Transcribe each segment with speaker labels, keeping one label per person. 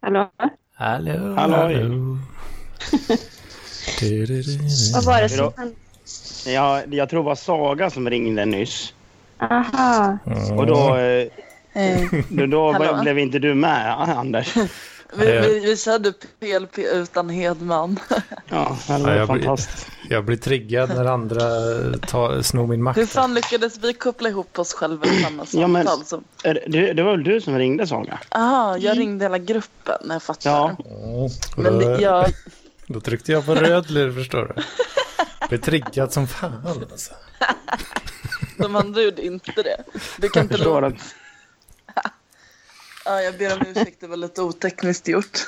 Speaker 1: Hallå?
Speaker 2: Hallå,
Speaker 3: Hallå.
Speaker 2: Du, du, du, du.
Speaker 1: Vad var det
Speaker 3: Hejdå.
Speaker 1: som hände?
Speaker 3: Ja, jag tror det var Saga som ringde nyss.
Speaker 1: Aha.
Speaker 3: Och då, eh,
Speaker 4: Eh,
Speaker 3: då, då
Speaker 4: Hallå?
Speaker 3: blev inte du med, eh, Anders.
Speaker 4: vi,
Speaker 3: Eh.
Speaker 4: vi, vi körde PLP utan Hedman.
Speaker 3: Ja, det
Speaker 2: Ja,
Speaker 3: var
Speaker 2: jag blir-
Speaker 3: fantastiskt.
Speaker 2: Jag blir triggad när andra ta, snor min makt.
Speaker 4: Hur fan lyckades vi koppla ihop oss själva i samma
Speaker 3: Ja, men-
Speaker 4: samtal? som-
Speaker 3: Är det- Det, det var väl du som ringde, Saga?
Speaker 4: Aha, jag ringde hela gruppen, jag fattar.
Speaker 3: Mm. Ja. Eh.
Speaker 2: Mm.
Speaker 4: Men det, jag,
Speaker 2: Då tryckte jag på röd lur, förstår du. Blir triggad som fan alltså.
Speaker 4: de andra gjorde inte det. Det kan inte
Speaker 3: Förstår
Speaker 4: låta...
Speaker 3: att...
Speaker 4: Ja, jag ber om ursäkt, det var lite otekniskt gjort.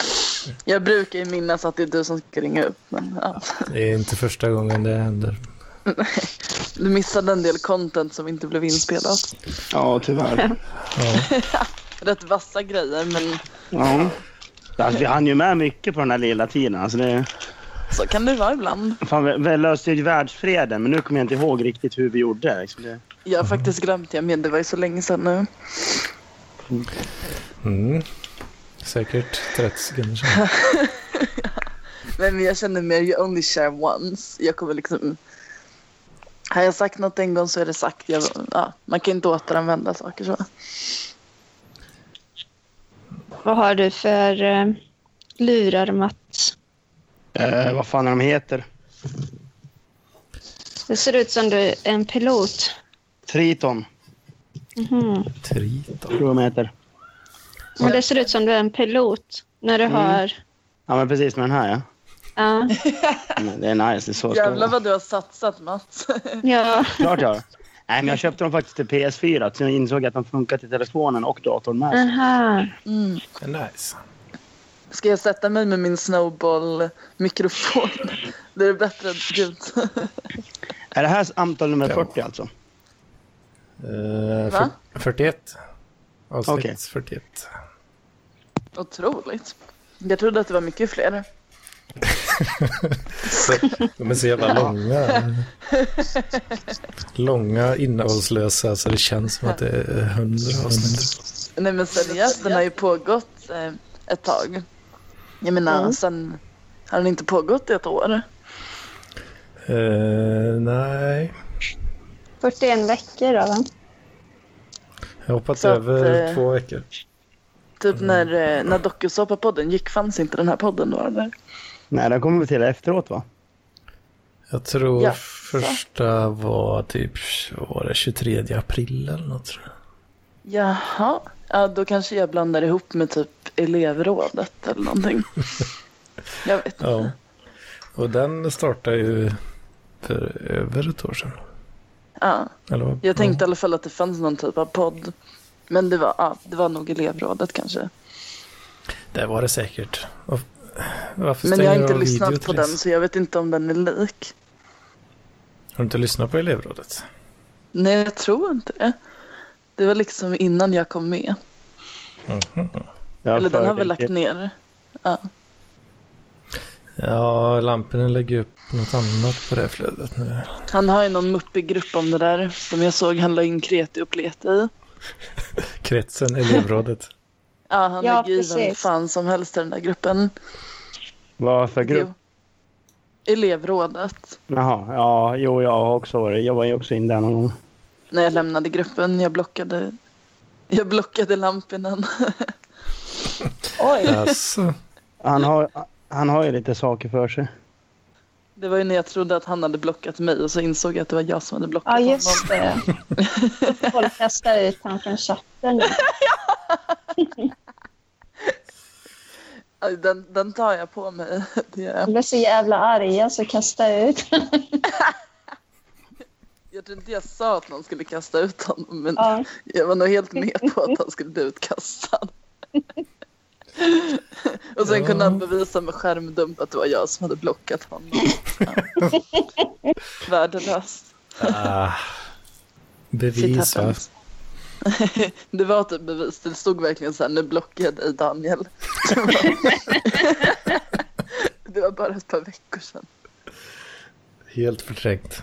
Speaker 4: Jag brukar ju minnas att det är du som ska ringa upp. Men, ja.
Speaker 2: Det är inte första gången det händer.
Speaker 4: Du missade en del content som inte blev inspelat.
Speaker 3: Ja, tyvärr.
Speaker 2: Ja.
Speaker 4: Rätt vassa grejer, men
Speaker 3: Ja. Alltså, vi hann ju med mycket på den här lilla tiden. Alltså, det,
Speaker 4: så kan det vara ibland.
Speaker 3: fan, vi, vi löste ju världsfreden, men nu kommer jag inte ihåg riktigt hur vi gjorde. Liksom det,
Speaker 4: Jag har faktiskt glömt, jag men det var ju så länge sedan nu.
Speaker 2: Mm. Säkert 30 sekunder sedan.
Speaker 4: Nej, men jag känner mer you only share once. Jag kommer liksom... Har jag sagt något en gång så är det sagt. Jag, ja, man kan inte återanvända saker så.
Speaker 1: Vad har du för eh, lurar, Mats?
Speaker 3: eh, vad fan är de heter?
Speaker 1: Det ser ut som du är en pilot.
Speaker 3: Triton,
Speaker 1: Mhm.
Speaker 2: Triton.
Speaker 3: tror jag de heter.
Speaker 1: Men det ser ut som du är en pilot när du
Speaker 4: Mm.
Speaker 1: har...
Speaker 3: Ja, men precis med den här, ja.
Speaker 1: Ja.
Speaker 3: Men Det är nice. Det är så det ska
Speaker 4: Jävlar
Speaker 3: vara.
Speaker 4: vad du har satsat Mats.
Speaker 1: ja.
Speaker 3: Klart jag har. Nej, men jag köpte dem faktiskt till PS4. Sen insåg jag att de funkar till telefonen och datorn med.
Speaker 1: Aha.
Speaker 4: Mm.
Speaker 2: Nice.
Speaker 4: Ska jag sätta mig med min snowball-mikrofon? Det är bättre ljud.
Speaker 3: Är det här samtal nummer 40 alltså?
Speaker 2: Eh,
Speaker 4: Va?
Speaker 2: fyr- 41. Avsnitt
Speaker 3: Okej.
Speaker 2: 41.
Speaker 4: Otroligt. Jag trodde att det var mycket fler.
Speaker 2: De är så jävla långa. långa, innehållslösa, så det känns som att det är hundra avsnitt.
Speaker 4: Nej men seriöst, den har ju pågått eh, ett tag. Jag menar, sen har den inte pågått i ett år.
Speaker 2: Eh, nej,
Speaker 1: 41 veckor då, va?
Speaker 2: jag har hoppat
Speaker 4: Så att,
Speaker 2: över
Speaker 4: eh,
Speaker 2: två veckor.
Speaker 4: Typ när, eh, när dokusåpapodden gick fanns inte den här podden då eller?
Speaker 3: Nej, det kommer vi till efteråt va?
Speaker 2: Jag tror
Speaker 4: ja.
Speaker 2: första var typ vad var det 23 april eller något. Tror jag.
Speaker 4: Jaha, ja, då kanske jag blandar ihop med typ elevrådet eller någonting. jag vet inte.
Speaker 2: Ja. Och den startade ju för över ett år sedan.
Speaker 4: Ja.
Speaker 2: Eller vad?
Speaker 4: Jag tänkte i
Speaker 2: ja.
Speaker 4: alla fall att det fanns någon typ av podd. Men det var, ja, det var nog elevrådet kanske.
Speaker 2: Det var det säkert. Och, varför
Speaker 4: Men
Speaker 2: stänger
Speaker 4: jag har
Speaker 2: de
Speaker 4: inte
Speaker 2: av video
Speaker 4: lyssnat på
Speaker 2: till
Speaker 4: den
Speaker 2: det?
Speaker 4: så jag vet inte om den är lik.
Speaker 2: Har du inte lyssnat på elevrådet?
Speaker 4: Nej, jag tror inte det. Det var liksom innan jag kom med.
Speaker 3: Jag
Speaker 4: eller den
Speaker 3: föredrar-
Speaker 4: har väl lagt ner.
Speaker 2: Ja, lamporna lägger upp något annat på det här flödet nu.
Speaker 4: Han har ju någon muppig grupp om det där som jag såg han la in kreti och pleti i.
Speaker 2: Kretsen, elevrådet.
Speaker 4: Ja, han
Speaker 1: Ja,
Speaker 4: lägger i vem
Speaker 1: precis.
Speaker 4: fan som helst i den där gruppen.
Speaker 3: Vad för grupp?
Speaker 4: Jo. Elevrådet.
Speaker 3: Jaha, ja, jo, jag har också varit. Jag var ju också in där någon gång.
Speaker 4: När jag lämnade gruppen, jag blockade, jag blockade Lampinen. Oj!
Speaker 2: Alltså,
Speaker 3: Han
Speaker 4: Mm.
Speaker 3: har, han har ju lite saker för sig.
Speaker 4: Det var ju när jag trodde att han hade blockat mig och så insåg jag att det var jag som hade
Speaker 1: Ja,
Speaker 4: blockat honom.
Speaker 1: just det. Folk kastar ut honom från chatten. nu.
Speaker 4: Aj, Den, den tar jag på mig. Det gör
Speaker 1: De
Speaker 4: jag.
Speaker 1: blir så jävla arga så kasta ut.
Speaker 4: jag tror inte jag sa att någon skulle kasta ut honom men
Speaker 1: Ja.
Speaker 4: jag var nog helt med på att han skulle bli utkastad. och sen kunde han bevisa med skärmdump att det var jag som hade blockat honom. Ja. Värdelöst.
Speaker 2: ah, bevis
Speaker 4: Shit
Speaker 2: va?
Speaker 4: happens. Det var typ bevis. Det stod verkligen så här, nu blockade jag dig Daniel. Det var- Det var bara ett par veckor sedan.
Speaker 2: Helt förträngt.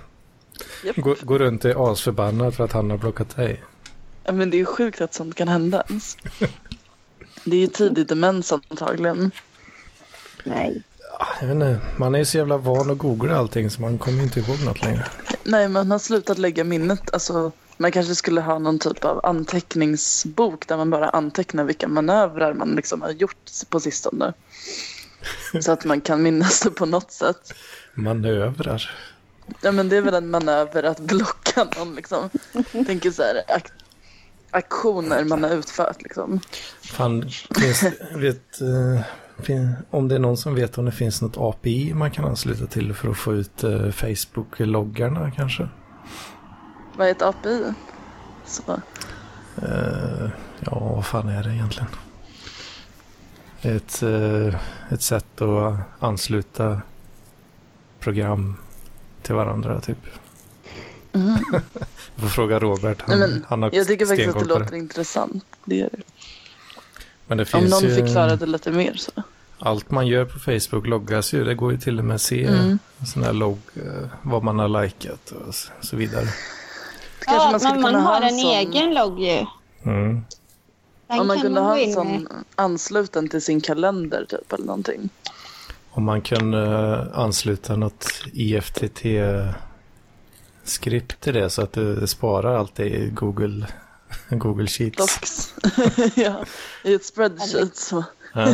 Speaker 4: Japp.
Speaker 2: Gå, gå runt och är asförbannad för att han har blockat dig.
Speaker 4: Ja, Men det är ju sjukt att sånt kan hända ens. Det är ju tidig demens antagligen.
Speaker 5: Nej.
Speaker 2: Jag vet inte, man är ju så jävla van att googla allting så man kommer ju inte ihåg något längre.
Speaker 4: Nej, men man har slutat lägga minnet. Alltså, man kanske skulle ha någon typ av anteckningsbok där man bara antecknar vilka manövrar man liksom har gjort på sistone. Så att man kan minnas det på något sätt.
Speaker 2: Manövrar.
Speaker 4: Ja, men det är väl en manöver att blocka någon. Liksom. Jag tänker så här, ak- aktioner man har utfört. Liksom.
Speaker 2: Fan, finns, vet, eh, fin, om det är någon som vet om det finns något API man kan ansluta till för att få ut eh, Facebook-loggarna kanske?
Speaker 4: Vad är ett API? Så.
Speaker 2: Eh, ja, vad fan är det egentligen? Ett, eh, ett sätt att ansluta program till varandra typ.
Speaker 4: Mhm.
Speaker 2: Jag får fråga Robert, han,
Speaker 4: Nej, men
Speaker 2: han har
Speaker 4: Jag tycker faktiskt att det
Speaker 2: stenkoll på
Speaker 4: låter intressant. Det gör det.
Speaker 2: Men det
Speaker 4: Om
Speaker 2: finns
Speaker 4: någon
Speaker 2: ju,
Speaker 4: förklarar det lite mer så.
Speaker 2: allt man gör på Facebook loggas ju. Det går ju till och med att se
Speaker 4: Mm.
Speaker 2: en sån här logg, eh, vad man har likat och s- så vidare.
Speaker 4: Kanske
Speaker 5: Ja,
Speaker 4: man skulle
Speaker 5: men man
Speaker 4: kunna ha
Speaker 5: har
Speaker 4: en
Speaker 5: en
Speaker 4: sån-
Speaker 5: egen logg ju.
Speaker 2: Mm.
Speaker 5: Den
Speaker 4: Om man
Speaker 5: kan
Speaker 4: kunde
Speaker 5: man
Speaker 4: ha
Speaker 5: gå
Speaker 4: en
Speaker 5: in
Speaker 4: sån
Speaker 5: med.
Speaker 4: ansluten till sin kalender typ eller någonting.
Speaker 2: Om man kunde eh, ansluta något E IFTT-skript till det så att det sparar allt det i Google, Google Sheets.
Speaker 4: Docs. ja, i ett spreadsheet. Så.
Speaker 2: Ja.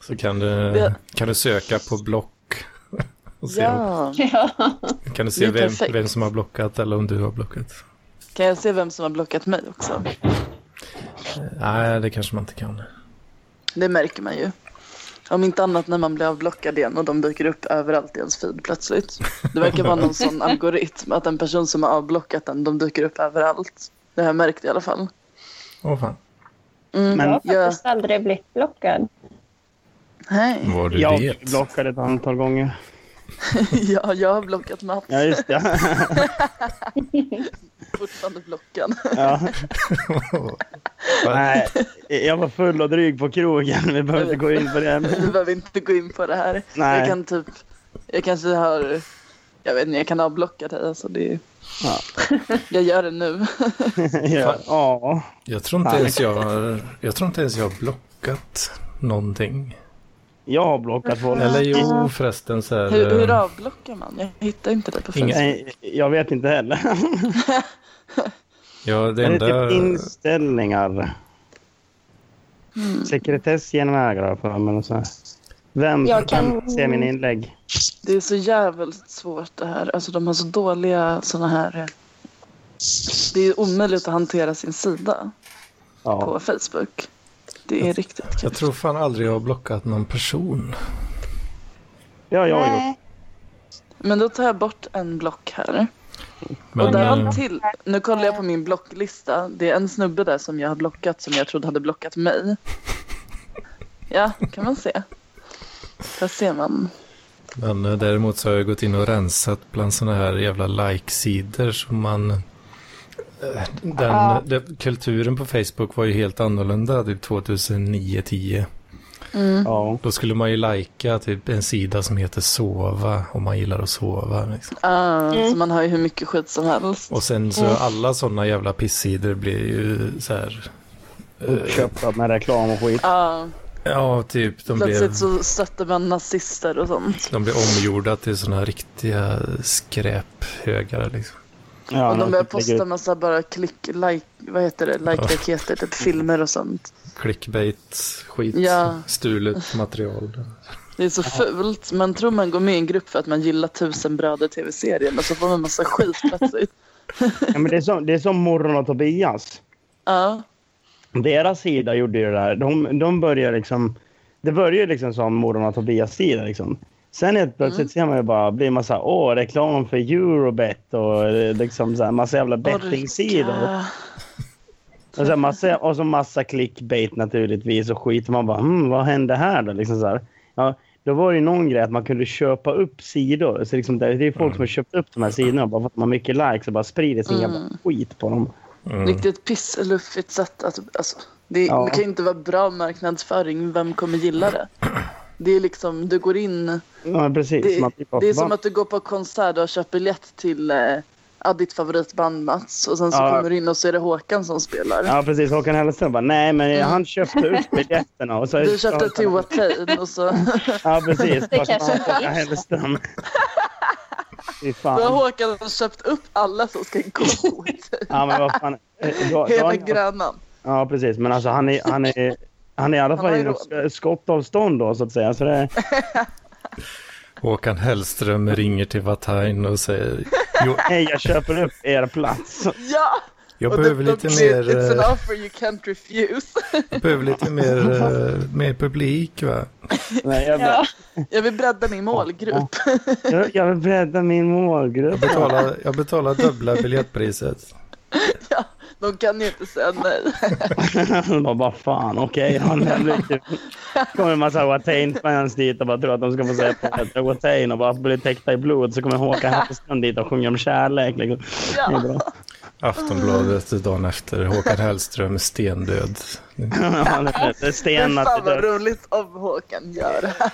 Speaker 2: Så kan du,
Speaker 4: Det-
Speaker 2: kan du söka på block. Och se,
Speaker 4: Ja.
Speaker 5: Ja.
Speaker 2: Kan du
Speaker 4: det
Speaker 2: se
Speaker 4: är
Speaker 2: vem,
Speaker 4: perfekt.
Speaker 2: vem som har blockat eller om du har blockat.
Speaker 4: Kan jag se vem som har blockat mig också?
Speaker 2: Nej, det kanske man inte kan.
Speaker 4: Det märker man ju. Om inte annat när man blir avblockad igen och de dyker upp överallt i ens feed plötsligt. Det verkar vara någon sån algoritm att en person som har avblockat en, de dyker upp överallt. Det har jag märkt i alla fall.
Speaker 2: Åh fan.
Speaker 4: Mm,
Speaker 3: Men-
Speaker 5: Jag har
Speaker 4: jag,
Speaker 5: faktiskt aldrig blivit blockad.
Speaker 4: nej,
Speaker 2: Var
Speaker 3: Jag blockade ett antal gånger.
Speaker 4: jag, jag har blockat Mats.
Speaker 3: Ja, just det.
Speaker 4: Fortfarande blockad.
Speaker 3: Ja. Nej, jag var full och dryg på krogen. Vi behöver inte gå in på det.
Speaker 4: Du behöver inte gå in på det här.
Speaker 3: Nej.
Speaker 4: Jag kan typ, jag kanske har, jag vet inte, jag kan ha blockat dig. Alltså det,
Speaker 3: Ja.
Speaker 4: jag gör det nu.
Speaker 3: Ja. ja.
Speaker 2: Jag tror inte ens jag, jag tror inte ens jag har blockat någonting.
Speaker 3: Jag har blockat folk.
Speaker 2: Eller jo förresten så här.
Speaker 4: Hur, hur
Speaker 2: eh,
Speaker 4: avblockar man? Jag hittar inte det på Facebook.
Speaker 2: Inga-
Speaker 3: Nej, jag vet inte heller.
Speaker 2: Ja, det
Speaker 3: Det är
Speaker 2: enda...
Speaker 3: typ inställningar. Sekretess genomvägrar jag för mig. och så här. Vem
Speaker 5: Jag kan-
Speaker 3: vem ser min inlägg?
Speaker 4: Det är så jävligt svårt det här. Alltså de har så dåliga såna här... eh, Det är omöjligt att hantera sin sida
Speaker 3: Ja.
Speaker 4: på Facebook. Det är riktigt kul.
Speaker 2: Jag tror fan aldrig jag har blockat någon person.
Speaker 3: Det har jag gjort.
Speaker 5: Nej.
Speaker 4: Men då tar jag bort en block här. och
Speaker 2: Men
Speaker 4: där
Speaker 2: eh,
Speaker 4: har till. Nu kollar jag på min blocklista. Det är en snubbe där som jag har blockat som jag trodde hade blockat mig. Ja, kan man se. Där ser man.
Speaker 2: men, eh, däremot så har jag gått in och rensat bland sådana här jävla like-sidor som man... eh, Den,
Speaker 5: Ja.
Speaker 2: det- kulturen på Facebook var ju helt annorlunda typ 2009-10.
Speaker 3: Ja.
Speaker 2: Då skulle man ju lajka typ en sida som heter sova om man gillar att sova. Liksom.
Speaker 4: Ah, Så man har ju hur mycket skit som helst.
Speaker 2: Och sen
Speaker 4: Mm.
Speaker 2: så alla sådana jävla pissidor blir ju så här... eh,
Speaker 3: Köpta med reklam och skit.
Speaker 4: Ah,
Speaker 2: ja, typ de blev...
Speaker 4: plötsligt så stötte man nazister och sånt.
Speaker 2: De blir omgjorda till sådana riktiga skräphögar. Liksom.
Speaker 3: Ja,
Speaker 4: Och de börjar
Speaker 3: typ lägger
Speaker 4: posta
Speaker 3: ut-
Speaker 4: massa bara klick, like, vad heter det, like-raketer, typ filmer och sånt.
Speaker 2: Clickbait, skit,
Speaker 4: Ja.
Speaker 2: stulet material.
Speaker 4: Det är så fult. Man tror man går med i en grupp för att man gillar tusen bröder tv-serien och så får man massa skit plötsligt.
Speaker 3: ja, men det, är som, det är som Morgon och Tobias.
Speaker 4: Ja,
Speaker 3: Deras sida gjorde ju det där. De, de börjar liksom... Det börjar ju liksom som Morgon och Tobias sida. Liksom. Sen helt plötsligt ser man ju bara blir man så här, åh, reklam för Eurobet och eh, liksom så här, massa jävla bettingsidor.
Speaker 4: orka.
Speaker 3: Och så massa, och så massa clickbait naturligtvis och skit. Och man bara, hmm, vad hände här då? Liksom så här. Ja, då var det ju någon grej att man kunde köpa upp sidor. Så liksom, det det är ju
Speaker 4: Mm.
Speaker 3: folk som har köpt upp de här sidorna bara för att man har mycket likes och bara sprider sin
Speaker 5: Mm.
Speaker 3: jävla skit på dem.
Speaker 4: Riktigt pissluffigt sätt att... Alltså, det, är,
Speaker 3: Mm. Ja.
Speaker 4: det kan ju inte vara bra marknadsföring. Vem kommer gilla det? Det är liksom, du går in...
Speaker 3: Ja, precis.
Speaker 4: Mm. Det,
Speaker 3: man blir bara
Speaker 4: det är som
Speaker 3: förbannad.
Speaker 4: att du går på konsert och köper biljett till eh, ja, ditt favoritband Mats och sen så
Speaker 3: Ja.
Speaker 4: kommer du in och så är det Håkan som spelar.
Speaker 3: Ja, precis. Håkan Hellström bara, nej, men
Speaker 4: Mm.
Speaker 3: han köpte ut biljetterna. Och så,
Speaker 4: Du köpte till Watain och så
Speaker 3: Ja, precis.
Speaker 5: Det kanske
Speaker 3: Håkan
Speaker 5: inte är.
Speaker 3: Hellström. Fy
Speaker 4: då har
Speaker 3: fan.
Speaker 4: Håkan köpt upp alla som ska gå på Watain.
Speaker 3: Ja, men vad fan. Eh, då- då
Speaker 4: Hela
Speaker 3: har ni-
Speaker 4: Grönan.
Speaker 3: Ja, precis. Men alltså, han är, han är, han är i alla
Speaker 4: Han har
Speaker 3: fall
Speaker 4: ju
Speaker 3: inom sk- skottavstånd då, så att säga. Så det,
Speaker 2: Håkan Hellström ringer till Watain och säger "Jo,
Speaker 3: hej, jag köper upp er plats.
Speaker 4: Ja!
Speaker 2: jag
Speaker 4: och
Speaker 2: behöver
Speaker 4: de- de
Speaker 2: lite
Speaker 4: blir-
Speaker 2: mer,
Speaker 4: It's
Speaker 2: eh,
Speaker 4: an offer you can't refuse.
Speaker 2: jag behöver lite mer, eh, mer publik va?
Speaker 3: Nej, jag,
Speaker 5: Ja.
Speaker 4: Jag vill bredda min målgrupp.
Speaker 3: jag, jag vill bredda min målgrupp.
Speaker 2: Jag betalar, jag betalar dubbla biljettpriset.
Speaker 4: De kan ju inte säga nej.
Speaker 3: Han bara, vad fan, okej. Okay, det här blir kul. kommer en massa Watain-fans dit och bara tror att de ska få säga på Watain och bara bli täckta i blod. Så kommer Håkan Hellström dit och sjunger om kärlek. Liksom. Det är
Speaker 4: Ja.
Speaker 3: bra.
Speaker 2: Aftonbladet dagen efter. Håkan Hellström stendöd.
Speaker 3: Ja, det är
Speaker 4: Men
Speaker 3: stenat i
Speaker 4: fan vad
Speaker 3: dörren.
Speaker 4: roligt om Håkan gör det här.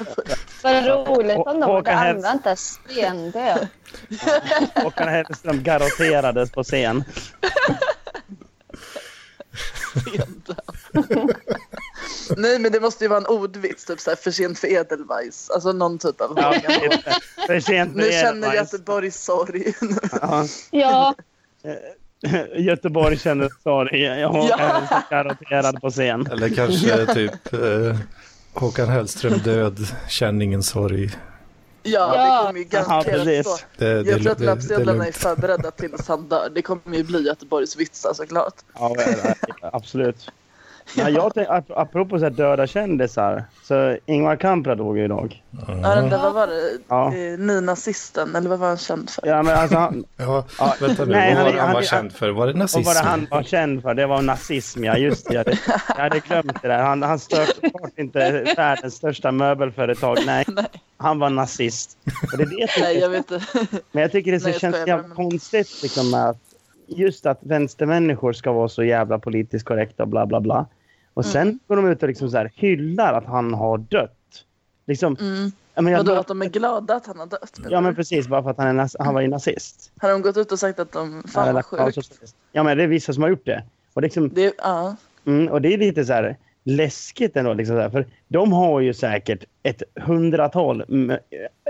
Speaker 5: Vad roligt om de
Speaker 3: Håkan
Speaker 5: hade
Speaker 3: Hellström.
Speaker 5: använt det stendöd.
Speaker 3: Håkan Hellström garotterades på scen.
Speaker 4: Nej men det måste ju vara en ordvits, typ såhär för sent för Edelweiss. Alltså någon typ av
Speaker 3: Ja,
Speaker 4: Håkan.
Speaker 3: för sent för
Speaker 4: Nu känner
Speaker 3: Edelweiss.
Speaker 4: Göteborg sorg.
Speaker 3: Ja.
Speaker 5: Ja,
Speaker 3: Göteborg känner sorg. Håkan
Speaker 4: Ja.
Speaker 3: Hellström garotterad på scen.
Speaker 2: Eller kanske typ eh, Håkan Hellström död, känn ingen sorg.
Speaker 4: Ja,
Speaker 5: Ja.
Speaker 4: det kommer ju garanterat
Speaker 3: precis.
Speaker 4: stå.
Speaker 2: Det, det,
Speaker 4: Jag tror
Speaker 2: det,
Speaker 4: att
Speaker 2: det, det är
Speaker 4: löpsedlarna är
Speaker 2: lugnt.
Speaker 4: förberedda tills han dör. Det kommer ju bli Göteborgs vitsar såklart.
Speaker 3: Ja, ja, ja, absolut. Ja, jag tänk, ap- apropå så här döda kändisar, så Ingvar Kamprad dog ju idag.
Speaker 2: Mm.
Speaker 4: Ja, den där, vad var det?
Speaker 3: Ja.
Speaker 4: Eh, Nynazisten, eller vad var han känd för?
Speaker 3: Ja, men alltså, han,
Speaker 2: Ja,
Speaker 3: Ja.
Speaker 2: vänta nu.
Speaker 3: Nej,
Speaker 2: vad
Speaker 3: han
Speaker 2: var
Speaker 3: är-
Speaker 2: det han
Speaker 3: han
Speaker 2: var
Speaker 3: är-
Speaker 2: känd för? Var det
Speaker 3: och vad det
Speaker 2: nazism?
Speaker 3: han var känd för, det var nazism ja. Just det, jag hade, jag hade glömt det där. Han, han störde klart inte världens största möbelföretag. Nej, han var nazist. Och det är det jag tycker-
Speaker 4: Nej, jag vet inte.
Speaker 3: Men jag tycker det så
Speaker 4: Nej, jag
Speaker 3: känns
Speaker 4: skojar bara,
Speaker 3: jävla
Speaker 4: men-
Speaker 3: konstigt liksom, med att just att vänstermänniskor ska vara så jävla politiskt korrekta och bla bla bla. Och
Speaker 4: Mm.
Speaker 3: sen går de ut och liksom så här, hyllar att han har dött. Liksom,
Speaker 4: Mm.
Speaker 3: ja, men jag,
Speaker 4: Vadå, att de är glada att han har dött? menar
Speaker 3: ja men
Speaker 4: du?
Speaker 3: precis, bara för att han, är nas- han var ju nazist.
Speaker 4: Har de gått ut och sagt att de, fan
Speaker 3: Eller-
Speaker 4: vad sjukt.
Speaker 3: Ja men det är vissa som har gjort det. Och, liksom,
Speaker 4: Det, ja.
Speaker 3: mm, och det är lite så här läskigt ändå. Liksom så här, för de har ju säkert ett hundratal mm,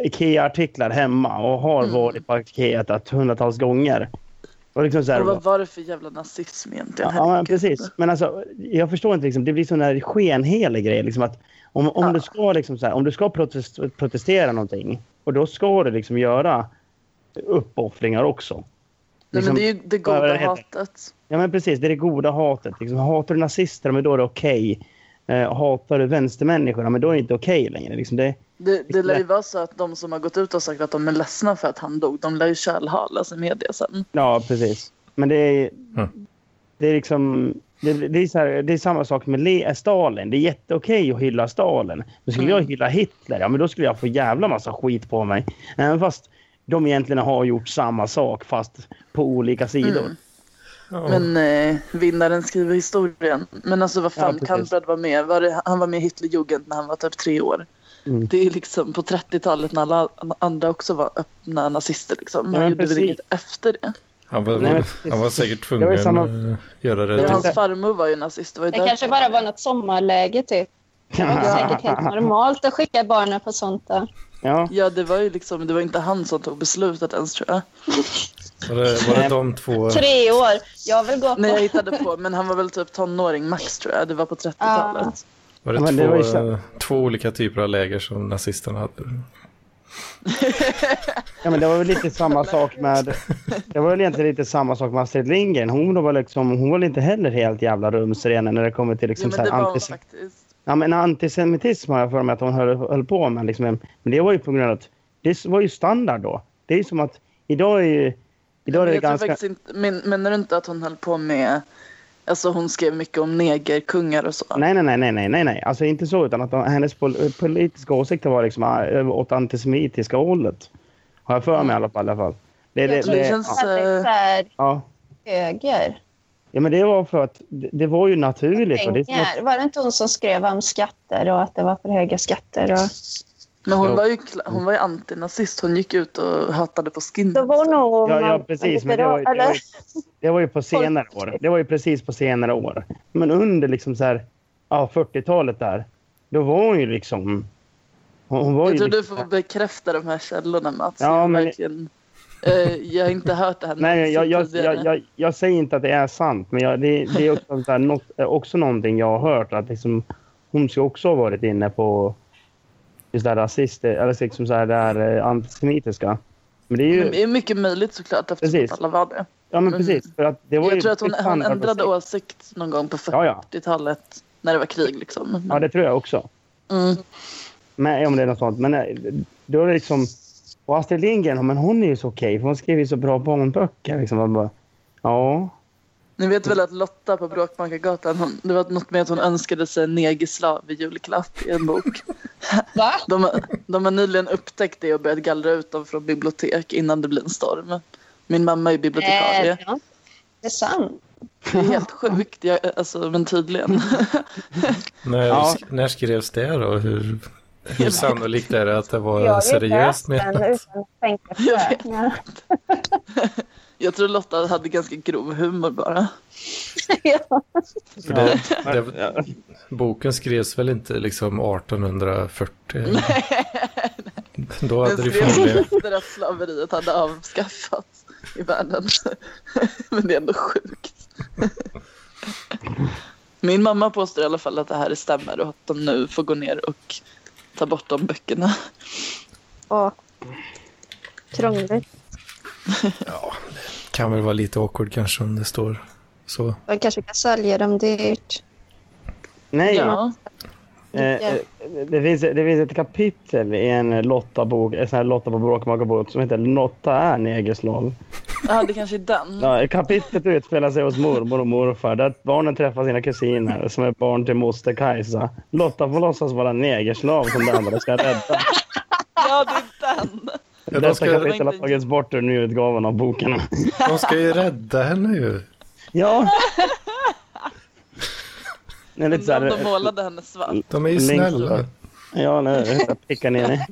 Speaker 3: IKEA-artiklar hemma och har
Speaker 4: Mm.
Speaker 3: varit på IKEA ett hundratals gånger. Och liksom så här,
Speaker 4: Och vad var det för jävla nazism egentligen?
Speaker 3: Ja, men
Speaker 4: Herregud.
Speaker 3: precis. Men alltså, jag förstår inte. Liksom, det blir sån där skenhelig grej. Liksom, att om, om,
Speaker 4: Ja.
Speaker 3: du ska, liksom, så här, om du ska protest- protestera någonting och då ska du liksom göra uppoffringar också.
Speaker 4: Nej,
Speaker 3: Liksom-
Speaker 4: men det är ju det
Speaker 3: vad
Speaker 4: goda
Speaker 3: det heter.
Speaker 4: hatet.
Speaker 3: Ja, men precis. Det är det goda hatet. Liksom, hatar du nazister, men då är det okej. Eh, hatar du vänstermänniskor, ja, men då är det inte okej längre. Liksom, det,
Speaker 4: Det, det lär ju vara så att de som har gått ut och sagt att de är ledsna för att han dog, de lär ju kölhalas i media sen.
Speaker 3: ja, precis. Men det är...
Speaker 2: Mm.
Speaker 3: Det är liksom... Det, det, är så här, det är samma sak med Le- Stalin. Det är jätteokej att hylla Stalin. Men skulle
Speaker 4: Mm.
Speaker 3: jag hylla Hitler, ja men då skulle jag få jävla massa skit på mig. Även fast de egentligen har gjort samma sak fast på olika sidor.
Speaker 4: Mm.
Speaker 2: Ja.
Speaker 4: Men eh, vinnaren skriver historien. Men alltså vad fan,
Speaker 3: Ja, precis.
Speaker 4: Kamprad var med. Var det, han var med i Hitlerjugend när han var typ tre år.
Speaker 3: Mm.
Speaker 4: Det är liksom på 30-talet när alla andra också var öppna nazister. Liksom.
Speaker 3: Ja,
Speaker 4: Han
Speaker 3: men
Speaker 4: gjorde väl
Speaker 3: precis.
Speaker 4: inget efter det.
Speaker 2: Han var,
Speaker 3: Nej, men-
Speaker 2: han var säkert
Speaker 3: var ju
Speaker 2: tvungen att
Speaker 3: samma-
Speaker 2: göra det.
Speaker 3: Det var
Speaker 2: till-
Speaker 4: Hans farmor var ju nazist. Det var ju
Speaker 5: det
Speaker 4: därför.
Speaker 5: kanske bara var något sommarläge typ. Det var säkert helt normalt att skicka barnen på sånt där.
Speaker 3: Ja.
Speaker 4: Ja, det var ju liksom, det var inte han som tog beslutet ens tror jag.
Speaker 2: Var det, var det de två?
Speaker 5: Tre år. Jag vill gå på...
Speaker 4: Nej, jag hittade på, men han var väl typ tonåring max tror jag. Det var på 30-talet.
Speaker 2: Var det
Speaker 3: Ja, men
Speaker 2: två,
Speaker 3: det var ju så-
Speaker 2: eh, två olika typer av läger som nazisterna hade?
Speaker 3: ja, men det var väl lite samma sak med... Det var väl egentligen lite samma sak med Astrid Lindgren. Hon var, liksom, hon var väl inte heller helt jävla rumsren när det kommer till liksom så
Speaker 4: jo, men det
Speaker 3: här
Speaker 4: var han
Speaker 3: antisem-
Speaker 4: faktiskt.
Speaker 3: Ja, men antisemitism har jag för mig att hon höll, höll på med. Liksom, men det var ju på grund av att det var ju standard då. Det är ju som att idag är ju... Idag är
Speaker 4: Men
Speaker 3: det
Speaker 4: jag tror
Speaker 3: ganska...
Speaker 4: faktiskt inte, men, menar du inte att hon höll på med, alltså hon skrev mycket om negerkungar och så?
Speaker 3: Nej, nej, nej, nej, nej, nej, nej. Alltså inte så, utan att de- hennes pol- politiska åsikter var liksom eh, åt antisemitiska hållet. Har jag för mig i alla fall. I alla fall. Det, det,
Speaker 5: Jag tror
Speaker 3: det,
Speaker 4: det känns-
Speaker 5: att det är så här
Speaker 3: ja.
Speaker 5: höger.
Speaker 3: ja, men det var för att det, det var ju naturligt. Och det, är som att-
Speaker 5: Pengar. Var det inte hon som skrev om skatter och att det var för höga skatter? Och...
Speaker 4: Men hon
Speaker 3: Ja.
Speaker 4: var ju, kla- hon var ju antinazist. Hon gick ut och hatade på skin.
Speaker 6: Då var nog
Speaker 3: Ja, ja
Speaker 6: man-
Speaker 3: precis.
Speaker 6: man-
Speaker 3: Men det, var, ju- det, var,
Speaker 6: eller?
Speaker 3: ju- det var ju på senare år. Det var ju precis på senare år. Men under liksom så här, ja, 40-talet där, då var hon ju liksom... Hon, hon var
Speaker 4: Jag
Speaker 3: ju
Speaker 4: tror du
Speaker 3: liksom,
Speaker 4: får bekräfta de här källorna Mats.
Speaker 3: Ja,
Speaker 4: jag,
Speaker 3: men-
Speaker 4: verkligen, eh, jag har inte hört det här
Speaker 3: Nej,
Speaker 4: någonsin
Speaker 3: jag, jag,
Speaker 4: tidigare.
Speaker 3: jag, jag, jag säger inte att det är sant, men jag, det, det är också, så här, något, också någonting jag har hört. Att liksom, hon ska också ha varit inne på just det här rasister, eller liksom så här, det här eh, antisemitiska. Men det är ju...
Speaker 4: Det är mycket möjligt såklart eftersom
Speaker 3: Precis.
Speaker 4: att alla var det.
Speaker 3: Ja, men
Speaker 4: men-
Speaker 3: precis. För att det var ju
Speaker 4: Jag tror att hon, hon
Speaker 3: standard-
Speaker 4: ändrade åsikt någon gång på
Speaker 3: Ja, ja.
Speaker 4: 40-talet när det var krig liksom.
Speaker 3: Ja, det tror jag också.
Speaker 4: Mm.
Speaker 3: Men, om det är något sånt. Men eh, då är det liksom... Och Astrid Lindgren, men hon är ju så okej, för hon skriver ju så bra barnböcker. Liksom. Man bara, ja.
Speaker 4: Ni vet väl att Lotta på Bråkmakargatan, hon, det var något med att hon önskade sig en negerslav i julklapp i en bok.
Speaker 5: Va?
Speaker 4: De, har- de har nyligen upptäckt det och börjat gallra ut dem från bibliotek innan det blir en storm. Min mamma är bibliotekarie.
Speaker 5: Eh, ja. Det är sant.
Speaker 4: Det är helt sjukt, jag, alltså, men tydligen.
Speaker 2: När,
Speaker 3: Ja.
Speaker 2: när skrevs det då? Hur, hur sannolikt är det att det var
Speaker 6: Jag har ju
Speaker 2: seriöst
Speaker 6: läst den
Speaker 2: menat?
Speaker 6: utan att tänka på
Speaker 4: Jag
Speaker 6: det.
Speaker 4: vet. Jag tror Lotta hade ganska grov humor bara.
Speaker 2: För det,
Speaker 3: Ja.
Speaker 2: det, boken skrevs väl inte liksom 1840? Då hade
Speaker 4: Den
Speaker 2: det
Speaker 4: skrevs
Speaker 2: förmodligen...
Speaker 4: efter att slaveriet hade avskaffats i världen. Men det är ändå sjukt. Min mamma påstår i alla fall att det här stämmer och att de nu får gå ner och ta bort de böckerna.
Speaker 6: Åh. Krångligt.
Speaker 2: Kan väl vara lite awkward kanske om det står så.
Speaker 1: De kanske kan sälja dem dyrt.
Speaker 3: Nej,
Speaker 4: Ja.
Speaker 3: eh, eh, det, finns, det finns ett kapitel i en Lotta-bok, en sån här Lotta på bråkmakarbok som heter Lotta är negerslav.
Speaker 4: ja, det kanske är den.
Speaker 3: Ja, kapitlet utspelar sig hos mormor och morfar där barnen träffar sina kusiner som är barn till moster Kajsa. Lotta får låtsas vara negerslav som de andra ska rädda.
Speaker 4: Ja, det är den.
Speaker 2: Ja, de,
Speaker 3: Detta
Speaker 2: ska,
Speaker 3: kapitel har tagits bort ur nyutgåvan av boken.
Speaker 2: de ska ju rädda henne ju.
Speaker 3: Ja. Det är lite så
Speaker 4: De
Speaker 3: här, eh,
Speaker 4: målade henne svart.
Speaker 2: De är ju
Speaker 3: Längst-
Speaker 2: snälla.
Speaker 3: ja, nu jag pickar ner det.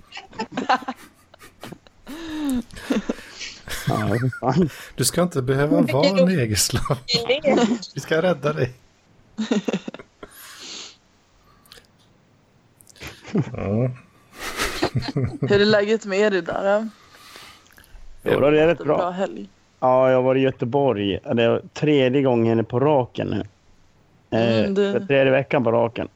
Speaker 3: Ja, fy fan.
Speaker 2: Du ska inte behöva vara en negerslav.
Speaker 6: Det är
Speaker 2: Vi ska rädda dig. Ja.
Speaker 3: Mm.
Speaker 4: Hur är läget med er idag?
Speaker 3: Jo, då är det rätt
Speaker 4: då? Bra. bra
Speaker 3: bra.
Speaker 4: helg.
Speaker 3: Ja, jag var i Göteborg. Det är tredje gången på raken nu. Eh,
Speaker 4: Mm, du-
Speaker 3: för Tredje veckan på raken.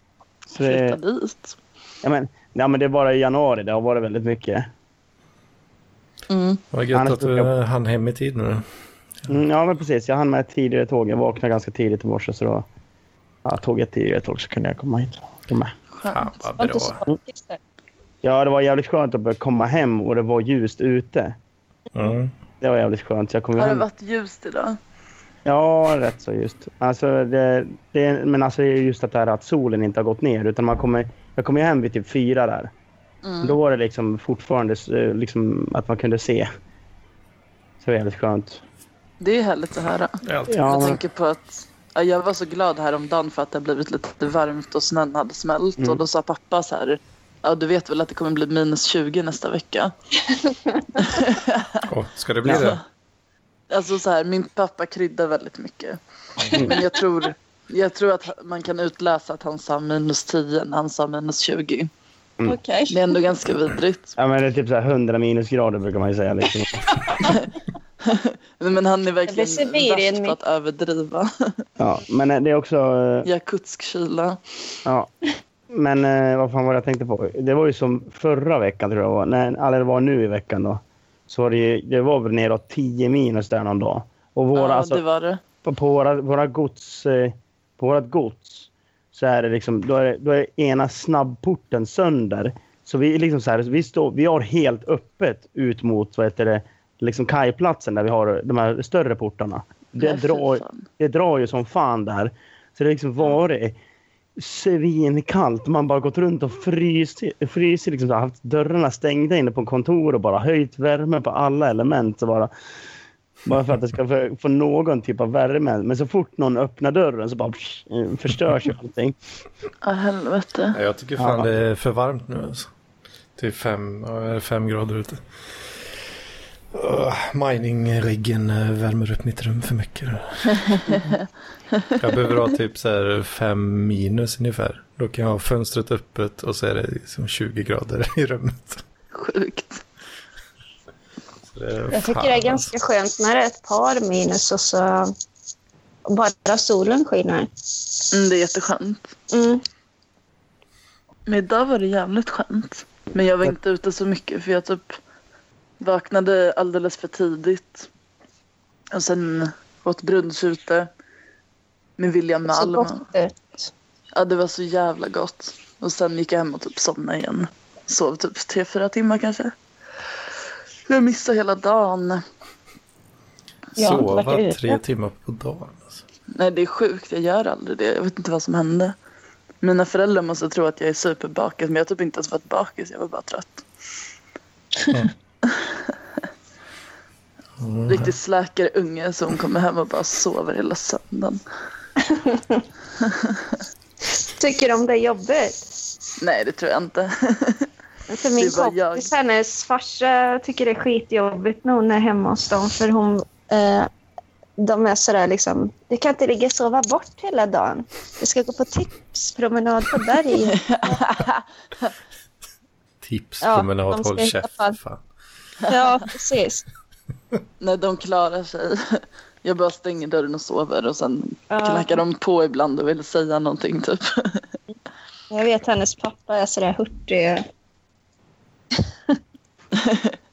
Speaker 3: Så det,
Speaker 4: Flytta dit.
Speaker 3: ja, men, ja, men det är bara i januari det har varit väldigt mycket.
Speaker 4: Mm.
Speaker 2: Vad gött
Speaker 3: Annars
Speaker 2: att du
Speaker 3: brukar-
Speaker 2: hann hem i tid nu då.
Speaker 3: Mm, ja, men precis. Jag hann med ett tidigare tåg. Jag vaknade ganska tidigt i morse så då... Ja, tog jag tidigare tåg så kunde jag komma hit. Komma.
Speaker 2: Fan vad
Speaker 5: Var inte
Speaker 2: bra.
Speaker 5: så tråkigt
Speaker 4: Mm.
Speaker 5: där.
Speaker 3: Ja, det var jävligt skönt att börja komma hem och det var ljust ute.
Speaker 2: Mm.
Speaker 3: Det var jävligt skönt. Så jag kom ju
Speaker 4: Har det
Speaker 3: hem.
Speaker 4: varit ljust idag?
Speaker 3: Ja, rätt så just. Alltså, det, det, men alltså det är just att det här att solen inte har gått ner. Utan man kommer, jag kom ju hem vid typ fyra där.
Speaker 4: Mm.
Speaker 3: Då var det liksom fortfarande eh, liksom, att man kunde se. Så det var jävligt skönt.
Speaker 4: Det är härligt att höra.
Speaker 2: Det är alltid-
Speaker 3: Ja,
Speaker 4: jag
Speaker 3: men-
Speaker 4: tänker på att ja, jag var så glad häromdagen för att det har blivit lite varmt och snön hade smält.
Speaker 3: Mm.
Speaker 4: Och då sa pappa så här, ja du vet väl att det kommer bli minus 20 nästa vecka.
Speaker 2: Åh, ska det bli det?
Speaker 4: Alltså så här, min pappa kryddar väldigt mycket.
Speaker 3: Mm.
Speaker 4: Men jag tror, jag tror att man kan utläsa att han sa minus 10 när han sa minus 20.
Speaker 1: Mm.
Speaker 5: Okej.
Speaker 4: Det är ändå ganska vidrigt.
Speaker 3: Ja, men det är typ så här 100 minusgrader brukar man ju säga. Liksom.
Speaker 4: Men han är
Speaker 5: Det
Speaker 4: verkligen
Speaker 5: blir Sibirien
Speaker 4: värst på att överdriva.
Speaker 3: Ja, men eh, det är också... eh,
Speaker 4: Jakutsk-kyla.
Speaker 3: Ja. Men eh, vad fan var det jag tänkte på? Det var ju som förra veckan tror jag det var. Nej, eller det var nu i veckan då. Så var det, ju, det var väl neråt 10 minus där någon dag. Och våra,
Speaker 4: Ja,
Speaker 3: alltså,
Speaker 4: det var det.
Speaker 3: på, på våra, våra gods, eh, på vårat gods så är det liksom, då är, det- då är ena snabbporten sönder. Så vi är liksom så här, vi, står, vi har helt öppet ut mot vad heter det, liksom kajplatsen där vi har de här större portarna. Det,
Speaker 4: Nej, fy
Speaker 3: drar,
Speaker 4: fan.
Speaker 3: det drar ju som fan där. Så det har liksom varit svinkallt. Man har bara gått runt och fryst, fryst liksom så här, haft dörrarna stängda inne på kontor och bara höjt värmen på alla element. Så bara, bara för att det ska få, få någon typ av värme. Men så fort någon öppnar dörren så bara psh, eh, förstörs ju allting.
Speaker 4: Ja, helvete.
Speaker 2: Ja, Jag tycker fan
Speaker 3: Ja.
Speaker 2: det är för varmt nu alltså. Typ fem, ja, är det fem grader ute. Uh, Mining-riggen eh, värmer upp mitt rum för mycket. Jag behöver ha typ så här fem minus ungefär. Då kan jag ha fönstret öppet och så är det liksom 20 grader i rummet.
Speaker 4: Sjukt.
Speaker 2: Så det är
Speaker 1: Jag tycker
Speaker 2: fan,
Speaker 1: det är
Speaker 2: alltså.
Speaker 1: ganska skönt när det är ett par minus och så och bara solen skiner.
Speaker 4: Mm, det är jätteskönt.
Speaker 1: Mm.
Speaker 4: Men idag var det jävligt skönt. Men jag var inte ute så mycket för jag typ vaknade alldeles för tidigt. Och sen åt brunch ute med William
Speaker 1: Så
Speaker 4: Malm.
Speaker 1: gott ut.
Speaker 4: Ja, det var så jävla gott. Och sen gick jag hem och typ somnade igen. Sov typ tre, fyra timmar kanske. Jag missade hela dagen.
Speaker 7: Jag har inte varit
Speaker 2: alltså. Sova
Speaker 7: ute.
Speaker 2: tre timmar på dagen. Alltså.
Speaker 4: Nej, det är sjukt. Jag gör aldrig det. Jag vet inte vad som hände. Mina föräldrar måste tro att jag är superbakis, men jag har typ inte ens varit bakis. Jag var bara trött.
Speaker 2: Mm.
Speaker 1: Mm.
Speaker 4: Riktigt släkare unge så hon kommer hem och bara sover hela söndagen.
Speaker 1: Tycker de det är jobbigt?
Speaker 4: Nej, det tror jag inte.
Speaker 1: För min
Speaker 4: Det var jag.
Speaker 1: kompis, hennes farsa, tycker det är skitjobbigt när hon är hemma hos dem. För hon, eh, de är sådär liksom, du kan inte ligga och sova bort hela dagen. Du ska gå på tipspromenad på berget.
Speaker 2: Tips,
Speaker 1: Ja,
Speaker 2: promenad,
Speaker 1: de ska
Speaker 2: håll
Speaker 1: i alla
Speaker 2: käft.
Speaker 1: fall-
Speaker 2: Fan.
Speaker 1: ja, precis.
Speaker 4: Nej, de klarar sig. Jag bara stänger dörren och sover och sen
Speaker 1: Ja.
Speaker 4: knackar de på ibland och vill säga någonting typ.
Speaker 1: Jag vet hennes pappa är sådär hurtig.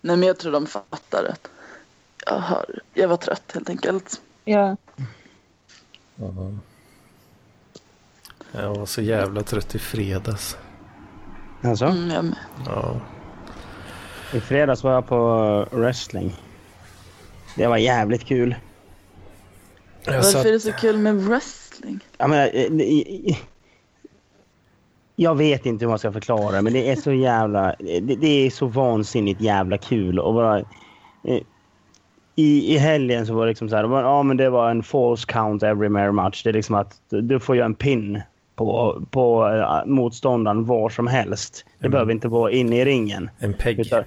Speaker 4: Nej, men jag tror de fattar att jag, har... jag var trött helt enkelt.
Speaker 1: Ja.
Speaker 2: Mhm. Jag var så jävla trött i fredags.
Speaker 3: Alltså,
Speaker 4: Mm, jag med.
Speaker 2: Ja.
Speaker 3: i fredags var jag på wrestling. Det var jävligt kul.
Speaker 2: Jag
Speaker 4: Varför
Speaker 2: satt,
Speaker 4: är det så kul med wrestling?
Speaker 3: Jag, menar, eh, eh, eh, jag vet inte hur man ska förklara det, men det är så jävla... eh, Det, det är så vansinnigt jävla kul och bara... eh, I, I helgen så var det liksom så här, det var- ja men det var en false count every mare match. Det är liksom att du- du får göra en pin på, på eh, motståndaren var som helst. Det
Speaker 2: Mm.
Speaker 3: behöver inte vara inne i ringen.
Speaker 2: en pegg.
Speaker 3: Utan,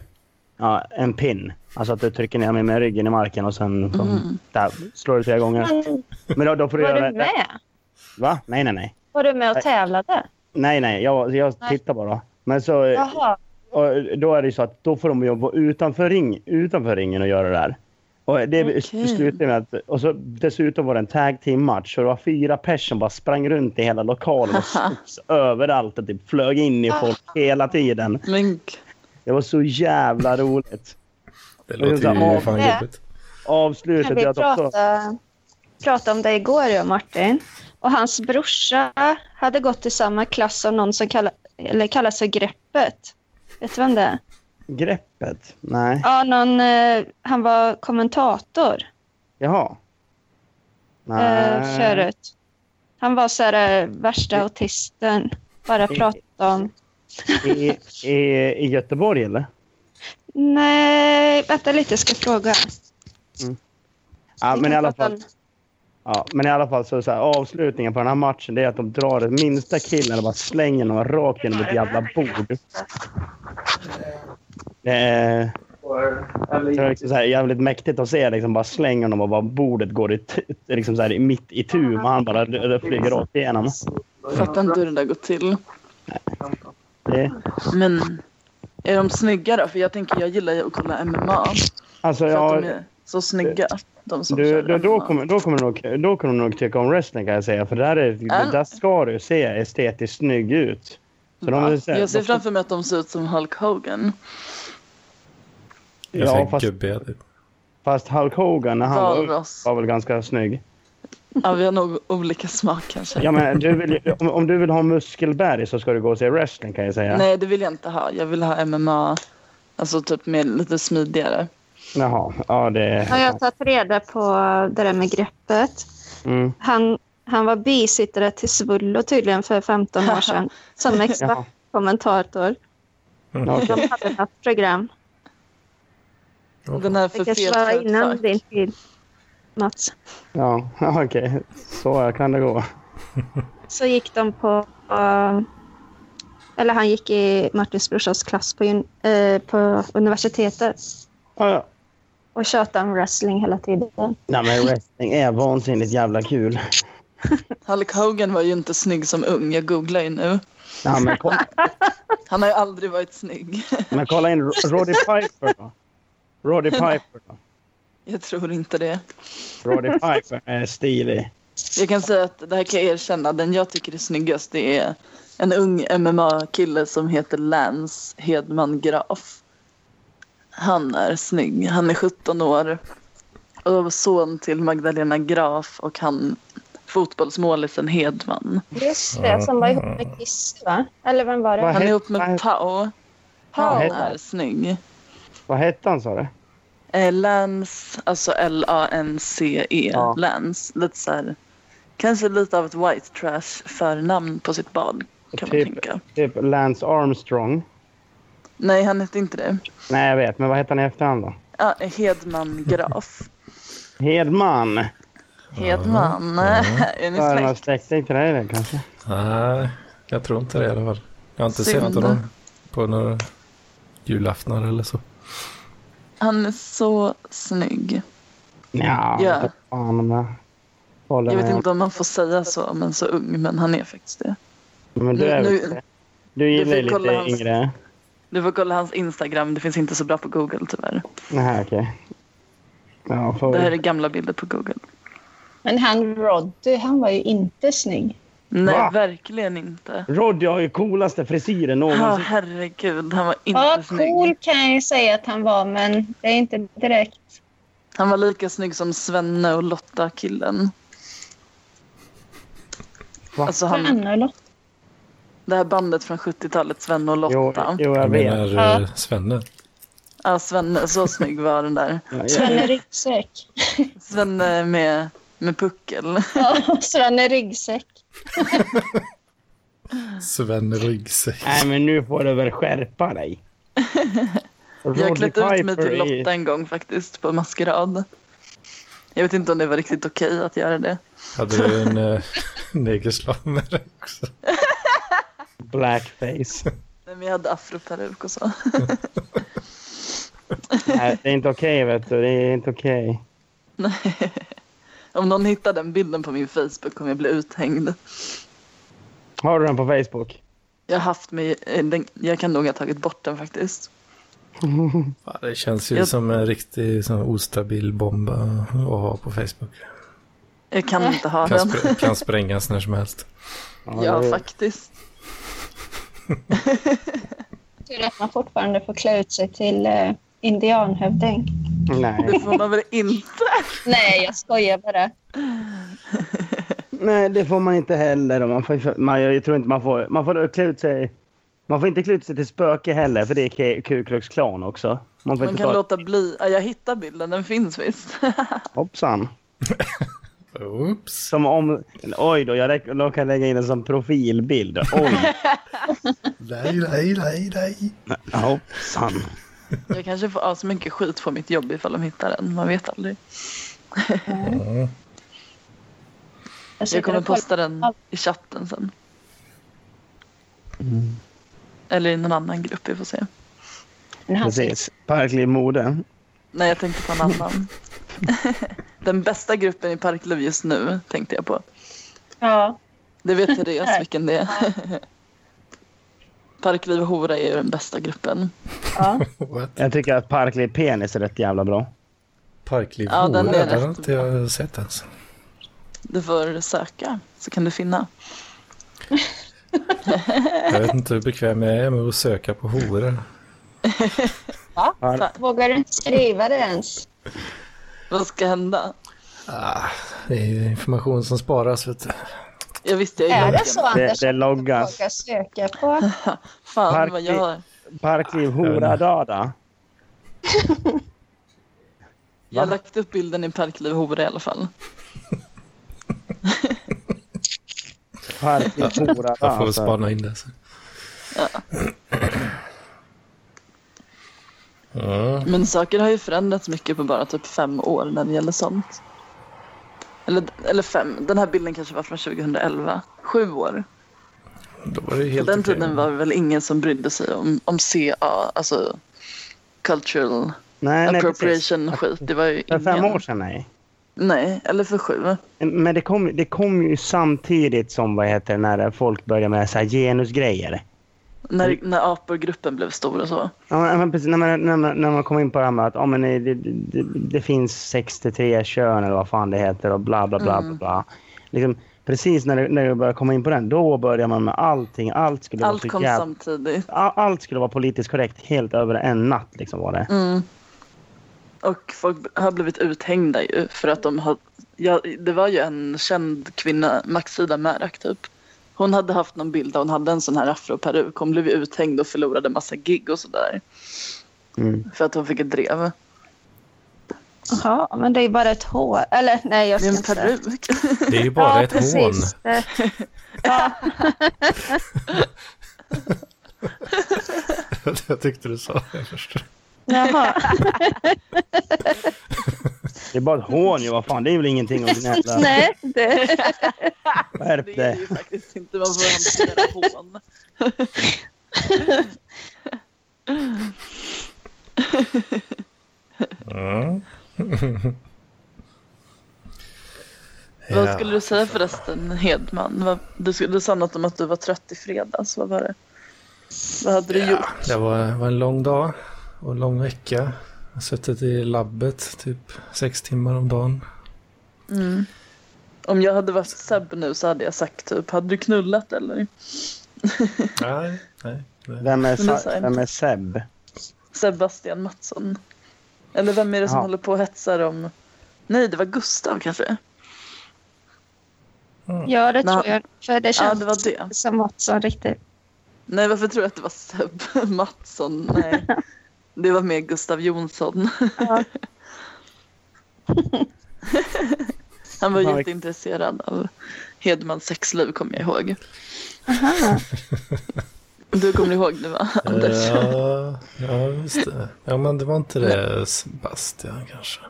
Speaker 3: ja, en pin. Alltså att du trycker ner mig med ryggen i marken och sen så, där, slår du tre gånger. Men då, då får du
Speaker 1: Mm. Var
Speaker 3: göra...
Speaker 1: du med?
Speaker 3: Va? Nej, nej, nej.
Speaker 1: Var du med och tävlade?
Speaker 3: Nej, nej. Jag, jag
Speaker 1: Nej.
Speaker 3: tittar bara. Men så,
Speaker 1: Jaha.
Speaker 3: och då är det ju så att då får de jobba utanför, ring, utanför ringen och göra det där. Och det
Speaker 4: Okej.
Speaker 3: slutade med att... Och så, dessutom var det en tag team-match. Så det var fyra pers som bara sprang runt i hela lokalen och slogs överallt och typ flög in i folk hela tiden.
Speaker 4: Men g-
Speaker 3: Det var så jävla roligt.
Speaker 2: Det
Speaker 3: Och så-
Speaker 2: låter ju
Speaker 3: Ja.
Speaker 2: fan
Speaker 1: Ja.
Speaker 2: jobbigt.
Speaker 1: Kan
Speaker 3: Avslutet...
Speaker 1: vi
Speaker 3: jag också,
Speaker 1: prata, prata om det igår, jag och Martin. Och hans brorsa hade gått i samma klass som någon som kalla, eller kallas för Greppet. Vet du vem det är?
Speaker 3: greppet? Nej.
Speaker 1: Ja, någon, eh, han var kommentator
Speaker 3: Jaha.
Speaker 1: eh,
Speaker 3: Nej.
Speaker 1: förut. Han var så här, eh, värsta autisten. Bara pratade om...
Speaker 3: I, i, I Göteborg eller?
Speaker 1: Nej, vänta lite, jag ska fråga.
Speaker 3: Ja,
Speaker 1: Vi
Speaker 3: men
Speaker 1: kan
Speaker 3: i alla
Speaker 1: prata
Speaker 3: fall.
Speaker 1: om-
Speaker 3: Ja, men i alla fall så, är det så här, avslutningen på den här matchen det är att de drar den minsta killen och bara slänger honom rakt genom ett jävla bord. Det är, det är liksom så här, jävligt mäktigt att se liksom bara slänga honom och bara bordet går i, t- liksom så här, mitt i tur och han bara r- r- flyger rakt igenom.
Speaker 4: fattar inte hur det där går till.
Speaker 3: Det,
Speaker 4: Men är de snygga då? För jag tänker jag gillar ju att kolla MMA.
Speaker 3: alltså,
Speaker 4: För
Speaker 3: ja,
Speaker 4: att de är så snygga. De som
Speaker 3: du,
Speaker 4: kör
Speaker 3: du, då,
Speaker 4: MMA.
Speaker 3: kommer, då, kommer du nog, då kommer du nog tycka om wrestling kan jag säga. För där, är, där ska du se estetiskt snygg ut. Så de,
Speaker 4: Ja, jag ser
Speaker 3: de-
Speaker 4: framför mig att de ser ut som Hulk Hogan.
Speaker 2: Jag ser
Speaker 3: ja, fast,
Speaker 2: gubbiga typ.
Speaker 3: fast Hulk Hogan när han var, ung
Speaker 4: Valros.
Speaker 3: var väl ganska snygg.
Speaker 4: Ja, vi har nog olika smak kanske.
Speaker 3: Ja, men du vill, ju- om, om du vill ha muskelberg så ska du gå och se wrestling kan jag säga.
Speaker 4: Nej, det vill jag inte ha. Jag vill ha MMA. Alltså typ mer, lite smidigare.
Speaker 3: Jaha, ja det...
Speaker 1: Har jag tagit reda på det där med Greppet?
Speaker 3: Mm.
Speaker 1: Han, han var bisittare till Svullo tydligen för 15 år sedan som
Speaker 3: Jaha,
Speaker 1: expertkommentator.
Speaker 3: ja, okej.
Speaker 1: De hade något program.
Speaker 4: Den här
Speaker 1: Det
Speaker 4: för
Speaker 1: kanske
Speaker 4: fet
Speaker 1: var
Speaker 4: för
Speaker 1: innan
Speaker 4: ett
Speaker 1: din tid, Mats.
Speaker 3: Ja, ja, okej. Så kan det gå.
Speaker 1: Så gick de på eh,
Speaker 5: Eller han gick i Martins brorsas klass på, jun- eh, på universitetet
Speaker 3: Ja, ja.
Speaker 5: och tjatade om wrestling hela tiden.
Speaker 3: Nej, men wrestling är vansinnigt jävla kul.
Speaker 4: Hulk Hogan var ju inte snygg som ung, jag googlar ju nu.
Speaker 3: Nej, men, kolla,
Speaker 4: Han har ju aldrig varit snygg.
Speaker 3: men kolla in Ro- Roddy Piper då. Roddy Piper då.
Speaker 4: Jag tror inte det.
Speaker 3: Roddy Piper är stilig.
Speaker 4: Jag kan säga att det här kan jag erkänna, den jag tycker är snyggast det är en ung MMA-kille som heter Lance Hedman Graf. Han är snygg, han är 17 år och son till Magdalena Graf och han fotbollsmålisen Hedman.
Speaker 5: Just det, som var ihop med Kiss, va? Eller vem var
Speaker 3: Vad
Speaker 5: det?
Speaker 4: Han är
Speaker 3: het-
Speaker 4: ihop
Speaker 3: vad,
Speaker 4: med
Speaker 3: het-
Speaker 4: Pau,
Speaker 5: Paul.
Speaker 4: han
Speaker 3: heter
Speaker 4: är snygg.
Speaker 3: vad hette han sa du?
Speaker 4: Eh, Lance, alltså L-A-N-C-E,
Speaker 3: Ja.
Speaker 4: E, Lance. Lite så här, kanske lite av ett white trash förnamn på sitt barn kan man
Speaker 3: Typ.
Speaker 4: tänka.
Speaker 3: Typ Lance Armstrong.
Speaker 4: Nej, han hette inte det.
Speaker 3: Nej, jag vet. Men vad hette han i efterhand då?
Speaker 4: Ja, Hedman Graf.
Speaker 3: Hedman.
Speaker 4: Hedman. Är ni
Speaker 3: Var det
Speaker 4: släkt?
Speaker 3: släkting till dig det, kanske?
Speaker 2: Nej, jag tror inte det i alla fall. Jag har inte
Speaker 4: Synd.
Speaker 2: sett honom på några julaftnar eller så.
Speaker 4: Han är så snygg.
Speaker 3: Nja,
Speaker 4: Ja.
Speaker 3: vad fan om jag håller
Speaker 4: Jag vet
Speaker 3: med.
Speaker 4: inte om man får säga så, men så ung. Men han är faktiskt det.
Speaker 3: Men du är
Speaker 4: Nu-
Speaker 3: väl- Du gillar ju
Speaker 4: fick kolla
Speaker 3: lite
Speaker 4: hans-
Speaker 3: yngre.
Speaker 4: Du får kolla hans Instagram. Det finns inte så bra på Google tyvärr.
Speaker 3: Nej, okej. Ja,
Speaker 4: Det här
Speaker 3: för...
Speaker 4: är gamla bilder på Google.
Speaker 1: Men han Roddy, han var ju inte snygg.
Speaker 4: Nej,
Speaker 3: Va?
Speaker 4: verkligen inte.
Speaker 3: Roddy har ju coolaste frisyren
Speaker 4: Ja,
Speaker 3: någonsin.
Speaker 4: herregud. Han var inte
Speaker 1: Ja,
Speaker 4: snygg.
Speaker 1: cool kan jag ju säga att han var, men det är inte direkt.
Speaker 4: Han var lika snygg som Svenne och Lotta-killen.
Speaker 3: Va?
Speaker 4: Alltså han,
Speaker 1: Fan och Lotta.
Speaker 4: det här bandet från 70-talet, Svenne och
Speaker 3: Jo,
Speaker 4: Lotta.
Speaker 3: jo, jag
Speaker 2: Jag
Speaker 3: vet.
Speaker 2: menar
Speaker 1: Ja.
Speaker 2: ja. eh, Svenne.
Speaker 4: Ja, Svenne, så snygg var den där.
Speaker 3: Ja,
Speaker 1: Svenne ryggsäck.
Speaker 4: Svenne med, med puckel.
Speaker 1: Ja, Svenne ryggsäck.
Speaker 2: Svenne ryggsäck.
Speaker 3: Nej, men nu får du väl skärpa dig.
Speaker 4: Jag har
Speaker 3: Roddy
Speaker 4: klätt ut mig till
Speaker 3: Piper i-
Speaker 4: Lotta en gång faktiskt, på maskerad. Jag vet inte om det var riktigt okej att göra det.
Speaker 2: Hade du en eh, negerslav med dig också?
Speaker 3: blackface.
Speaker 4: Nej, Men jag hade afroperuk och så.
Speaker 3: Nej, det är inte okej, vet du. Det är inte okej.
Speaker 4: Om någon hittar den bilden på min Facebook kommer jag bli uthängd.
Speaker 3: Har du den på Facebook?
Speaker 4: Jag har haft mig, eh, den- jag kan nog ha tagit bort den faktiskt.
Speaker 2: Ja, det känns ju
Speaker 4: Jag-
Speaker 2: som en riktig sån ostabil bomb eh, att ha på Facebook.
Speaker 4: Jag kan inte ha
Speaker 2: Kan,
Speaker 4: den.
Speaker 2: spr- kan sprängas när som helst.
Speaker 4: Ja,
Speaker 3: det-
Speaker 4: faktiskt.
Speaker 1: Tur att man fortfarande får klä ut sig till eh, indianhövding.
Speaker 4: Det
Speaker 3: Nej.
Speaker 4: får man väl inte.
Speaker 1: Nej, jag skojar bara.
Speaker 3: Nej, det får man inte heller. Man får, man, jag tror inte man får... Man får klä ut sig... Man får inte klä ut sig till spöke heller, för det är K- Ku Klux Klan också. Man får
Speaker 4: Man
Speaker 3: inte
Speaker 4: kan
Speaker 3: ta...
Speaker 4: låta bli. Ja, jag hittar bilden, den finns visst.
Speaker 3: Hoppsan.
Speaker 2: Oops.
Speaker 3: Som om... Oj då, jag lä- jag kan lägga in en som profilbild. Oj.
Speaker 2: Nej, nej, nej, nej.
Speaker 3: Hoppsan.
Speaker 4: Jag kanske får ha så mycket skit på mitt jobb ifall de hittar den. Man vet aldrig. Jag kommer posta den i chatten sen.
Speaker 5: Mm.
Speaker 4: Eller i någon annan grupp, vi får se.
Speaker 1: Men han ser
Speaker 3: Precis. Parkliv mode.
Speaker 4: Nej, jag tänkte på en annan. den bästa gruppen i Parklöv just nu tänkte jag på.
Speaker 1: Ja,
Speaker 4: Det vet Therese vilken det är. Parkliv och hora är ju den bästa gruppen.
Speaker 1: ja.
Speaker 2: What?
Speaker 3: Jag tycker att Parkliv penis är rätt jävla bra.
Speaker 2: Parkliv
Speaker 4: Ja, den
Speaker 2: Hora,
Speaker 4: är
Speaker 2: den har
Speaker 4: rätt
Speaker 2: inte jag sett ens.
Speaker 4: Du får söka så kan du finna.
Speaker 2: Jag vet inte hur bekväm jag är med att söka på hora.
Speaker 5: Vågar du inte skriva det ens?
Speaker 4: Vad ska hända?
Speaker 2: Det är ju information som sparas, vet du.
Speaker 4: Jag visste jag
Speaker 5: Är
Speaker 4: gjorde
Speaker 5: det så,
Speaker 3: Det,
Speaker 5: Anders?
Speaker 3: det
Speaker 5: att
Speaker 3: loggas.
Speaker 5: våga söka på?
Speaker 4: Fan
Speaker 3: Park-
Speaker 4: vad jag,
Speaker 3: Parkliv hora dada.
Speaker 4: jag har lagt upp bilden i Parkliv Hora i alla fall.
Speaker 3: Parkliv hora
Speaker 2: Jag får
Speaker 3: dada.
Speaker 2: väl spana in det sen. Ja.
Speaker 4: Men saker har ju förändrats mycket på bara typ fem år när det gäller sånt. Eller, eller fem, den här bilden kanske var från 2011. Sju år.
Speaker 2: Då var det ju helt
Speaker 4: På den
Speaker 2: okej.
Speaker 4: tiden var det väl ingen som brydde sig om, om CA, alltså cultural
Speaker 3: Nej, nej, precis.
Speaker 4: appropriation-skit. Det var ju
Speaker 3: För
Speaker 4: ingen...
Speaker 3: fem år sedan, nej.
Speaker 4: Nej, eller för sju.
Speaker 3: Men det kom, det kom ju samtidigt som vad heter det, när folk började med så här genusgrejer.
Speaker 4: När,
Speaker 3: Mm.
Speaker 4: när apor-gruppen blev stor och så.
Speaker 3: Ja, men- men precis, när, man, när, man, när man kom in på det här med att ja, men eh, det, det, det, det finns 63 kön eller vad fan det heter och bla bla bla.
Speaker 4: Mm.
Speaker 3: bla, bla. Liksom, precis när, det- när jag började komma in på den, då började man med allting. Allt skulle,
Speaker 4: Allt
Speaker 3: vara, så
Speaker 4: kom
Speaker 3: jävla-
Speaker 4: samtidigt.
Speaker 3: a- allt skulle vara politiskt korrekt helt över en natt. Liksom, var det.
Speaker 4: Mm. Och folk har blivit uthängda ju för att de har... Ja, det var ju en känd kvinna, Maxida Märak typ. Hon hade haft någon bild där hon hade en sån här afroperuk. Hon blev ju uthängd och förlorade massa gig och sådär.
Speaker 3: Mm.
Speaker 4: För att hon fick ett drev.
Speaker 5: Jaha, men det är ju bara ett hår. Eller nej, jag
Speaker 4: Det
Speaker 5: ska
Speaker 4: är en
Speaker 5: inte säga. Eh,
Speaker 4: peruk.
Speaker 2: Det är ju bara ett hån.
Speaker 5: Det-
Speaker 2: Jag tyckte du sa det först.
Speaker 5: Jaha.
Speaker 3: Det är bara ett hån ju, vad fan. Det är väl ingenting att gnälla.
Speaker 5: nej, det...
Speaker 3: Skärp
Speaker 4: Det är
Speaker 3: dig.
Speaker 4: ju faktiskt inte man får hantera hån.
Speaker 2: Mm.
Speaker 4: Vad skulle du säga förresten Hedman? Vad- Du, skulle- du sa något om att du var trött i fredags. Vad var det? Vad hade du gjort?
Speaker 2: Det var, var en lång dag och en lång vecka. Jag har suttit i labbet typ sex timmar om dagen.
Speaker 4: Om jag hade varit Seb nu så hade jag sagt typ, hade du knullat eller?
Speaker 2: Nej, nej. nej.
Speaker 3: Vem är,
Speaker 4: Men
Speaker 3: Sa-
Speaker 4: alltså-
Speaker 3: vem är Seb?
Speaker 4: Sebastian Mattsson. Eller vem är det som
Speaker 3: Ja.
Speaker 4: håller på och hetsar om... Nej, det var Gustav kanske?
Speaker 5: Ja, det
Speaker 4: Men-
Speaker 5: tror jag. För det
Speaker 4: Ja,
Speaker 5: känns
Speaker 4: det var det.
Speaker 5: inte som något som riktigt...
Speaker 4: Nej, varför tror jag att det var Seb Mattsson? Nej, det var mer Gustav Jonsson.
Speaker 5: Ja.
Speaker 4: Han var
Speaker 3: Ja,
Speaker 4: jätteintresserad av Hedmans sexliv, kommer jag ihåg.
Speaker 5: Aha.
Speaker 4: Du kommer ihåg nu, va,
Speaker 3: Eh.
Speaker 4: Anders?
Speaker 2: Eh, Ja, ja, visst det. Ja, men det var inte det Sebastian kanske.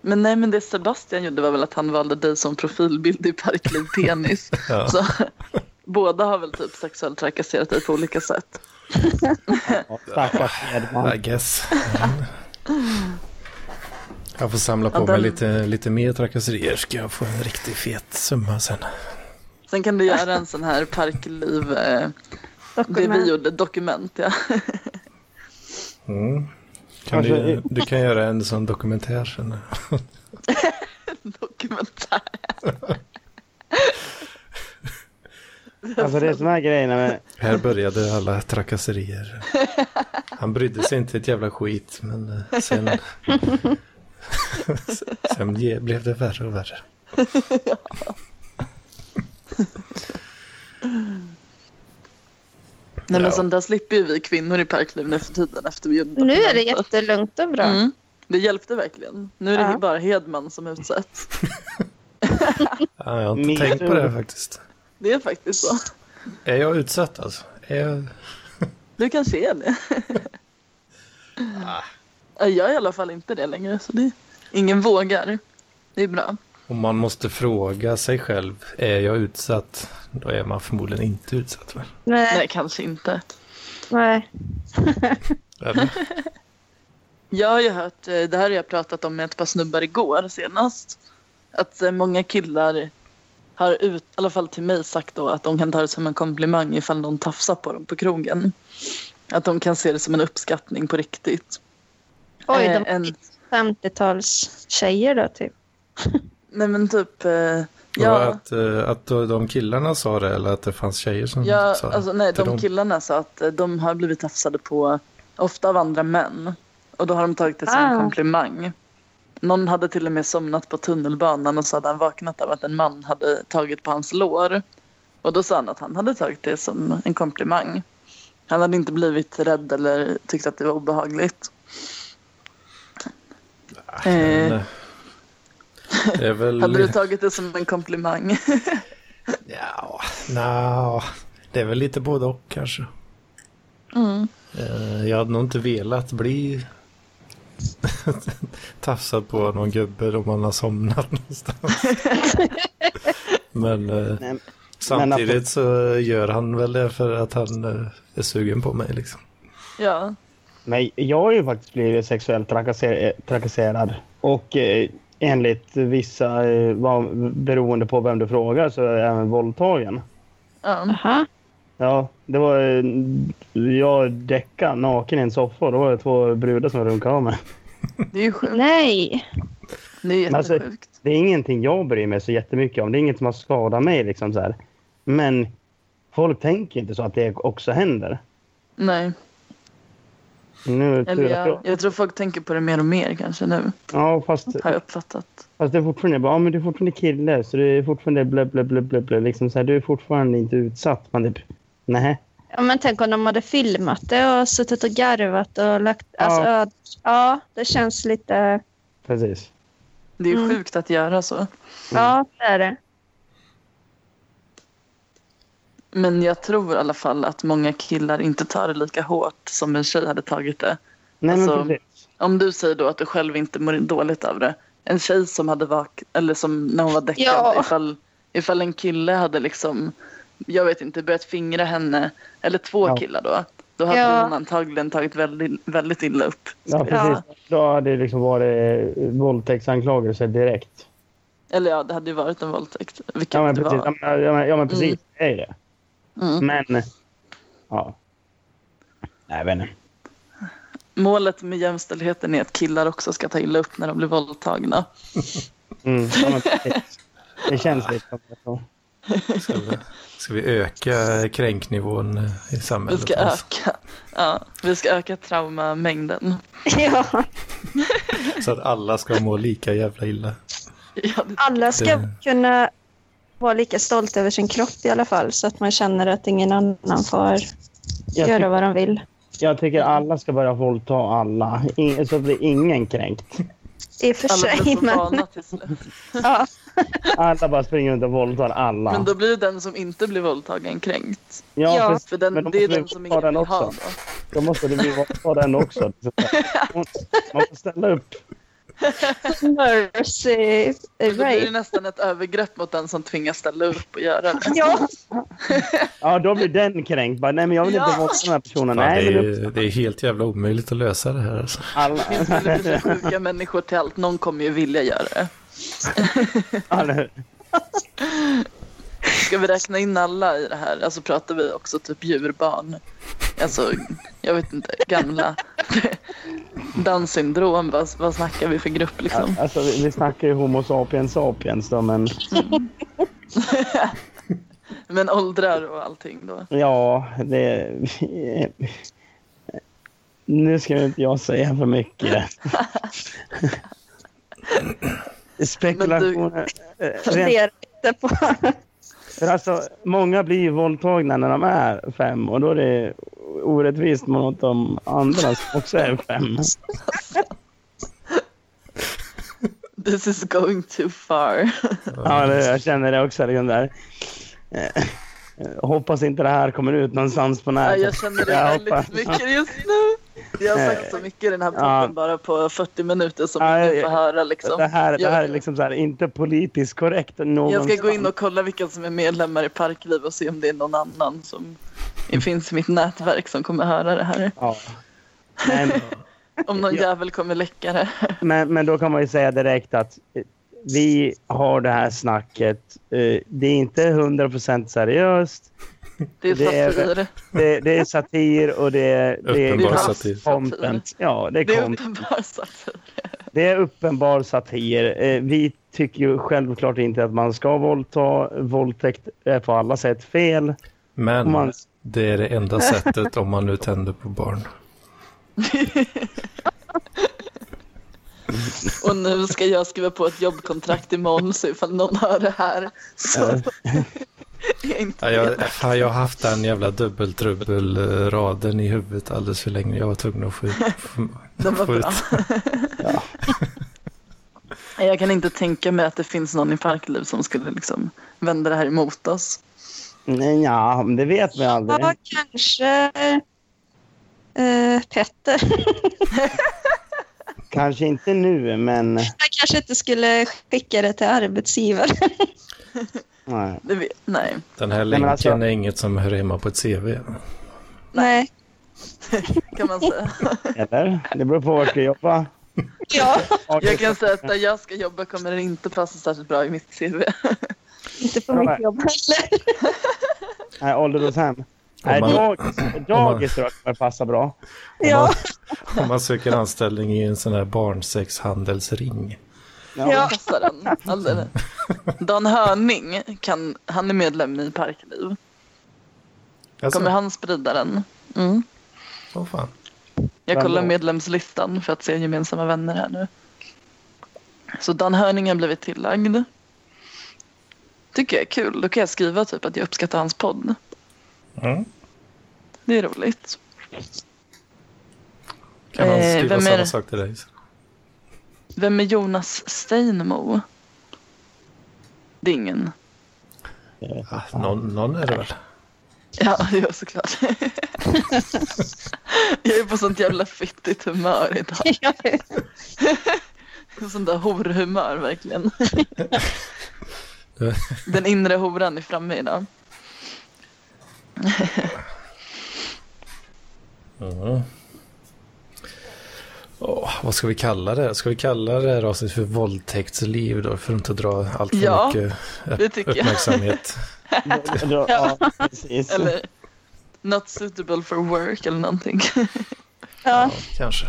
Speaker 4: Men nej, men det Sebastian gjorde var väl att han valde dig som profilbild i Parkliv Penis.
Speaker 2: Ja.
Speaker 4: Så båda har väl typ sexuellt trakasserat dig på olika sätt.
Speaker 3: Ja, Stackars Edman.
Speaker 2: I guess. Jag får samla på
Speaker 4: Ja,
Speaker 2: mig
Speaker 4: den-
Speaker 2: lite, lite mer trakasserier. Ska jag få en riktigt fet summa sen.
Speaker 4: Sen kan du göra en sån här Parkliv, eh, det vi
Speaker 5: Dokument.
Speaker 4: gjorde, dokument. Ja.
Speaker 2: Mm. Kan du, du kan göra en sån dokumentär sen.
Speaker 4: Dokumentär.
Speaker 3: Alltså det är såna här grejer. Men,
Speaker 2: Här började alla trakasserier. Han brydde sig inte ett jävla skit, men eh, sen... sen ge- blev det värre och värre.
Speaker 4: Nej,
Speaker 2: Ja.
Speaker 4: men sånt där slipper ju vi kvinnor i Parkliv nu för tiden. Efter vi gjorde
Speaker 5: Nu är det
Speaker 4: dokumentet.
Speaker 5: jättelugnt och bra.
Speaker 4: Mm. Det hjälpte verkligen. Nu är det
Speaker 5: Ja.
Speaker 4: bara Hedman som utsätts.
Speaker 2: Ja, jag har inte
Speaker 3: Min
Speaker 2: tänkt på
Speaker 3: tur.
Speaker 2: det faktiskt.
Speaker 4: Det är faktiskt så.
Speaker 2: Är jag utsatt alltså? Är jag...
Speaker 4: Du kanske är det. Ah. Ja, Jag är i alla fall inte det längre. Så det... Ingen vågar. Det är bra.
Speaker 2: Om man måste fråga sig själv, är jag utsatt? Då är man förmodligen inte utsatt. va?
Speaker 5: Nej,
Speaker 4: Nej, kanske inte.
Speaker 5: nej.
Speaker 2: Eller?
Speaker 4: Jag har ju hört, eh, det här har jag pratat om med ett par snubbar igår senast. Att eh, många killar har ut, i alla fall till mig sagt då att de kan ta det som en komplimang ifall någon tafsar på dem på krogen. Att de kan se det som en uppskattning på riktigt.
Speaker 5: Oj,
Speaker 4: Eh,
Speaker 5: de
Speaker 4: en,
Speaker 5: 50-talstjejer då typ.
Speaker 4: nej men typ, eh,
Speaker 2: Och
Speaker 4: ja,
Speaker 2: Att, eh, att de killarna sa det eller att det fanns tjejer som
Speaker 4: ja
Speaker 2: sa det?
Speaker 4: alltså, nej,
Speaker 2: till
Speaker 4: de
Speaker 2: dem?
Speaker 4: killarna sa att eh, de har blivit tafsade på ofta av andra män. Och då har de tagit det som en
Speaker 5: Ah.
Speaker 4: komplimang. Någon hade till och med somnat på tunnelbanan och så hade han vaknat av att en man hade tagit på hans lår. Och då sa han att han hade tagit det som en komplimang. Han hade inte blivit rädd eller tyckt att det var obehagligt.
Speaker 2: Men,
Speaker 4: Eh,
Speaker 2: eh, det är väl...
Speaker 4: hade du tagit det som en komplimang?
Speaker 2: Ja, nja, det är väl lite både och kanske.
Speaker 4: Mm.
Speaker 2: Eh, Jag hade nog inte velat bli tafsad på av någon gubbe om man har somnat någonstans. Men eh,
Speaker 3: nej,
Speaker 2: Samtidigt så gör han väl det för att han eh, är sugen på mig liksom.
Speaker 4: Ja.
Speaker 3: Nej, jag har ju faktiskt blivit sexuellt trakasser- eh, trakasserad. Och eh, enligt vissa, eh, vad, beroende på vem du frågar, så är jag även våldtagen.
Speaker 4: ja.
Speaker 1: Aha.
Speaker 3: Ja, det var... eh, Jag däckade naken i en soffa och då var det två brudar som runkade av mig.
Speaker 4: Det är ju sjukt.
Speaker 1: Nej.
Speaker 4: Det är
Speaker 3: Men alltså-
Speaker 4: jättesjukt.
Speaker 3: Det är ingenting jag bryr mig så jättemycket om. Det är inget som har skadat mig. Liksom, så här. Men folk tänker inte så att det också händer.
Speaker 4: Nej.
Speaker 3: Nu, är det
Speaker 4: Eller
Speaker 3: tur att
Speaker 4: jag,
Speaker 3: jag...
Speaker 4: jag tror folk tänker på det mer och mer kanske nu.
Speaker 3: Ja, fast,
Speaker 4: Har jag uppfattat.
Speaker 3: fast det är fortfarande bara, ja, men du är fortfarande kille. Så du är fortfarande blä, blä, blä, blä, blä. Liksom, så här, du är fortfarande inte utsatt. Man typ, nej.
Speaker 1: Ja, men tänk om de hade filmat det och suttit och garvat och lagt... Alltså, ja. ja, det känns
Speaker 4: Mm.
Speaker 1: lite...
Speaker 3: Precis.
Speaker 4: Det är ju
Speaker 1: Mm.
Speaker 4: sjukt att göra så.
Speaker 1: Ja, det är det.
Speaker 4: Men jag tror i alla fall att många killar inte tar det lika hårt som en tjej hade tagit det.
Speaker 3: Nej,
Speaker 4: Alltså-
Speaker 3: men precis.
Speaker 4: Om du säger då att du själv inte mår dåligt av det. En tjej som hade vak eller som när hon var däckad,
Speaker 1: Ja.
Speaker 4: ifall, ifall en kille hade liksom, jag vet inte, börjat fingra henne, eller två
Speaker 3: Ja.
Speaker 4: killar då, då hade
Speaker 1: Ja.
Speaker 4: hon antagligen tagit väldigt, väldigt illa upp.
Speaker 3: Ja, precis. Då hade det liksom varit eh, våldtäktsanklagelse direkt.
Speaker 4: Eller ja, det hade ju varit en våldtäkt, vilket
Speaker 3: Ja, men
Speaker 4: det
Speaker 3: precis.
Speaker 4: var.
Speaker 3: Ja, men, ja, men, ja, men precis. Det är det.
Speaker 4: Mm.
Speaker 3: Men... Ja. Nej, jag vet inte.
Speaker 4: Målet med jämställdheten är att killar också ska ta illa upp när de blir våldtagna.
Speaker 3: Mm, ja, men precis. det känns lite som det. så.
Speaker 2: Ska vi, ska vi öka kränknivån eh, i
Speaker 4: Vi
Speaker 2: samhället?
Speaker 4: ska öka, ja, vi ska öka traumamängden.
Speaker 1: Ja,
Speaker 2: Så att alla ska må lika jävla illa.
Speaker 4: Ja, det-
Speaker 1: alla ska
Speaker 2: Det-
Speaker 1: kunna vara lika stolta över sin kropp i alla fall så att man känner att ingen annan får
Speaker 3: Jag,
Speaker 1: göra
Speaker 3: ty-
Speaker 1: vad de vill.
Speaker 3: jag tycker alla ska börja våldta alla. In- så blir ingen kränkt.
Speaker 1: I och för
Speaker 4: Alla blir
Speaker 1: sig,
Speaker 4: så
Speaker 1: men...
Speaker 4: vana till slut.
Speaker 1: Ja,
Speaker 3: Alla bara springer runt och våldtar alla.
Speaker 4: Men då blir ju den som inte blir våldtagen kränkt.
Speaker 1: ja,
Speaker 3: precis.
Speaker 4: För den,
Speaker 3: Men då
Speaker 4: det är
Speaker 3: måste vi
Speaker 4: den som
Speaker 3: ta
Speaker 4: ingen
Speaker 3: den
Speaker 4: vill ha. Då.
Speaker 3: också. Då måste det bli våldta den också. Så att Man man får ställa upp.
Speaker 1: mercy
Speaker 4: Då blir det
Speaker 1: rape.
Speaker 4: nästan ett övergrepp mot den som tvingas ställa upp och göra det.
Speaker 1: Ja,
Speaker 3: Ja, då blir den kränkt. Bara, nej, men jag vill inte
Speaker 4: Ja.
Speaker 3: våldta den här personen.
Speaker 2: Fan,
Speaker 3: Nej,
Speaker 2: det,
Speaker 3: men
Speaker 2: är, det är helt jävla omöjligt att lösa det här. Alltså.
Speaker 3: alla,
Speaker 4: Det finns väl i och för sig sjuka människor till allt. Någon kommer ju vilja göra det.
Speaker 3: alla,
Speaker 4: Ska vi räkna in alla i det här? Alltså pratar vi också typ djurbarn? Alltså, jag vet inte, gamla. Downs syndrom, vad, vad snackar vi för grupp liksom?
Speaker 3: alltså, vi, vi snackar ju Homo sapiens sapiens då, men
Speaker 4: Men åldrar och allting då.
Speaker 3: ja, det... Nu ska inte jag säga för mycket. Spekulationer. eh, Rent,
Speaker 1: fundera lite på...
Speaker 3: för alltså, många blir ju våldtagna när de är fem och då är det orättvist mot de andra som också är fem.
Speaker 4: This is going too far.
Speaker 3: Ja, det, jag känner det också. Liksom där. Eh, Hoppas inte det här kommer ut någonstans på
Speaker 4: Ja,
Speaker 3: nätet.
Speaker 4: jag känner det
Speaker 3: Jag
Speaker 4: väldigt
Speaker 3: hoppas-
Speaker 4: mycket just nu. Jag har sagt så mycket i den här podden
Speaker 3: Ja.
Speaker 4: bara på 40 minuter som
Speaker 3: Ja,
Speaker 4: vi
Speaker 3: ja,
Speaker 4: inte får höra. Liksom.
Speaker 3: Det här, det här är
Speaker 4: Jag-
Speaker 3: liksom så här, inte politiskt korrekt
Speaker 4: Jag
Speaker 3: någonstans.
Speaker 4: ska gå in och kolla vilka som är medlemmar i Parkliv och se om det är någon annan som
Speaker 3: Mm.
Speaker 4: finns i mitt nätverk som kommer höra det här.
Speaker 3: Ja. Men,
Speaker 4: Om någon
Speaker 3: Ja.
Speaker 4: jävel kommer läcka det.
Speaker 3: men, men då kan man ju säga direkt att eh, vi har det här snacket. Eh, Det är inte 100% seriöst.
Speaker 4: Det är
Speaker 3: Det är-
Speaker 4: satir.
Speaker 3: Det, det är satir och det, är- det är
Speaker 2: Uppenbar
Speaker 4: Det är
Speaker 2: satir.
Speaker 3: content. Ja, det är,
Speaker 4: Det är
Speaker 3: content.
Speaker 4: uppenbar satir.
Speaker 3: Det är uppenbar satir. Eh, Vi tycker ju självklart inte att man ska våldta. Våldtäkt är på alla sätt fel.
Speaker 2: Men
Speaker 3: Om man-
Speaker 2: det är det enda sättet om man nu tänder på barn.
Speaker 4: Och nu ska jag skriva på ett jobbkontrakt imorgon så ifall någon hör det här så är jag inte
Speaker 2: Ja, jag, fan, jag har haft den jävla dubbeltrubbelraden i huvudet alldeles för länge. Jag var tvungen att få ut. få-
Speaker 4: Den var
Speaker 2: få ut.
Speaker 4: bra. Nej, Jag kan inte tänka mig att det finns någon i Parkliv som skulle liksom vända det här emot oss.
Speaker 3: Nej, ja, men det vet vi aldrig.
Speaker 1: Ja, kanske eh, Petter.
Speaker 3: Kanske inte nu, men...
Speaker 1: Jag kanske inte skulle skicka det till arbetsgivaren.
Speaker 3: Nej.
Speaker 4: Det vi, nej.
Speaker 2: Den här
Speaker 3: men
Speaker 2: länken
Speaker 3: alltså-
Speaker 2: är inget som hör hemma på ett CV.
Speaker 1: Nej.
Speaker 4: kan man säga.
Speaker 3: Eller? Det beror på vart du jobbar.
Speaker 1: Ja,
Speaker 4: Jag kan säga att där jag ska jobba kommer det inte passa särskilt bra i mitt CV.
Speaker 1: inte på
Speaker 3: Ja,
Speaker 1: mitt
Speaker 3: nej.
Speaker 1: jobb heller.
Speaker 3: Nej, ålderdomshem. Nej,
Speaker 2: man-
Speaker 3: dagis,
Speaker 2: man-
Speaker 3: dagis tror jag kommer passa bra.
Speaker 1: Ja,
Speaker 2: Om man söker anställning i en sån här barnsexhandelsring.
Speaker 3: Ja.
Speaker 1: ja.
Speaker 4: Passar den. Alldeles. Dan Hörning, kan, han är medlem i Parkliv.
Speaker 2: Alltså,
Speaker 4: Kommer han sprida den? Mm.
Speaker 2: åh fan.
Speaker 4: Jag
Speaker 3: Vem
Speaker 4: kollar
Speaker 3: då?
Speaker 4: medlemslistan för att se gemensamma vänner här nu. Så Dan Hörning har blivit tillagd. Tycker jag är kul. Då kan jag skriva typ att jag uppskattar hans podd.
Speaker 2: Mm.
Speaker 4: Det är roligt.
Speaker 2: Kan han
Speaker 4: Eh,
Speaker 2: skriva
Speaker 4: vem är
Speaker 2: samma
Speaker 4: det?
Speaker 2: sak till dig?
Speaker 4: Vem är Jonas Steinmo? Det är ingen.
Speaker 2: Ah, någon, någon är det väl?
Speaker 4: Ja, ja såklart. jag är på sånt jävla fittigt humör idag. Sånt där horhumör verkligen. Den inre horan är framme idag.
Speaker 2: Mm. Åh, vad ska vi kalla det? Ska vi kalla det här avsnittet för våldtäktsliv då? För att inte dra allt för
Speaker 4: Ja,
Speaker 2: mycket upp-
Speaker 4: det tycker jag.
Speaker 2: uppmärksamhet.
Speaker 3: Då- då- ja, precis.
Speaker 4: Eller not suitable for work eller någonting.
Speaker 1: ja.
Speaker 2: Kanske.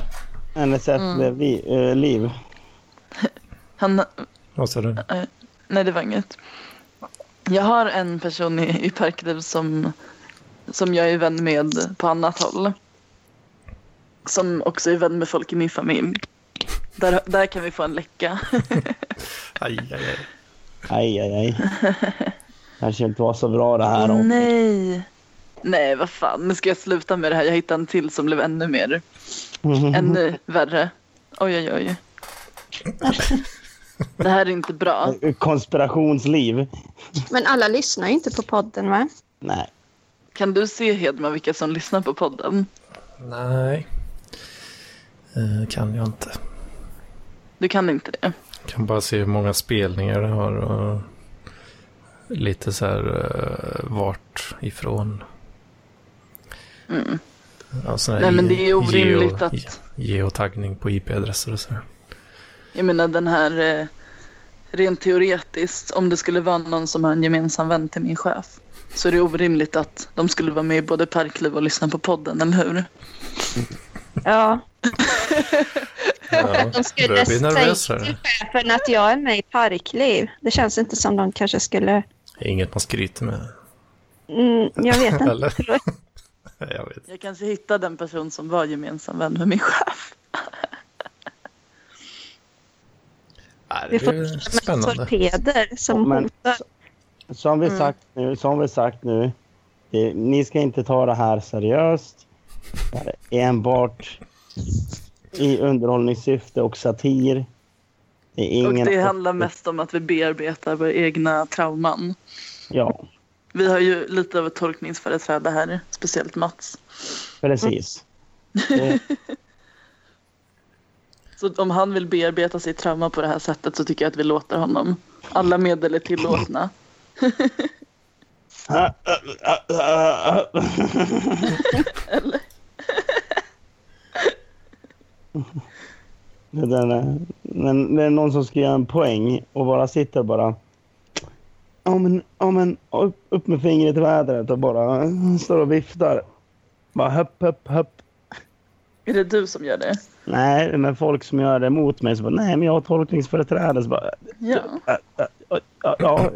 Speaker 3: Eller sätt mm. li, eh, liv.
Speaker 4: Han,
Speaker 2: Vad sa du?
Speaker 4: nej, det var inget. Jag har en person i, i Parkliv som, som jag är vän med på annat håll. Som också är vän med folk i min familj. Där, där kan vi få en läcka.
Speaker 2: Aj, aj, aj.
Speaker 3: Aj, aj, aj. Kanske inte var så bra det här. om-
Speaker 4: nej. Nej, vad fan. Nu ska jag sluta med det här. Jag hittade en till som blev ännu mer. Ännu värre. Oj, oj, oj. Det här är inte bra.
Speaker 3: Konspirationsliv.
Speaker 5: Men alla lyssnar ju inte på podden va?
Speaker 3: Nej.
Speaker 4: Kan du se Hedman vilka som lyssnar på podden?
Speaker 2: Nej. Eh, kan jag inte.
Speaker 4: Du kan inte det.
Speaker 2: Kan bara se hur många spelningar det har och lite så här eh, vart ifrån. Mm. Ja, sån här
Speaker 4: Nej, men
Speaker 2: ge-
Speaker 4: det är orimligt
Speaker 2: geo-
Speaker 4: att-
Speaker 2: ge- Geotaggning på IP-adresser och så här.
Speaker 4: Jag menar den här, eh, rent teoretiskt, om det skulle vara någon som har en gemensam vän till min chef så är det orimligt att de skulle vara med i både Parkliv och lyssna på podden, eller hur?
Speaker 1: ja.
Speaker 2: Ja,
Speaker 1: De skulle
Speaker 2: börjar bli
Speaker 1: säga
Speaker 2: nervös här.
Speaker 1: till chefen att jag är med i Parkliv. Det känns inte som de kanske skulle...
Speaker 2: Det är inget man skryter med.
Speaker 1: Mm, jag vet inte.
Speaker 2: Eller? jag vet.
Speaker 4: Jag kanske hittar den person som var gemensam vän med min chef.
Speaker 2: Nej,
Speaker 1: Vi
Speaker 2: det
Speaker 1: får
Speaker 2: är
Speaker 1: prata med
Speaker 2: spännande.
Speaker 1: torpeder som
Speaker 3: Men-
Speaker 1: hotar.
Speaker 3: Som vi
Speaker 4: Mm.
Speaker 3: sagt nu, som vi sagt nu det, ni ska inte ta det här seriöst. Det här är enbart i underhållningssyfte och satir. Det är
Speaker 4: Och
Speaker 3: ingen...
Speaker 4: det handlar mest om att vi bearbetar våra egna trauman.
Speaker 3: Ja,
Speaker 4: Vi har ju lite av ett tolkningsföreträde här, speciellt Mats.
Speaker 3: precis. Det,
Speaker 4: Så om han vill bearbeta sitt trauma på det här sättet så tycker jag att vi låter honom. Alla medel är tillåtna.
Speaker 3: det, där, är- men det är någon som ska göra en poäng och bara sitter bara... Ja men, ja, men upp, upp med fingret i vädret och bara eh, står och viftar. Bara höpp, höpp, höpp.
Speaker 4: Är det du som gör det?
Speaker 3: Nej, men folk som gör det mot mig så bara, nej men jag har tolkningsföreträde. Så bara,
Speaker 4: Ja.
Speaker 3: ja, ja,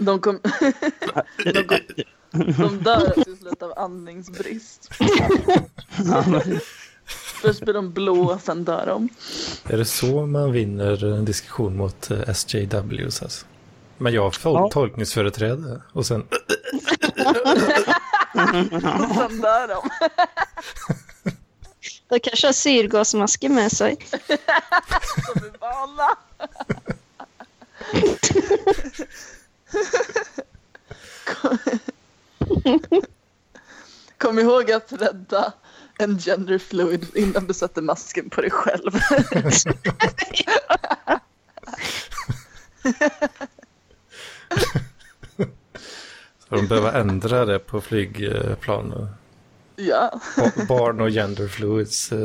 Speaker 4: De, kom, de, kom, de dör till slut av andningsbrist. Först blir de blå, sen dör de.
Speaker 2: Är det så man vinner en diskussion mot eh, SJWs? Alltså? Men jag har fol-
Speaker 3: Ja.
Speaker 2: tolkningsföreträde och sen
Speaker 4: Och sen dör de.
Speaker 5: Då kanske har syrgasmasker med sig.
Speaker 4: De är vana. Kom ihåg att rädda en gender fluid innan du sätter masken på dig själv.
Speaker 2: För de behöver ändra det på flygplan. och
Speaker 4: Ja.
Speaker 2: ba- Barn och gender fluids. eh,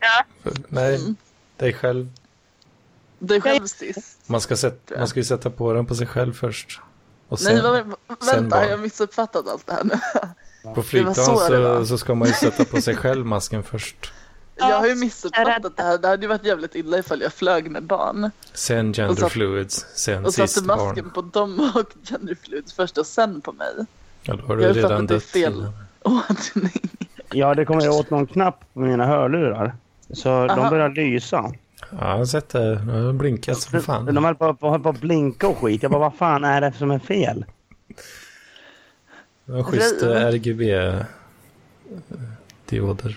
Speaker 1: Ja.
Speaker 2: för-
Speaker 4: Mm.
Speaker 2: Nej, dig själv.
Speaker 4: Dig själv sist.
Speaker 2: Man ska, sätta, man ska ju sätta på den på sig själv först. Och sen
Speaker 4: Nej, vad-
Speaker 2: sen
Speaker 4: vänta,
Speaker 2: barn.
Speaker 4: har jag missuppfattat allt det här nu?
Speaker 2: på flygplan
Speaker 4: det var
Speaker 2: så,
Speaker 4: så det var.
Speaker 2: så, ska man ju sätta på sig själv masken först.
Speaker 4: Jag har ju missuppfattat det här. Det hade ju varit jävligt illa ifall jag flög med barn.
Speaker 2: Sen
Speaker 4: Och
Speaker 2: gender
Speaker 4: satt-
Speaker 2: fluids, sen
Speaker 4: Och
Speaker 2: sist
Speaker 4: satte masken
Speaker 2: barn.
Speaker 4: på dem och genderfluid först och sen på mig.
Speaker 2: Ja, då har
Speaker 4: Jag
Speaker 2: du
Speaker 4: har fattat
Speaker 2: redan
Speaker 4: det
Speaker 2: dött.
Speaker 4: fel.
Speaker 2: innan.
Speaker 4: Ordning.
Speaker 3: Ja, det kommer åt någon knapp på mina hörlurar. Så de
Speaker 4: Aha.
Speaker 3: börjar lysa.
Speaker 2: Ja, jag har sett det. Nu har den blinkat som fan.
Speaker 3: De höll på, på, höll på att blinka och skit. Jag bara, vad fan är det som är fel?
Speaker 2: Det var schysst eh, RGB-dioder.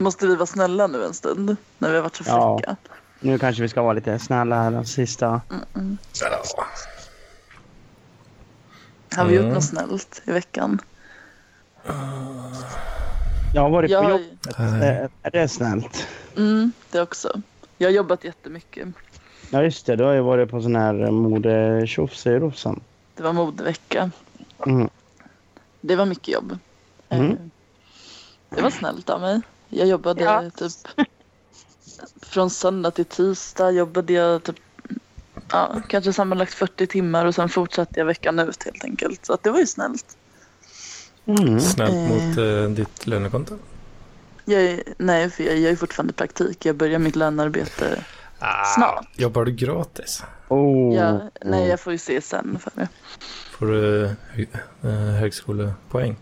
Speaker 4: Måste vi vara snälla nu en stund? När vi har varit så
Speaker 3: Ja.
Speaker 4: fräcka.
Speaker 3: Nu kanske vi ska vara lite snälla här de sista.
Speaker 4: Har vi gjort
Speaker 2: Mm.
Speaker 4: något snällt i veckan?
Speaker 3: Jag har varit
Speaker 4: Jag
Speaker 3: på
Speaker 4: har,
Speaker 3: jobbet. Är, är det snällt?
Speaker 4: mm, det också. Jag har jobbat jättemycket.
Speaker 3: Ja, just det. Du har ju varit på sån här eh, modetjofs i Rosen.
Speaker 4: Det var modevecka.
Speaker 3: Mm.
Speaker 4: Det var mycket jobb.
Speaker 3: Mm.
Speaker 4: Eh, Det var snällt av mig. Jag jobbade
Speaker 1: Ja.
Speaker 4: typ från söndag till tisdag jobbade jag typ ja, kanske sammanlagt 40 timmar och sen fortsatte jag veckan ut helt enkelt. Så att det var ju snällt.
Speaker 3: Mm.
Speaker 2: Snällt
Speaker 4: Eh.
Speaker 2: mot eh, ditt lönekonto.
Speaker 4: Jag är, nej, för jag gör ju fortfarande praktik. Jag börjar mitt lönearbete snart.
Speaker 2: Jobbar du gratis?
Speaker 3: Oh.
Speaker 2: Mm.
Speaker 4: Jag, nej, jag får ju se sen för det.
Speaker 2: Får du hö- eh, högskolepoäng?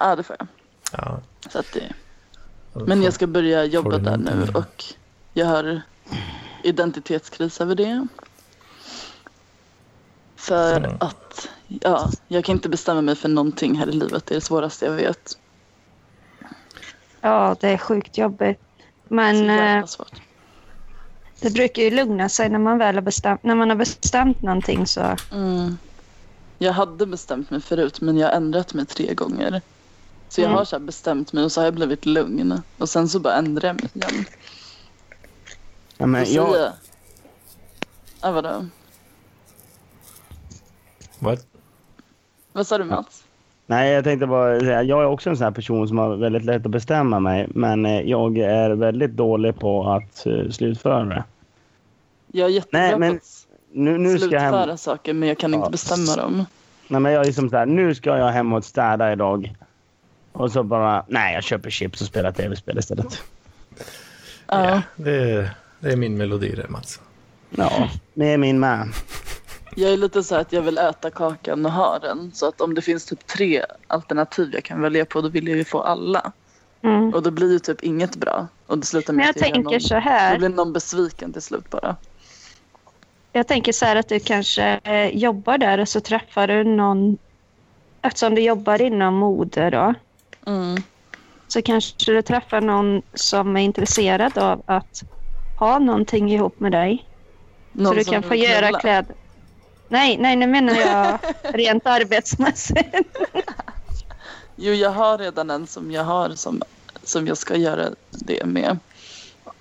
Speaker 4: Ja, det får jag.
Speaker 2: Ja.
Speaker 4: Så att det,
Speaker 2: Får-
Speaker 4: men jag ska börja
Speaker 2: får
Speaker 4: jobba
Speaker 2: du
Speaker 4: där
Speaker 2: inte
Speaker 4: nu
Speaker 2: det?
Speaker 4: och jag har identitetskris över det. För
Speaker 2: Mm.
Speaker 4: att ja, jag kan inte bestämma mig för någonting här i livet. Det är det svåraste jag vet.
Speaker 1: Ja, det är sjukt jobbigt.
Speaker 4: Så
Speaker 1: Men eh,
Speaker 4: jävla svårt.
Speaker 1: det brukar ju lugna sig när man väl har bestämt, när man har bestämt någonting så.
Speaker 4: Mm. Jag hade bestämt mig förut men jag har ändrat mig tre gånger. Så
Speaker 1: Mm.
Speaker 4: jag har så här bestämt mig och så har jag blivit lugn. Och sen så bara ändrar jag mig igen.
Speaker 3: Ja, men jag,
Speaker 4: Sofia. Ja, vadå?
Speaker 2: Vad?
Speaker 4: Vad sa du Mats?
Speaker 3: nej, jag tänkte bara säga, jag är också en sån här person som har väldigt lätt att bestämma mig. Men eh, jag är väldigt dålig på att eh, slutföra det.
Speaker 4: Jag är jättebra
Speaker 3: Nej, men
Speaker 4: på att
Speaker 3: Nu, nu ska jag hem.
Speaker 4: slutföra saker men jag kan inte
Speaker 3: Ja.
Speaker 4: bestämma dem.
Speaker 3: Nej, men jag är liksom så här, nu ska jag hem och städa idag. Och så bara, nej jag köper chips och spelar tv-spel istället.
Speaker 4: Ja.
Speaker 2: Ja, det, är, det är min melodi det, Mats.
Speaker 3: Ja, det är min med.
Speaker 4: Jag är lite så här att jag vill äta kakan och ha den. Så att om det finns typ tre alternativ jag kan välja på då vill jag ju få alla.
Speaker 1: Mm.
Speaker 4: Och då blir ju typ inget bra. Och det slutar
Speaker 1: Men
Speaker 4: med
Speaker 1: jag
Speaker 4: att gör
Speaker 1: tänker
Speaker 4: någon,
Speaker 1: så
Speaker 4: det
Speaker 1: här.
Speaker 4: blir någon besviken till slut bara.
Speaker 1: Jag tänker så här att du kanske eh, jobbar där och så träffar du någon. Eftersom du jobbar inom mode då.
Speaker 4: Mm.
Speaker 1: så kanske du träffar någon som är intresserad av att ha någonting ihop med dig. så
Speaker 4: Någon
Speaker 1: du
Speaker 4: som
Speaker 1: kan få
Speaker 4: vill
Speaker 1: göra
Speaker 4: knulla.
Speaker 1: kläder. Nej, nej, nu menar jag rent arbetsmässigt.
Speaker 4: Jo, jag har redan en som jag har som, som jag ska göra det med.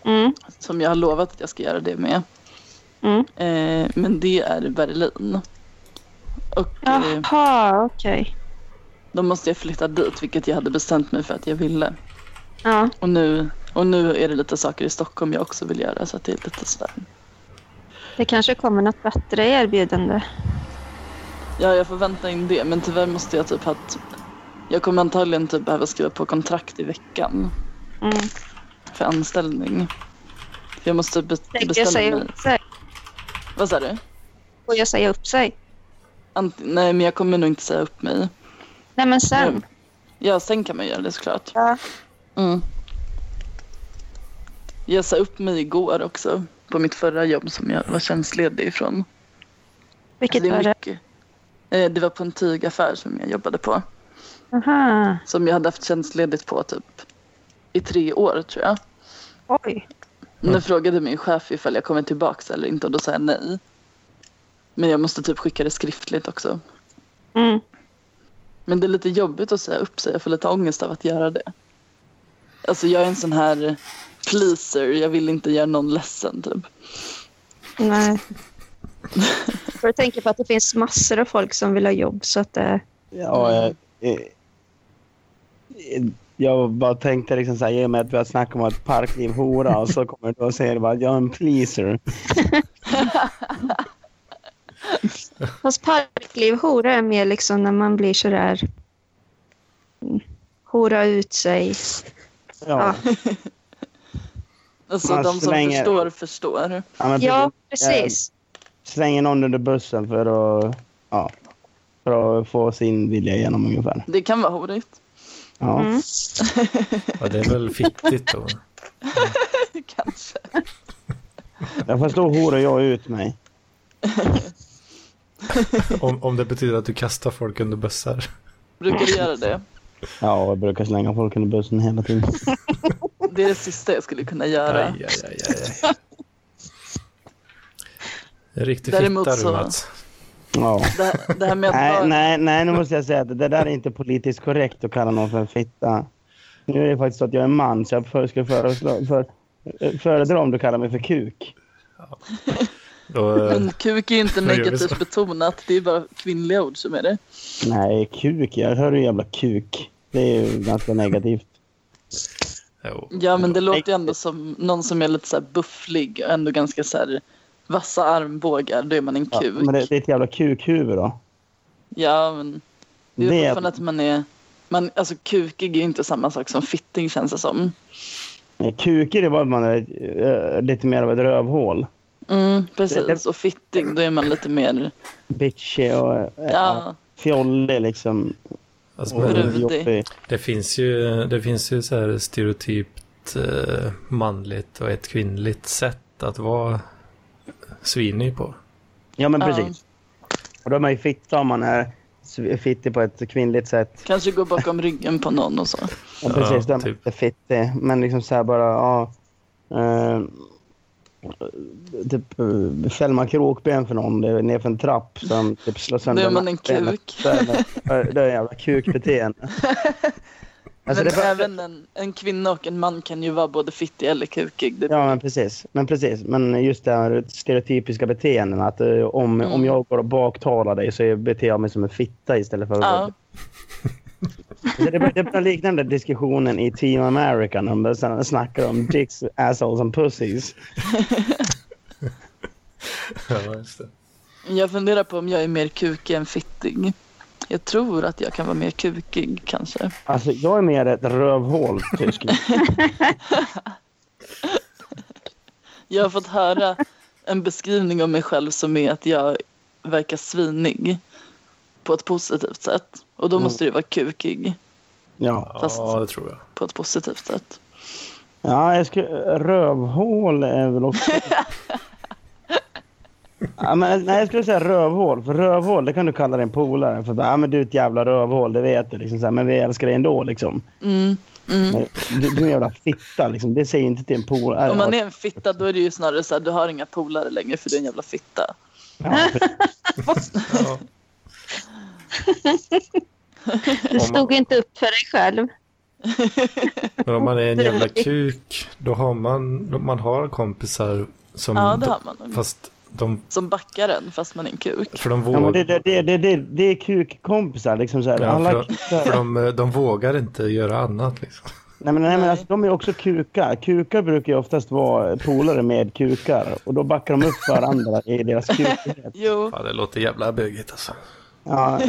Speaker 1: Mm,
Speaker 4: Som jag har lovat att jag ska göra det med.
Speaker 1: mm.
Speaker 4: Eh, men det är i Berlin. Och eh,
Speaker 1: Jaha, okej.
Speaker 4: då måste jag flytta dit, vilket jag hade bestämt mig för att jag ville.
Speaker 1: Ja,
Speaker 4: Och nu, och nu är det lite saker i Stockholm jag också vill göra så att det är lite sådär.
Speaker 1: det kanske kommer något bättre erbjudande.
Speaker 4: Ja, jag får vänta in det men tyvärr måste jag typ ha ett... Jag kommer antagligen typ behöva skriva på kontrakt i veckan
Speaker 1: Mm.
Speaker 4: för anställning. För jag måste be-
Speaker 1: Tänker
Speaker 4: bestämma
Speaker 1: säga
Speaker 4: mig.
Speaker 1: upp sig.
Speaker 4: Vad sa du?
Speaker 1: Får jag säga upp sig?
Speaker 4: Ant- Nej, men jag kommer nog inte säga upp mig.
Speaker 1: Nej, men sen.
Speaker 4: Mm. Ja, sen kan man göra det såklart.
Speaker 1: Ja.
Speaker 4: Mm. Jag sa upp mig igår också på mitt förra jobb som jag var tjänstledig ifrån. Alltså,
Speaker 1: Vilket
Speaker 4: är
Speaker 1: var det?
Speaker 4: mycket. Eh, Det var på en tygaffär som jag jobbade på.
Speaker 1: Aha.
Speaker 4: Som jag hade haft tjänstledigt på typ i tre år tror jag.
Speaker 1: Oj.
Speaker 4: Nu frågade min chef ifall jag kommer tillbaka eller inte och då sa jag nej. Men jag måste typ skicka det skriftligt också.
Speaker 1: Mm.
Speaker 4: Men det är lite jobbigt att säga upp sig. Jag får lite ångest av att göra det. Alltså jag är en sån här pleaser. Jag vill inte göra någon ledsen typ.
Speaker 1: Nej. För att tänka på att det finns massor av folk som vill ha jobb. Så att, eh,
Speaker 3: Ja, jag, jag- jag bara tänkte liksom så här, i och med att vi har snackat om att parkliv hora och så kommer du och säger bara att jag är en pleaser.
Speaker 1: fast parkliv hora är mer liksom när man blir sådär... mm, Hora ut sig.
Speaker 3: Ja,
Speaker 4: Alltså
Speaker 3: Man
Speaker 4: de som
Speaker 3: slänger-
Speaker 4: förstår förstår.
Speaker 3: ja, men
Speaker 1: Ja,
Speaker 3: precis.
Speaker 1: precis.
Speaker 3: Slänger någon under bussen för att, ja, för att få sin vilja igenom ungefär.
Speaker 4: Det kan vara horigt.
Speaker 3: Ja.
Speaker 1: Mm.
Speaker 2: Ja, det är väl fittigt då.
Speaker 4: Kanske.
Speaker 3: Jag förstår horar jag ut mig.
Speaker 2: Om, om det betyder att du kastar folk under bussar.
Speaker 4: Brukar du göra det?
Speaker 3: Ja, jag brukar slänga folk under bussen hela tiden.
Speaker 4: Det är det sista jag skulle kunna
Speaker 2: Aj,
Speaker 4: göra.
Speaker 2: aj, aj, aj. En riktig
Speaker 4: Däremot
Speaker 2: fitta du
Speaker 4: så-
Speaker 2: Mats.
Speaker 3: Ja.
Speaker 4: Det, här- det här med att
Speaker 3: Nej,
Speaker 4: vara...
Speaker 3: nej, nej, nu måste jag säga att det där är inte politiskt korrekt att kalla någon för en fitta. Nu är det faktiskt så att jag är man, så jag för, skulle föreslå, för, föredra om du kallar mig för kuk.
Speaker 2: Då, eh,
Speaker 4: Men kuk är ju inte
Speaker 2: Vad gör vi så?
Speaker 4: negativt betonat. Det är bara kvinnliga ord som är det.
Speaker 3: Nej, kuk. Jag hör ju jävla kuk. Det är ju ganska negativt.
Speaker 2: jo.
Speaker 4: Ja, men det låter ju ändå som någon som är lite så här bufflig och ändå ganska så här vassa armbågar. Då är man en
Speaker 3: Ja,
Speaker 4: kuk.
Speaker 3: men det, det är ett jävla kukhuvud då.
Speaker 4: Ja, men det är ju
Speaker 3: Det är-
Speaker 4: fortfarande att man är... Man, alltså kukig är ju inte samma sak som fitting känns det som.
Speaker 3: Nej, Kukig det var att man är eh, lite mer av ett rövhål.
Speaker 4: Mm,
Speaker 3: Det-
Speaker 4: precis. Och fitting, då är man lite mer...
Speaker 3: Bitchig och eh,
Speaker 4: Ja,
Speaker 3: fjollig liksom.
Speaker 2: Alltså,
Speaker 3: Och
Speaker 2: men,
Speaker 4: Brudig.
Speaker 3: jobbig.
Speaker 2: det finns ju, det finns ju så här stereotypt eh, manligt och ett kvinnligt sätt att vara svinig på.
Speaker 3: Ja, men
Speaker 4: Ja.
Speaker 3: precis. Och då är man ju fitta om man är sv- fittig på ett kvinnligt sätt.
Speaker 4: kanske gå bakom ryggen på någon och så.
Speaker 3: Ja, precis.
Speaker 2: Ja,
Speaker 3: Den
Speaker 2: typ.
Speaker 3: typ. är fittig. Men liksom så här bara, ja. Eh, typ eh, fälla kråkben för någon det är nerför en trapp som typ slår sönder
Speaker 4: Då är man en
Speaker 3: nackbenet.
Speaker 4: kuk.
Speaker 3: Det är det är en jävla kukbeteende. Alltså,
Speaker 4: men
Speaker 3: det är bara-
Speaker 4: även en, en kvinna och en man kan ju vara både fittig eller kukig. Det,
Speaker 3: Ja, men precis. Men precis. Men just det här stereotypiska beteenden. Att eh, om,
Speaker 4: Mm.
Speaker 3: om jag går och baktalar dig så beter jag mig som en fitta istället för att...
Speaker 4: ja.
Speaker 3: Så det börjar- det börjar likna den där diskussionen i Team America när de börjar snacka om dicks, assholes and pussies.
Speaker 2: Ja, just det.
Speaker 4: Jag funderar på om jag är mer kukig än fittig. Jag tror att jag kan vara mer kukig kanske.
Speaker 3: Alltså, jag är mer ett rövhål, tysk.
Speaker 4: Jag har fått höra en beskrivning om mig själv som är att jag verkar svinig på ett positivt sätt. Och då måste
Speaker 3: Mm.
Speaker 4: det vara kukig
Speaker 3: Ja.
Speaker 4: Fast-
Speaker 2: Ja, det tror jag.
Speaker 4: på ett positivt sätt.
Speaker 3: ja jag skulle, rövhål är väl också... Ja, men, nej, jag skulle säga rövhål. För rövhål, det kan du kalla din polare. För bara, ja, men du är ett jävla rövhål, det vet du. Liksom, så här, men vi älskar dig ändå. Liksom.
Speaker 4: Mm. Mm.
Speaker 3: Men Du, du är en jävla fitta. Liksom. Det säger inte till en polare.
Speaker 4: Om man är en fitta då är det ju snarare så här, du har inga polare längre för du är en jävla fitta.
Speaker 3: Ja,
Speaker 2: Ja.
Speaker 1: Du stod inte upp för dig själv.
Speaker 2: Men om man är en jävla kuk, då har man, man har kompisar som...
Speaker 4: Ja, det har man nog.
Speaker 2: Mm. Fast de,
Speaker 4: Som backar en fast man är en kuk.
Speaker 2: för de
Speaker 3: Ja, men det,
Speaker 2: vågar...
Speaker 3: det, det, det, det, det är kukkompisar. Liksom, så här.
Speaker 2: Ja,
Speaker 3: Alla
Speaker 2: för,
Speaker 3: kukar.
Speaker 2: för de, eh, de vågar inte göra annat liksom.
Speaker 3: Nej, men, nej, men
Speaker 4: Nej.
Speaker 3: alltså, de är också kukar. Kukar brukar ju oftast vara polare med kukar och då backar de upp varandra i deras kukighet.
Speaker 4: Jo,
Speaker 2: Ja, det låter jävla bögigt alltså.
Speaker 3: Ja.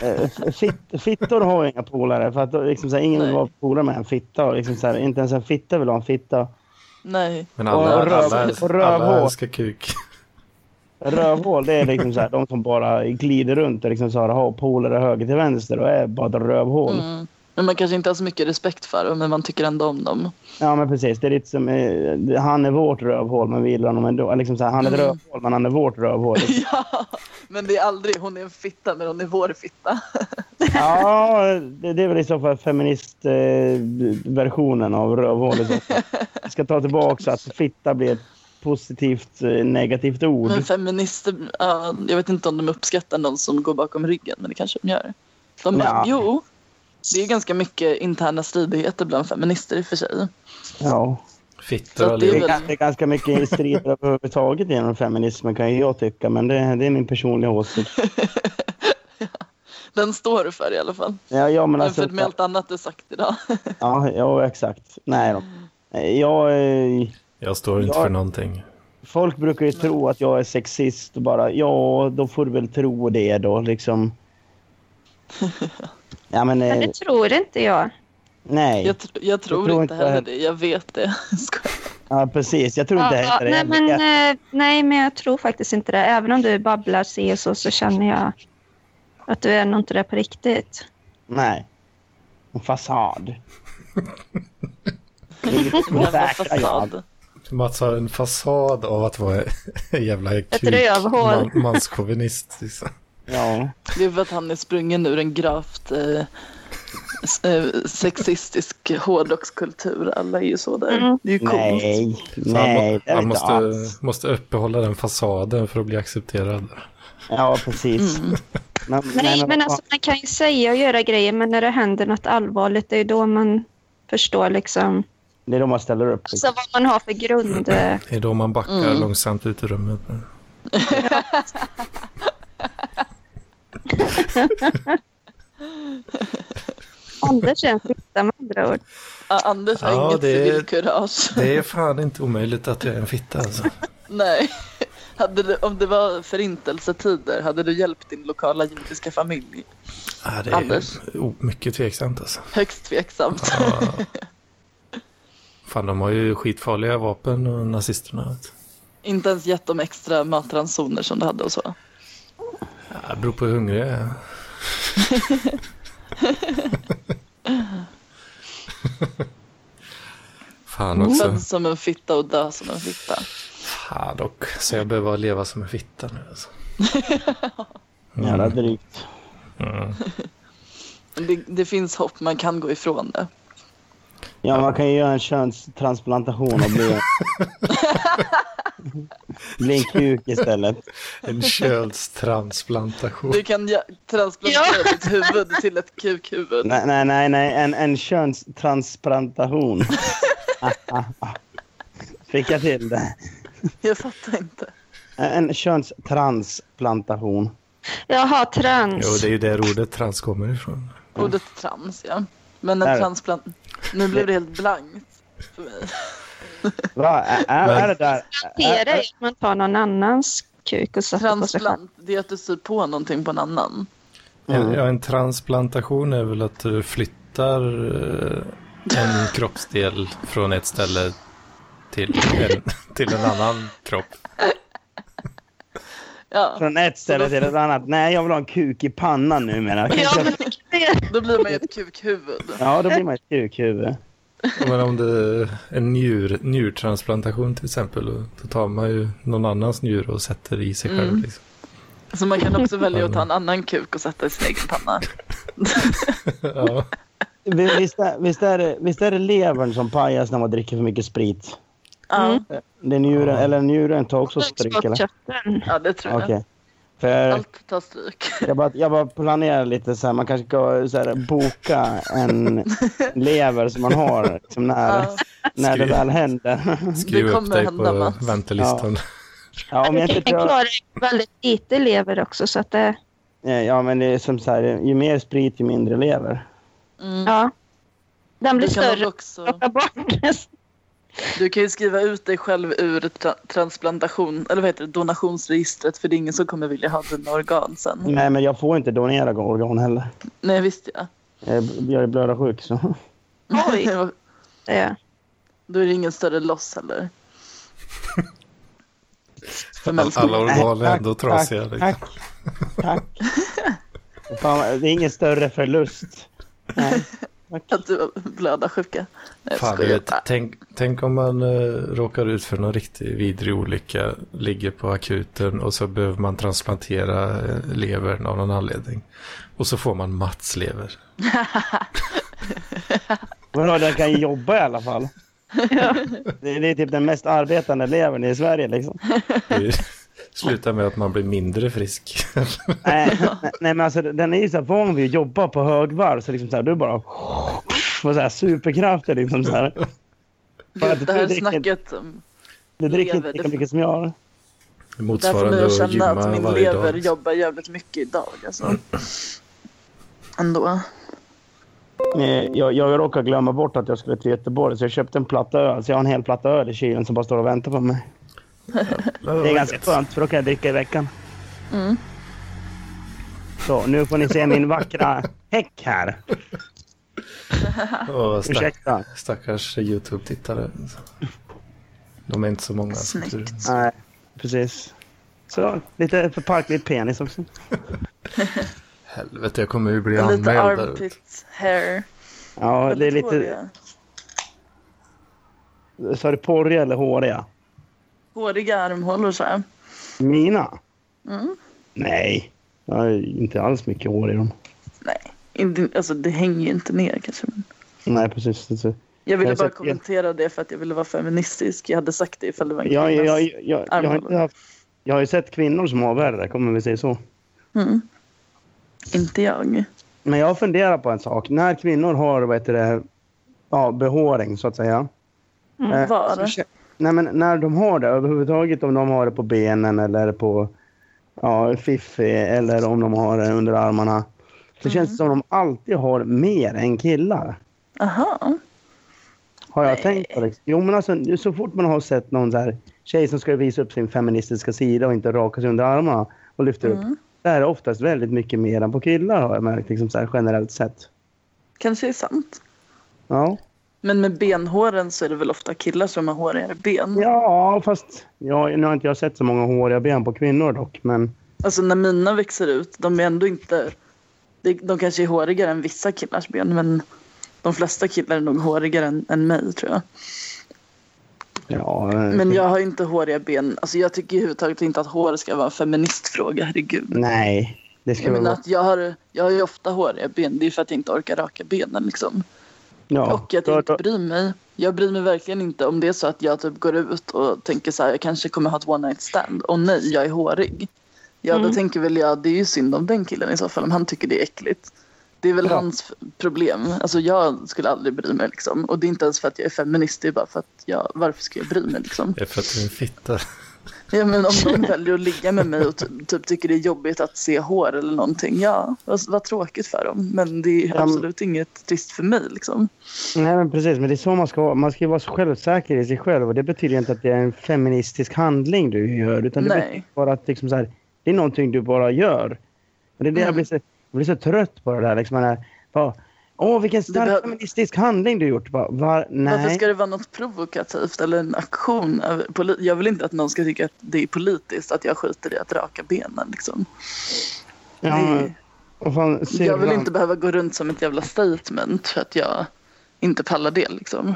Speaker 3: Eh, Fitt, fittor har ju inga polare för att då liksom, så här, ingen vill
Speaker 4: Nej.
Speaker 3: vara polare med en fitta och liksom, så här, inte ens en fitta vill ha en fitta.
Speaker 4: nej.
Speaker 2: Men alla,
Speaker 3: Och röv-
Speaker 2: alla, äls-
Speaker 3: och
Speaker 2: alla
Speaker 3: rövhål.
Speaker 2: älskar kuk.
Speaker 3: Rövhål det är liksom så här, de som bara glider runt och liksom, så här, har polare höger till vänster och är bara ett rövhål.
Speaker 4: Mm. Men man kanske inte har så mycket respekt för dem men man tycker ändå om dem.
Speaker 3: Ja men precis, det är lite som eh, han är vårt rövhål men vi gillar honom ändå. Liksom, så här, han är ett
Speaker 4: Mm.
Speaker 3: rövhål men han är vårt rövhål.
Speaker 4: Ja, men det är aldrig hon är en fitta men hon är vår fitta.
Speaker 3: Ja, det, det är väl i så fall feministversionen eh, versionen av rövhål. i så fall. Jag ska ta tillbaka så att fitta blir ett positivt eh, negativt ord.
Speaker 4: Men feminister, ja, jag vet inte om de uppskattar någon som går bakom ryggen men det kanske de gör. De bara,
Speaker 3: Ja.
Speaker 4: jo. Det är ganska mycket interna stridigheter bland feminister i och för sig.
Speaker 3: Ja.
Speaker 2: Fittor
Speaker 4: Så det är
Speaker 2: allihop.
Speaker 4: väl-
Speaker 3: Det är ganska mycket strider överhuvudtaget inom feminismen kan ju jag tycka, men det, det är min personliga åsikt.
Speaker 4: Den står du för i alla fall.
Speaker 3: Ja, ja, men
Speaker 4: Men
Speaker 3: alltså,
Speaker 4: för med allt annat du sagt idag.
Speaker 3: ja, ja, exakt. Nej då. Jag, eh,
Speaker 2: Jag står inte
Speaker 3: Ja.
Speaker 2: för någonting.
Speaker 3: folk brukar ju tro att jag är sexist och bara ja, då får du väl tro det då liksom. Ja, men, eh,
Speaker 1: Men det tror inte jag.
Speaker 3: nej,
Speaker 4: Jag, tr- jag tror
Speaker 3: tror
Speaker 4: inte
Speaker 3: inte
Speaker 4: heller
Speaker 3: jag-
Speaker 4: det. Jag vet det. Skojar.
Speaker 3: ja, precis. Jag tror inte
Speaker 1: Ja,
Speaker 3: heller
Speaker 1: nej,
Speaker 3: det.
Speaker 1: men, eh, nej, men jag tror faktiskt inte det. Även om du babblar si och så, så känner jag att du är nog inte det på riktigt.
Speaker 3: Nej. En fasad.
Speaker 4: Jävla
Speaker 3: Säkra jag.
Speaker 4: fasad.
Speaker 2: Mats har en fasad av att vara en jävla kuk,
Speaker 1: rövhål.
Speaker 2: man, manschauvinist. Liksom.
Speaker 3: Ja.
Speaker 4: Det är för att han är sprungen ur en gravt eh, s- eh, sexistisk hårdrockskultur. Alla är ju så där.
Speaker 1: Mm.
Speaker 4: Det är ju coolt.
Speaker 3: Nej.
Speaker 2: Så han,
Speaker 3: Nej. Det är
Speaker 2: han
Speaker 3: inte
Speaker 2: måste,
Speaker 3: alls.
Speaker 2: måste uppehålla den fasaden för att bli accepterad.
Speaker 3: Ja, precis. Men,
Speaker 1: Mm. Nej, men
Speaker 3: vad
Speaker 1: alltså man kan ju säga och göra grejer, men när det händer något allvarligt, det är då man förstår liksom,
Speaker 3: fan, Det är då man ställer upp. liksom.
Speaker 1: alltså vad man har för grund. eh.
Speaker 2: Det är då man backar
Speaker 4: Mm.
Speaker 2: långsamt ut ur rummet.
Speaker 1: Anders är en fitta med andra ord.
Speaker 4: Ja, Anders har
Speaker 2: Ja,
Speaker 4: inget
Speaker 2: det är-
Speaker 4: civilkurage.
Speaker 2: Det är fan inte omöjligt att jag är en fitta alltså.
Speaker 4: Nej. Hade du, om det var förintelsetider, hade du hjälpt din lokala judiska familj?
Speaker 2: Ja, det
Speaker 4: Anders?
Speaker 2: är o- mycket tveksamt alltså.
Speaker 4: Högst tveksamt.
Speaker 2: Ja. Fan, de har ju skitfarliga vapen, och nazisterna. vet du.
Speaker 4: Inte ens gett dem extra matransoner som du hade och så.
Speaker 2: Ja, det beror på hur hungrig jag är. Fan också.
Speaker 4: Född som en fitta och dö som en fitta.
Speaker 2: Fan dock. Så jag behöver leva som en fitta nu alltså.
Speaker 1: Alltså-
Speaker 3: Jävla
Speaker 2: Mm.
Speaker 3: drygt.
Speaker 4: Det, det finns hopp, man kan gå ifrån det.
Speaker 3: Ja, man kan ju göra en könstransplantation och bli en... bli en kuk istället.
Speaker 2: En könstransplantation.
Speaker 4: Du kan ja, transplantera ditt huvud till ett kukhuvud.
Speaker 3: Nej, nej, nej, nej. En, en könstransplantation. Fick jag till det?
Speaker 4: Jag fattar inte.
Speaker 3: En könstransplantation.
Speaker 1: Jaha, trans.
Speaker 2: Jo, det är ju där ordet trans kommer ifrån.
Speaker 4: Ordet trans, ja. Men
Speaker 3: Där.
Speaker 4: en transplant... Nu blev det helt blankt för mig.
Speaker 3: Va? Är, är, är det där?
Speaker 1: Det
Speaker 3: Är,
Speaker 1: är
Speaker 3: är,
Speaker 1: att man tar någon annans kuk och sätter på sig själv.
Speaker 4: Transplant, det är att du syr på någonting på en annan.
Speaker 3: Mm.
Speaker 2: Ja, en transplantation är väl att du flyttar eh, en kroppsdel från ett ställe till en, till en annan kropp.
Speaker 4: Ja,
Speaker 3: från ett ställe till ett annat. Nej, jag vill ha en kuk i pannan nu menar jag.
Speaker 1: Ja, men det är
Speaker 4: då blir man ju ett kukhuvud.
Speaker 3: Ja, då blir man ett kukhuvud.
Speaker 2: Men om det är en njur, njurtransplantation till exempel, då tar man ju någon annans njure och sätter i sig själv.
Speaker 4: Mm.
Speaker 2: Liksom.
Speaker 4: Så man kan också välja att ta en annan kuk och sätta i sin egen panna.
Speaker 2: Ja.
Speaker 3: Vi- Visst är, visst, är det, visst är det levern som pajas när man dricker för mycket sprit?
Speaker 1: Mm.
Speaker 4: Ja,
Speaker 3: Det är njuren, eller njuren tar också stryk eller?
Speaker 1: köttkörteln.
Speaker 4: ja det tror jag.
Speaker 3: Okej. För jag,
Speaker 4: Allt tar stryk.
Speaker 3: jag, bara, jag bara planerar lite så här, man kanske ska så här, boka en lever som man har liksom, när,
Speaker 4: Ja,
Speaker 3: när det
Speaker 2: Skri-
Speaker 3: väl händer.
Speaker 2: Skriv upp
Speaker 4: kommer
Speaker 2: dig
Speaker 4: hända,
Speaker 2: på
Speaker 4: Mats.
Speaker 2: väntelistan.
Speaker 3: Ja, om jag
Speaker 1: Den
Speaker 3: inte drar,
Speaker 1: klarar väldigt lite lever också, så att det,
Speaker 3: ja men det är som så här, ju mer sprit ju mindre lever.
Speaker 4: mm.
Speaker 1: ja. Den blir
Speaker 4: Du kan, nog
Speaker 1: större.
Speaker 4: också,
Speaker 1: Plocka bort nästan.
Speaker 4: du kan ju skriva ut dig själv ur tra- transplantation, eller vad heter det, donationsregistret för det är ingen som kommer vilja ha dina organ sen.
Speaker 3: Nej men jag får inte donera organ heller.
Speaker 4: Nej, visst ja.
Speaker 3: Jag jag är blödarsjuk så.
Speaker 1: Oj. det.
Speaker 4: Då är det ingen större loss heller. För
Speaker 2: Alla
Speaker 4: mänskligheten.
Speaker 2: organ är
Speaker 3: Tack,
Speaker 2: ändå
Speaker 3: tack,
Speaker 2: trasiga. Liksom.
Speaker 3: Tack. Tack. Fan, det är ingen större förlust. Nej.
Speaker 4: Att du blöda sjuka. Nej,
Speaker 2: Fan,
Speaker 4: jag
Speaker 2: du vet,
Speaker 4: skojar.
Speaker 2: tänk, tänk om man eh, råkar ut för någon riktigt vidrig olycka, ligger på akuten och så behöver man transplantera eh, levern av någon anledning. Och så får man Mats lever.
Speaker 3: Vadå, den kan ju jobba i alla fall. Det, det är typ den mest arbetande levern i Sverige liksom.
Speaker 2: Det slutar med att man blir mindre frisk.
Speaker 3: Nej, nej men alltså den är ju så här van vid att jobba på högvarv så liksom så här, du bara... Och så här superkrafter liksom så här. Fan,
Speaker 4: Det här
Speaker 3: dricker-
Speaker 4: snacket um,
Speaker 3: Du dricker
Speaker 4: lever,
Speaker 3: inte lika
Speaker 4: det-
Speaker 3: mycket som jag.
Speaker 4: Där får ni
Speaker 2: Motsvarande
Speaker 4: att
Speaker 2: att
Speaker 4: känna
Speaker 2: gymma
Speaker 4: att min
Speaker 2: varje
Speaker 4: lever
Speaker 2: dag.
Speaker 4: jobbar jävligt mycket idag. Alltså. Ändå.
Speaker 3: Eh, Jag, jag råkade glömma bort att jag skulle till Göteborg så jag köpte en platta öl. Så jag har en hel platta öl i kylen som bara står och väntar på mig. Det är ganska skönt för då kan jag dricka i veckan.
Speaker 4: Mm.
Speaker 3: Så, nu får ni se min vackra häck här.
Speaker 2: Åh, stack,
Speaker 3: Ursäkta.
Speaker 2: stackars YouTube-tittare. De är inte så många. så att du-
Speaker 4: Snyggt.
Speaker 3: Nej, precis. Så, lite förparklig penis också.
Speaker 2: Helvete, jag kommer ju bli
Speaker 4: Och
Speaker 2: anmäld.
Speaker 4: lite
Speaker 2: där ute.
Speaker 4: armpit hair.
Speaker 3: Ja, det är
Speaker 4: Väldigt
Speaker 3: lite...
Speaker 4: håriga.
Speaker 3: Sa du porriga eller håriga?
Speaker 4: Håriga armhålor så här.
Speaker 3: Mina?
Speaker 4: Mm.
Speaker 3: Nej. Jag har inte alls mycket hår i dem.
Speaker 4: Nej, inte, alltså det hänger ju inte ner kanske. Men
Speaker 3: Nej, precis. precis.
Speaker 4: jag
Speaker 3: Jag
Speaker 4: ville
Speaker 3: har
Speaker 4: bara
Speaker 3: sett-
Speaker 4: kommentera det för att jag ville vara feministisk. Jag hade sagt det ifall det var en
Speaker 3: Jag, jag,
Speaker 4: kvinnas-
Speaker 3: jag, jag, jag, har inte haft, jag har ju sett kvinnor som har värre, kommer vi säga så.
Speaker 4: Mm. Inte jag.
Speaker 3: Men jag funderar på en sak. När kvinnor har vad heter det, ja, behåring, så att säga.
Speaker 1: Mm,
Speaker 3: eh,
Speaker 4: var?
Speaker 3: så kä- nej, men när de har det överhuvudtaget, om de har det på benen eller på ja, fiffi eller om de har det under armarna. Så känns det som de alltid har mer än killar.
Speaker 4: Aha.
Speaker 3: Har jag
Speaker 4: Nej.
Speaker 3: tänkt på det? Jo, men alltså, nu så fort man har sett någon så här tjej som ska visa upp sin feministiska sida och inte raka sig under armarna och lyfter
Speaker 4: Mm.
Speaker 3: upp. Det här är oftast väldigt mycket mer än på killar har jag märkt liksom så här, generellt sett.
Speaker 4: Kanske är sant. Mm.
Speaker 3: Ja.
Speaker 4: Men med benhåren så är det väl ofta killar som har hårigare ben.
Speaker 3: ja, fast ja, nu har inte jag sett så många håriga ben på kvinnor dock. Men
Speaker 4: Alltså när mina växer ut, de är ändå inte... De, de kanske är hårigare än vissa killars ben, men de flesta killar är nog hårigare än, än mig tror jag.
Speaker 3: ja,
Speaker 4: Men
Speaker 3: eh,
Speaker 4: jag har inte håriga ben. Alltså jag tycker överhuvudtaget inte att hår ska vara en feministfråga, herregud.
Speaker 3: nej. Det ska
Speaker 4: Jag
Speaker 3: väl
Speaker 4: menar
Speaker 3: vara...
Speaker 4: att jag har, jag har ju ofta håriga ben. Det är ju för att jag inte orkar raka benen liksom.
Speaker 3: Ja.
Speaker 4: Och att jag
Speaker 3: då,
Speaker 4: inte
Speaker 3: då,
Speaker 4: bryr mig. Jag bryr mig verkligen inte om det är så att jag typ går ut och tänker så här, jag kanske kommer ha ett one night stand. Och nej, jag är hårig. Ja,
Speaker 3: Mm.
Speaker 4: då tänker väl jag, det är ju synd om den killen i så fall, om han tycker det är äckligt. Det är väl
Speaker 3: Ja.
Speaker 4: hans problem. Alltså jag skulle aldrig bry mig liksom. Och det är inte ens för att jag är feminist, det är bara för att jag, varför ska jag bry mig liksom?
Speaker 2: Det är för att du är en fitta.
Speaker 4: Ja men om de väljer att ligga med mig och ty- typ tycker det är jobbigt att se hår eller någonting, ja vad, vad tråkigt för dem. Men det är
Speaker 3: men-
Speaker 4: absolut inget trist för mig liksom.
Speaker 3: nej, men precis. Men det är så man ska vara. Man ska ju vara så självsäker i sig själv. Och det betyder inte att det är en feministisk handling du gör. Utan det
Speaker 4: Nej.
Speaker 3: bara att liksom så här, det är någonting du bara gör. Men det är det jag, blir så, jag blir så trött på det där. Liksom, man är, bara, Åh, vilken stark
Speaker 4: behöv-
Speaker 3: feministisk handling du gjort. Bara, var,
Speaker 4: Varför
Speaker 3: nej.
Speaker 4: ska det vara något provokativt eller en aktion? över- poli- Jag vill inte att någon ska tycka att det är politiskt att jag skiter i att raka benen liksom.
Speaker 3: Ja,
Speaker 4: Det-
Speaker 3: och fan,
Speaker 4: jag vill
Speaker 3: syrran.
Speaker 4: inte behöva gå runt som ett jävla statement för att jag inte pallar det liksom.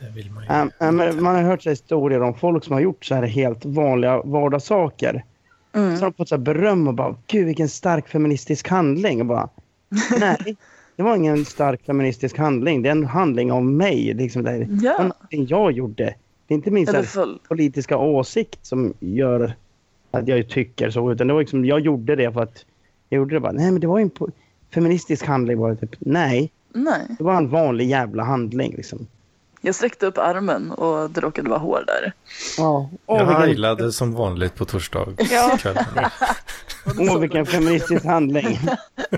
Speaker 2: Det vill man ju.
Speaker 3: Ja, ja, men man har hört så här historier om folk som har gjort så här helt vanliga vardagssaker.
Speaker 4: Mm.
Speaker 3: Så har de fått så här beröm och bara gud vilken stark feministisk handling. Och bara, Nej, det var ingen stark feministisk handling. Det är en handling av mig. Liksom, det, är-
Speaker 4: Ja.
Speaker 3: det var någonting jag gjorde. Det är inte min så
Speaker 4: Eller
Speaker 3: här,
Speaker 4: full.
Speaker 3: politiska åsikt som gör att jag tycker så. Utan det var liksom, jag gjorde det för att jag gjorde det bara. Nej men det var ju en po- feministisk handling. Var det typ. Nej,
Speaker 4: Nej,
Speaker 3: det var en vanlig jävla handling. Liksom.
Speaker 4: jag sträckte upp armen och det råkade vara hår där.
Speaker 3: Ja.
Speaker 2: Jag
Speaker 3: Åh, vilken,
Speaker 2: heilade som vanligt på torsdagskvällen.
Speaker 3: åh, vilken feministisk handling.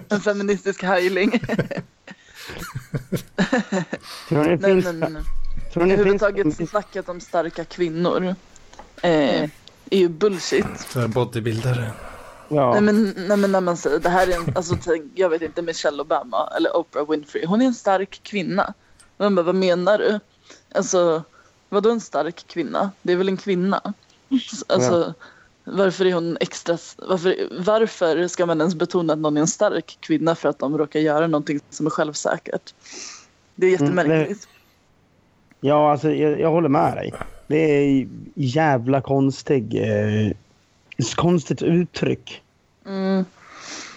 Speaker 4: En feministisk heiling.
Speaker 3: Tror ni det
Speaker 4: Nej,
Speaker 3: finns,
Speaker 4: men...
Speaker 3: tror ni det finns
Speaker 4: Överhuvudtaget snacket om starka kvinnor
Speaker 3: Mm.
Speaker 4: eh, är ju bullshit.
Speaker 2: Så här Bodybuildare.
Speaker 3: ja,
Speaker 4: Nej, men, nej men när man säger det här är en, alltså tänk, jag vet inte Michelle Obama eller Oprah Winfrey, hon är en stark kvinna. Man bara, vad menar du? Alltså, vadå en stark kvinna? Det är väl en kvinna? Alltså, varför är hon extra, varför, varför ska man ens betona att någon är en stark kvinna för att de råkar göra någonting som är självsäkert? Det är
Speaker 3: Mm, det-
Speaker 4: jättemärkligt.
Speaker 3: ja alltså, jag, jag håller med dig. Det är jävla konstig, eh, konstigt uttryck.
Speaker 4: Mm.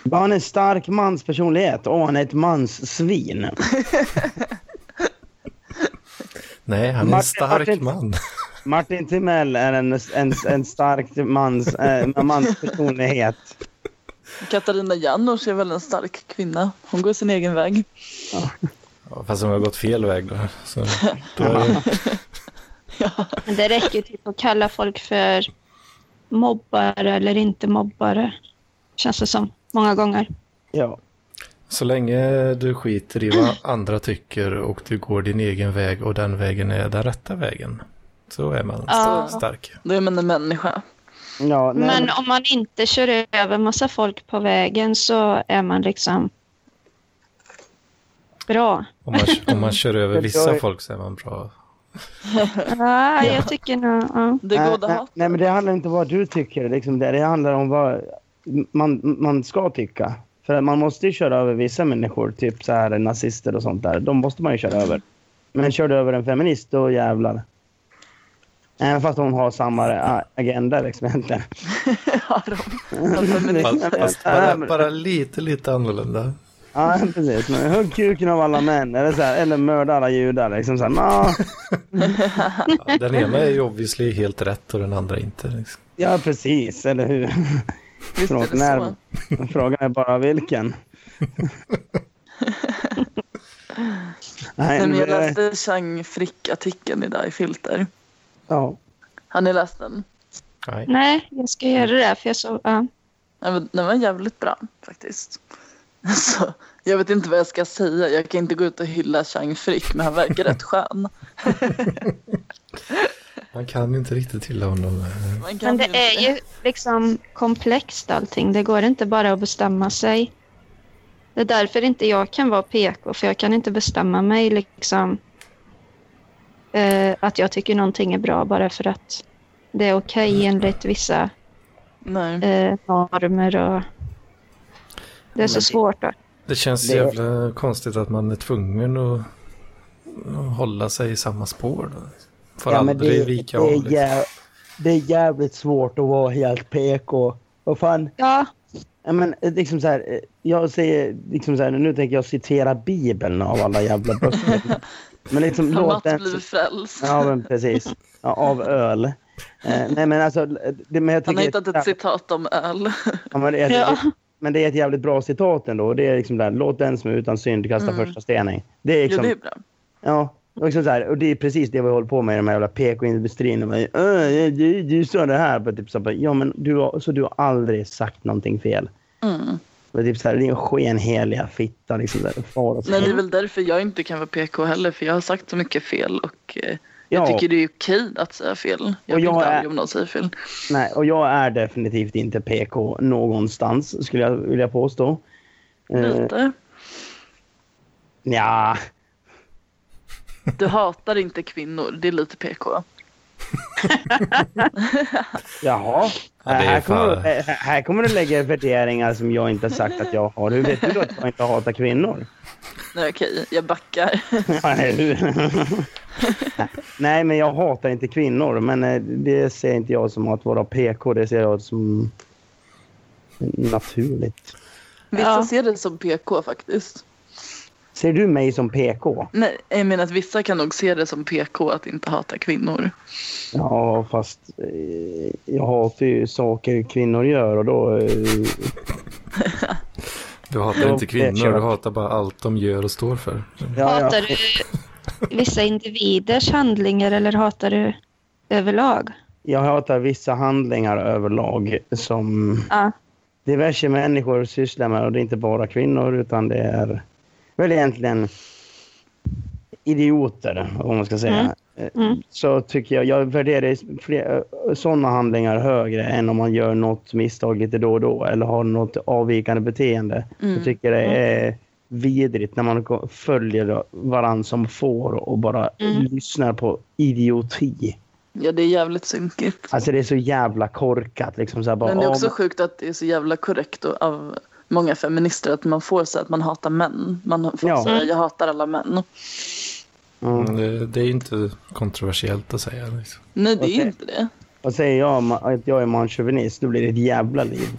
Speaker 3: Bara, Han är en stark manspersonlighet och han är ett manssvin.
Speaker 2: Nej, han är en
Speaker 3: Martin-
Speaker 2: stark
Speaker 3: Martin-
Speaker 2: man.
Speaker 3: Martin Timell är en, en, en stark mans, eh, manspersonlighet.
Speaker 4: Katarina Janouch är väl en stark kvinna. Hon går sin egen väg.
Speaker 2: Ja, Fast om jag har gått fel väg då. Så, då är det,
Speaker 1: Men det räcker typ att kalla folk för mobbare eller inte mobbare. Känns det som. Många gånger.
Speaker 3: Ja.
Speaker 2: så länge du skiter i vad andra tycker och du går din egen väg och den vägen är den rätta vägen. Så är man
Speaker 1: Ja.
Speaker 2: stark.
Speaker 4: Då är man en människa.
Speaker 3: ja nej,
Speaker 1: Men om man inte kör över massa folk på vägen så är man liksom bra.
Speaker 2: Om man, om man kör över
Speaker 3: Jag
Speaker 2: vissa
Speaker 3: är-
Speaker 2: folk så är man bra.
Speaker 1: Ja, jag tycker nog... Ja.
Speaker 4: Det
Speaker 3: nej,
Speaker 4: goda
Speaker 3: nej,
Speaker 4: hat.
Speaker 3: nej, men det handlar inte om vad du tycker. Liksom. Det, det handlar om vad man, man ska tycka. För att man måste ju köra över vissa människor, typ så här nazister och sånt där. De måste man ju köra över. Men kör du över en feminist, då jävlar. Även fast hon har samma ä, agenda liksom egentligen.
Speaker 4: Ja, de, de feminister.
Speaker 2: Fast, fast bara, bara lite, lite annorlunda.
Speaker 3: Ja, precis. Men hugg kuken av alla män. Eller, så här, eller mörda alla judar. Liksom så här, "Nå."
Speaker 2: Ja, Den ena är ju obviously helt rätt och den andra inte. Liksom.
Speaker 3: ja, precis. Eller hur?
Speaker 4: Visst är
Speaker 3: Förlåt,
Speaker 4: det
Speaker 3: när-
Speaker 4: så.
Speaker 3: Frågan är bara vilken. Nej,
Speaker 4: Nej, men jag
Speaker 3: det-
Speaker 4: läste Chang Frick-artikeln idag i Filter.
Speaker 3: Ja.
Speaker 4: Har ni läst den?
Speaker 2: Nej.
Speaker 1: Nej, jag ska göra det där, för jag såg... Ja.
Speaker 4: Ja, men Den var jävligt bra faktiskt. Så, jag vet inte vad jag ska säga. Jag kan inte gå ut och hylla Chang Frick, men han verkar rätt skön.
Speaker 3: Mm.
Speaker 2: Man kan inte riktigt hylla honom.
Speaker 4: Man kan
Speaker 1: Men
Speaker 4: inte-
Speaker 1: det är ju liksom komplext allting. Det går inte bara att bestämma sig. Det är därför inte jag kan vara PK, för jag kan inte bestämma mig liksom eh, att jag tycker någonting är bra bara för att det är okej enligt vissa
Speaker 4: Nej.
Speaker 1: eh, normer och det är så
Speaker 3: det-
Speaker 1: svårt. Då.
Speaker 2: Det känns
Speaker 3: Det-
Speaker 2: jävla konstigt att man är tvungen att, att hålla sig i samma spår. Då. Får
Speaker 3: ja, men
Speaker 2: aldrig
Speaker 3: det,
Speaker 2: vika
Speaker 3: det,
Speaker 2: av.
Speaker 3: är
Speaker 2: Liksom.
Speaker 3: jä- det är jävligt svårt att vara helt PK. Vad fan,
Speaker 1: Ja,
Speaker 3: Ja, men eh, liksom så här, eh, jag säger, liksom så här, nu tänker jag citera Bibeln av alla jävla böcker. Men liksom
Speaker 4: Har
Speaker 3: låt
Speaker 4: Mats
Speaker 3: den...
Speaker 4: blivit frälst?
Speaker 3: Ja, men precis. Ja, av öl. Eh, nej, men alltså... Det, men jag
Speaker 4: Han
Speaker 3: tycker,
Speaker 4: har hittat ett citat om öl.
Speaker 3: Ja, men, det är,
Speaker 1: Ja.
Speaker 3: men det är ett jävligt bra citat ändå. Det är liksom där, låt den som är utan synd kasta
Speaker 4: Mm.
Speaker 3: första stenen. Det är
Speaker 4: Jo,
Speaker 3: liksom...
Speaker 4: det är bra.
Speaker 3: Ja, och, liksom så här, och det är precis det vi håller på med i de här jävla PK-industrin. Och bara, "Äh, Du, du sa det här. Bara Typ så, här, bara, ja, men du har, så du har aldrig sagt någonting fel.
Speaker 4: Mm.
Speaker 3: Och typ så här, din skenheliga fitta. Liksom där, far och så.
Speaker 4: Nej, det är väl därför jag inte kan vara PK heller, för jag har sagt så mycket fel och eh, jag
Speaker 3: Ja.
Speaker 4: tycker det är okej att säga fel. Jag
Speaker 3: Och
Speaker 4: blir
Speaker 3: jag
Speaker 4: inte
Speaker 3: är-
Speaker 4: arg om någon säger fel.
Speaker 3: Nej, och jag är definitivt inte PK någonstans, skulle jag vilja påstå. Eh,
Speaker 4: Lite.
Speaker 3: ja,
Speaker 4: Du hatar inte kvinnor, det är lite PK.
Speaker 3: jaha.
Speaker 2: Ja, det är
Speaker 3: här, kommer,
Speaker 2: fan-
Speaker 3: du- eh, här kommer du lägga värderingar som jag inte har sagt att jag har. Hur vet du då att jag inte hatar kvinnor?
Speaker 4: Nej, okej, jag backar.
Speaker 3: Nej, hur? Nej, men jag hatar inte kvinnor. Men eh, det ser inte jag som att vara PK. Det ser jag som naturligt.
Speaker 4: Vissa
Speaker 1: Ja.
Speaker 4: ser det som PK faktiskt.
Speaker 3: Ser du mig som PK?
Speaker 4: Nej, jag menar att vissa kan nog se det som PK att inte hata kvinnor.
Speaker 3: Ja, fast eh, jag hatar ju saker kvinnor gör och då... eh,
Speaker 2: Du hatar inte
Speaker 3: Ja, det Mm.
Speaker 2: kvinnor,
Speaker 3: känner
Speaker 2: du
Speaker 3: jag.
Speaker 2: hatar bara allt de gör och står för.
Speaker 3: Ja, ja.
Speaker 1: hatar du vissa individers handlingar eller hatar du överlag?
Speaker 3: Jag hatar vissa handlingar överlag som
Speaker 1: Ja.
Speaker 3: diverse människor sysslar med. Och det är inte bara kvinnor utan det är väl egentligen idioter, om man ska säga.
Speaker 1: Mm.
Speaker 3: Eh,
Speaker 1: Mm.
Speaker 3: Så tycker jag, jag värderar fler, sådana handlingar högre än om man gör något misstag lite då och då eller har något avvikande beteende.
Speaker 4: Mm.
Speaker 3: Jag tycker det är vidrigt när man ko- följer varandra som får och bara
Speaker 4: Mm.
Speaker 3: lyssnar på idioti.
Speaker 4: Ja, det är jävligt synkigt.
Speaker 3: Alltså det är så jävla korkat. Liksom så här bara,
Speaker 4: Men det är
Speaker 3: ja,
Speaker 4: också sjukt att det är så jävla korrekt och av många feminister att man får säga att man hatar män. Man får
Speaker 3: Ja.
Speaker 4: säga jag hatar alla män.
Speaker 3: men- Mm.
Speaker 2: Det, det är inte kontroversiellt att säga. Liksom.
Speaker 4: Nej, det är
Speaker 3: Okej.
Speaker 4: inte det.
Speaker 3: Och säger jag ma- att jag är manchauvinist, då blir det ett jävla liv.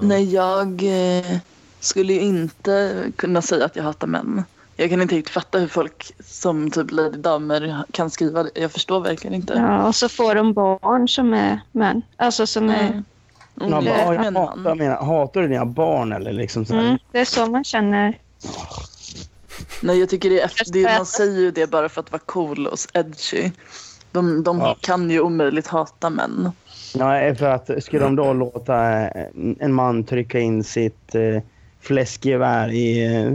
Speaker 4: Nej, jag eh, skulle ju inte kunna säga att jag hatar män. Jag kan inte riktigt fatta hur folk som typ Lady Damer kan
Speaker 3: Mm.
Speaker 4: skriva det. Jag förstår verkligen inte.
Speaker 1: Ja, och så får de barn som är män. Alltså som är
Speaker 4: Mm.
Speaker 3: Någon bara, "Ah, jag hatar, jag menar, hatar du dina barn eller liksom så här.
Speaker 1: Mm, det är så man känner.
Speaker 4: Nej, jag tycker det är, efter- det, man säger ju det bara för att vara cool och edgy. De, de
Speaker 3: Ja.
Speaker 4: kan ju omöjligt hata män.
Speaker 3: Nej, för att skulle de
Speaker 4: Mm.
Speaker 3: då låta eh, en man trycka in sitt eh, fläskgevär i eh,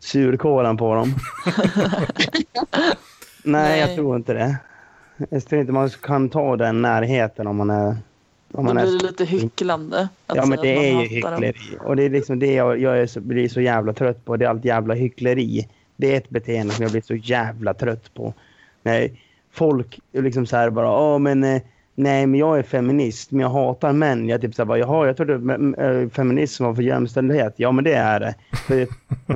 Speaker 3: surkålen på dem? Nej, jag
Speaker 4: Nej.
Speaker 3: tror inte det. Jag tror inte man kan ta den närheten om man är... Om
Speaker 4: Då
Speaker 3: man är
Speaker 4: blir det lite hycklande. att
Speaker 3: ja, men
Speaker 4: säga
Speaker 3: det
Speaker 4: att Alltså, man
Speaker 3: är ju
Speaker 4: hatar dem.
Speaker 3: hyckleri. Och det är liksom det jag, jag är så, blir så jävla trött på. Det är allt jävla hyckleri. Det är ett beteende som jag blir så jävla trött på. När folk är liksom så här bara, ja men eh, nej men jag är feminist men jag hatar män. Jag typ så här bara, jaha jag trodde mm, eh, feminism var för jämställdhet. Ja men det är det. För, ja,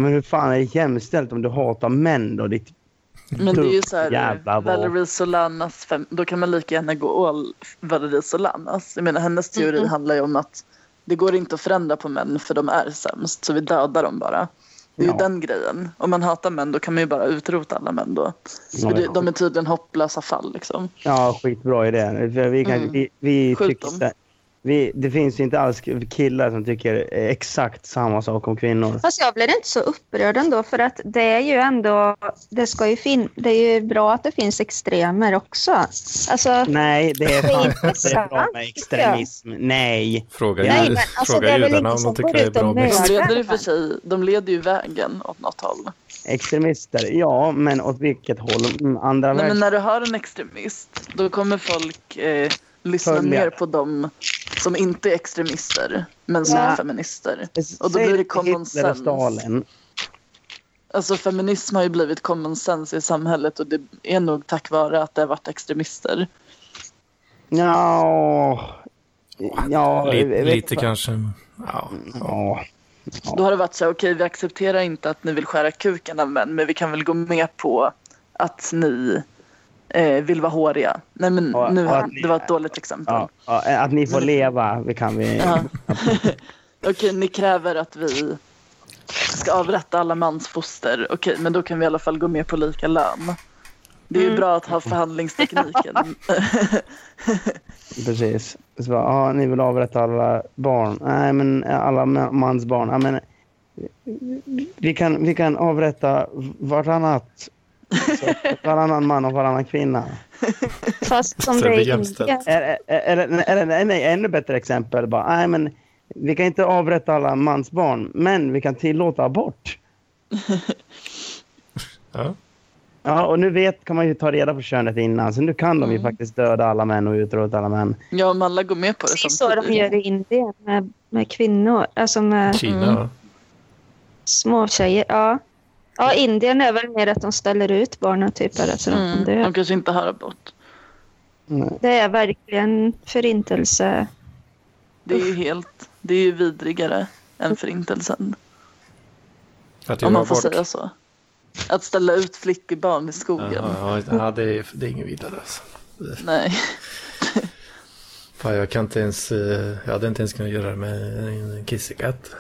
Speaker 3: men hur fan är det jämställt om du hatar män då? Ditt
Speaker 4: Men det är ju så här,
Speaker 3: Jävla vad.
Speaker 4: Valerie Solanas fem, då kan man lika gärna gå all Valerie Solanas. Jag menar hennes teori handlar ju om att det går inte att förändra på män för de är sämst så vi dödar dem bara. Det är
Speaker 3: Ja.
Speaker 4: ju den grejen. Om man hatar män då kan man ju bara utrota alla män då.
Speaker 3: Ja,
Speaker 4: för det,
Speaker 3: ja.
Speaker 4: de är tydligen hopplösa fall liksom.
Speaker 3: Ja, skitbra idé. För vi kan,
Speaker 4: Mm.
Speaker 3: vi, vi
Speaker 4: Skjut
Speaker 3: tycker,
Speaker 4: dem.
Speaker 3: så- vi, det finns ju inte alls killar som tycker eh, exakt samma sak om kvinnor.
Speaker 1: Fast jag blir inte så upprörd ändå för att det är ju ändå, det ska ju fin- det är ju bra att det finns extremer också. Alltså,
Speaker 3: Nej, det är fan inte
Speaker 1: intressant,
Speaker 3: bra med extremism. Nej.
Speaker 2: Fråga,
Speaker 3: Nej,
Speaker 2: jud-
Speaker 1: men alltså, det
Speaker 2: fråga
Speaker 1: är väl
Speaker 2: judarna
Speaker 1: inte
Speaker 2: om de
Speaker 1: som
Speaker 2: tycker
Speaker 1: går
Speaker 2: det är
Speaker 1: ut och
Speaker 2: bra med
Speaker 1: mördar. Ja,
Speaker 4: De leder ju
Speaker 1: verkligen.
Speaker 4: för sig, de leder ju vägen åt något håll.
Speaker 3: Extremister, ja, men åt vilket håll? Mm, Andra
Speaker 4: Nej, men
Speaker 3: världskriget?
Speaker 4: när du har en extremist då kommer folk eh, lyssna
Speaker 3: Följa.
Speaker 4: mer på dem som inte är extremister men som
Speaker 3: Ja.
Speaker 4: är feminister. och då blir det common
Speaker 3: Hitler och
Speaker 4: sense.
Speaker 3: Stalin.
Speaker 4: Alltså feminism har ju blivit common sense i samhället och det är nog tack vare att det har varit extremister.
Speaker 3: Ja. Ja, jag
Speaker 2: Lite,
Speaker 3: vet
Speaker 2: lite
Speaker 3: inte.
Speaker 2: kanske. Ja.
Speaker 3: Ja.
Speaker 4: Då har det varit så här, okej vi accepterar inte att ni vill skära kuken av män men vi kan väl gå med på att ni eh, vill vara håriga. Nej men
Speaker 3: Ja,
Speaker 4: nu
Speaker 3: ja,
Speaker 4: har,
Speaker 3: ni-
Speaker 4: det var ett dåligt exempel.
Speaker 3: Ja, ja, att ni får leva, det kan vi...
Speaker 4: Ja. Okej, ni kräver att vi ska avrätta alla mansfoster. Okej, men då kan vi i alla fall gå med på lika lön. Det är
Speaker 1: Mm.
Speaker 4: ju bra att ha förhandlingstekniken.
Speaker 3: Precis. Så bara, ah, ni vill avrätta alla barn. Nej, men eh, alla ma- mans barn. Ja, men, eh, vi, kan, vi kan avrätta vartannat. Så, varannan man och varannan kvinna.
Speaker 1: fast som
Speaker 2: Så
Speaker 1: det
Speaker 2: det
Speaker 1: är
Speaker 2: blir
Speaker 1: i
Speaker 2: jämställt.
Speaker 1: Indien.
Speaker 3: Eller, eller, eller nej, nej, ännu bättre exempel. Bara, nej, men, vi kan inte avrätta alla mans barn, men vi kan tillåta abort.
Speaker 2: Ja.
Speaker 3: Ja, och nu vet, kan man ju ta reda på könet innan, så nu kan de ju faktiskt döda alla män och utrota alla män.
Speaker 4: ja, om alla går med på det
Speaker 1: Det är så de
Speaker 4: samtidigt.
Speaker 1: gör i Indien med, med kvinnor, alltså med
Speaker 2: Kina. va?
Speaker 1: små tjejer. Ja. ja, Indien är väl mer att de ställer ut barnen typ eller så de kan
Speaker 4: Mm,
Speaker 1: dö.
Speaker 4: de kanske inte har abort.
Speaker 1: Det är verkligen förintelse.
Speaker 4: Det är ju helt, det är ju vidrigare än förintelsen.
Speaker 2: Att
Speaker 4: Om
Speaker 2: göra
Speaker 4: man får
Speaker 2: abort.
Speaker 4: säga så. Att ställa ut flickebarn i skogen.
Speaker 2: Ja, ja, ja, det, är, det är inget vidare alltså.
Speaker 4: Nej.
Speaker 2: Fan, jag kan inte ens, eh, jag hade inte ens kunnat göra det med en kissekatt.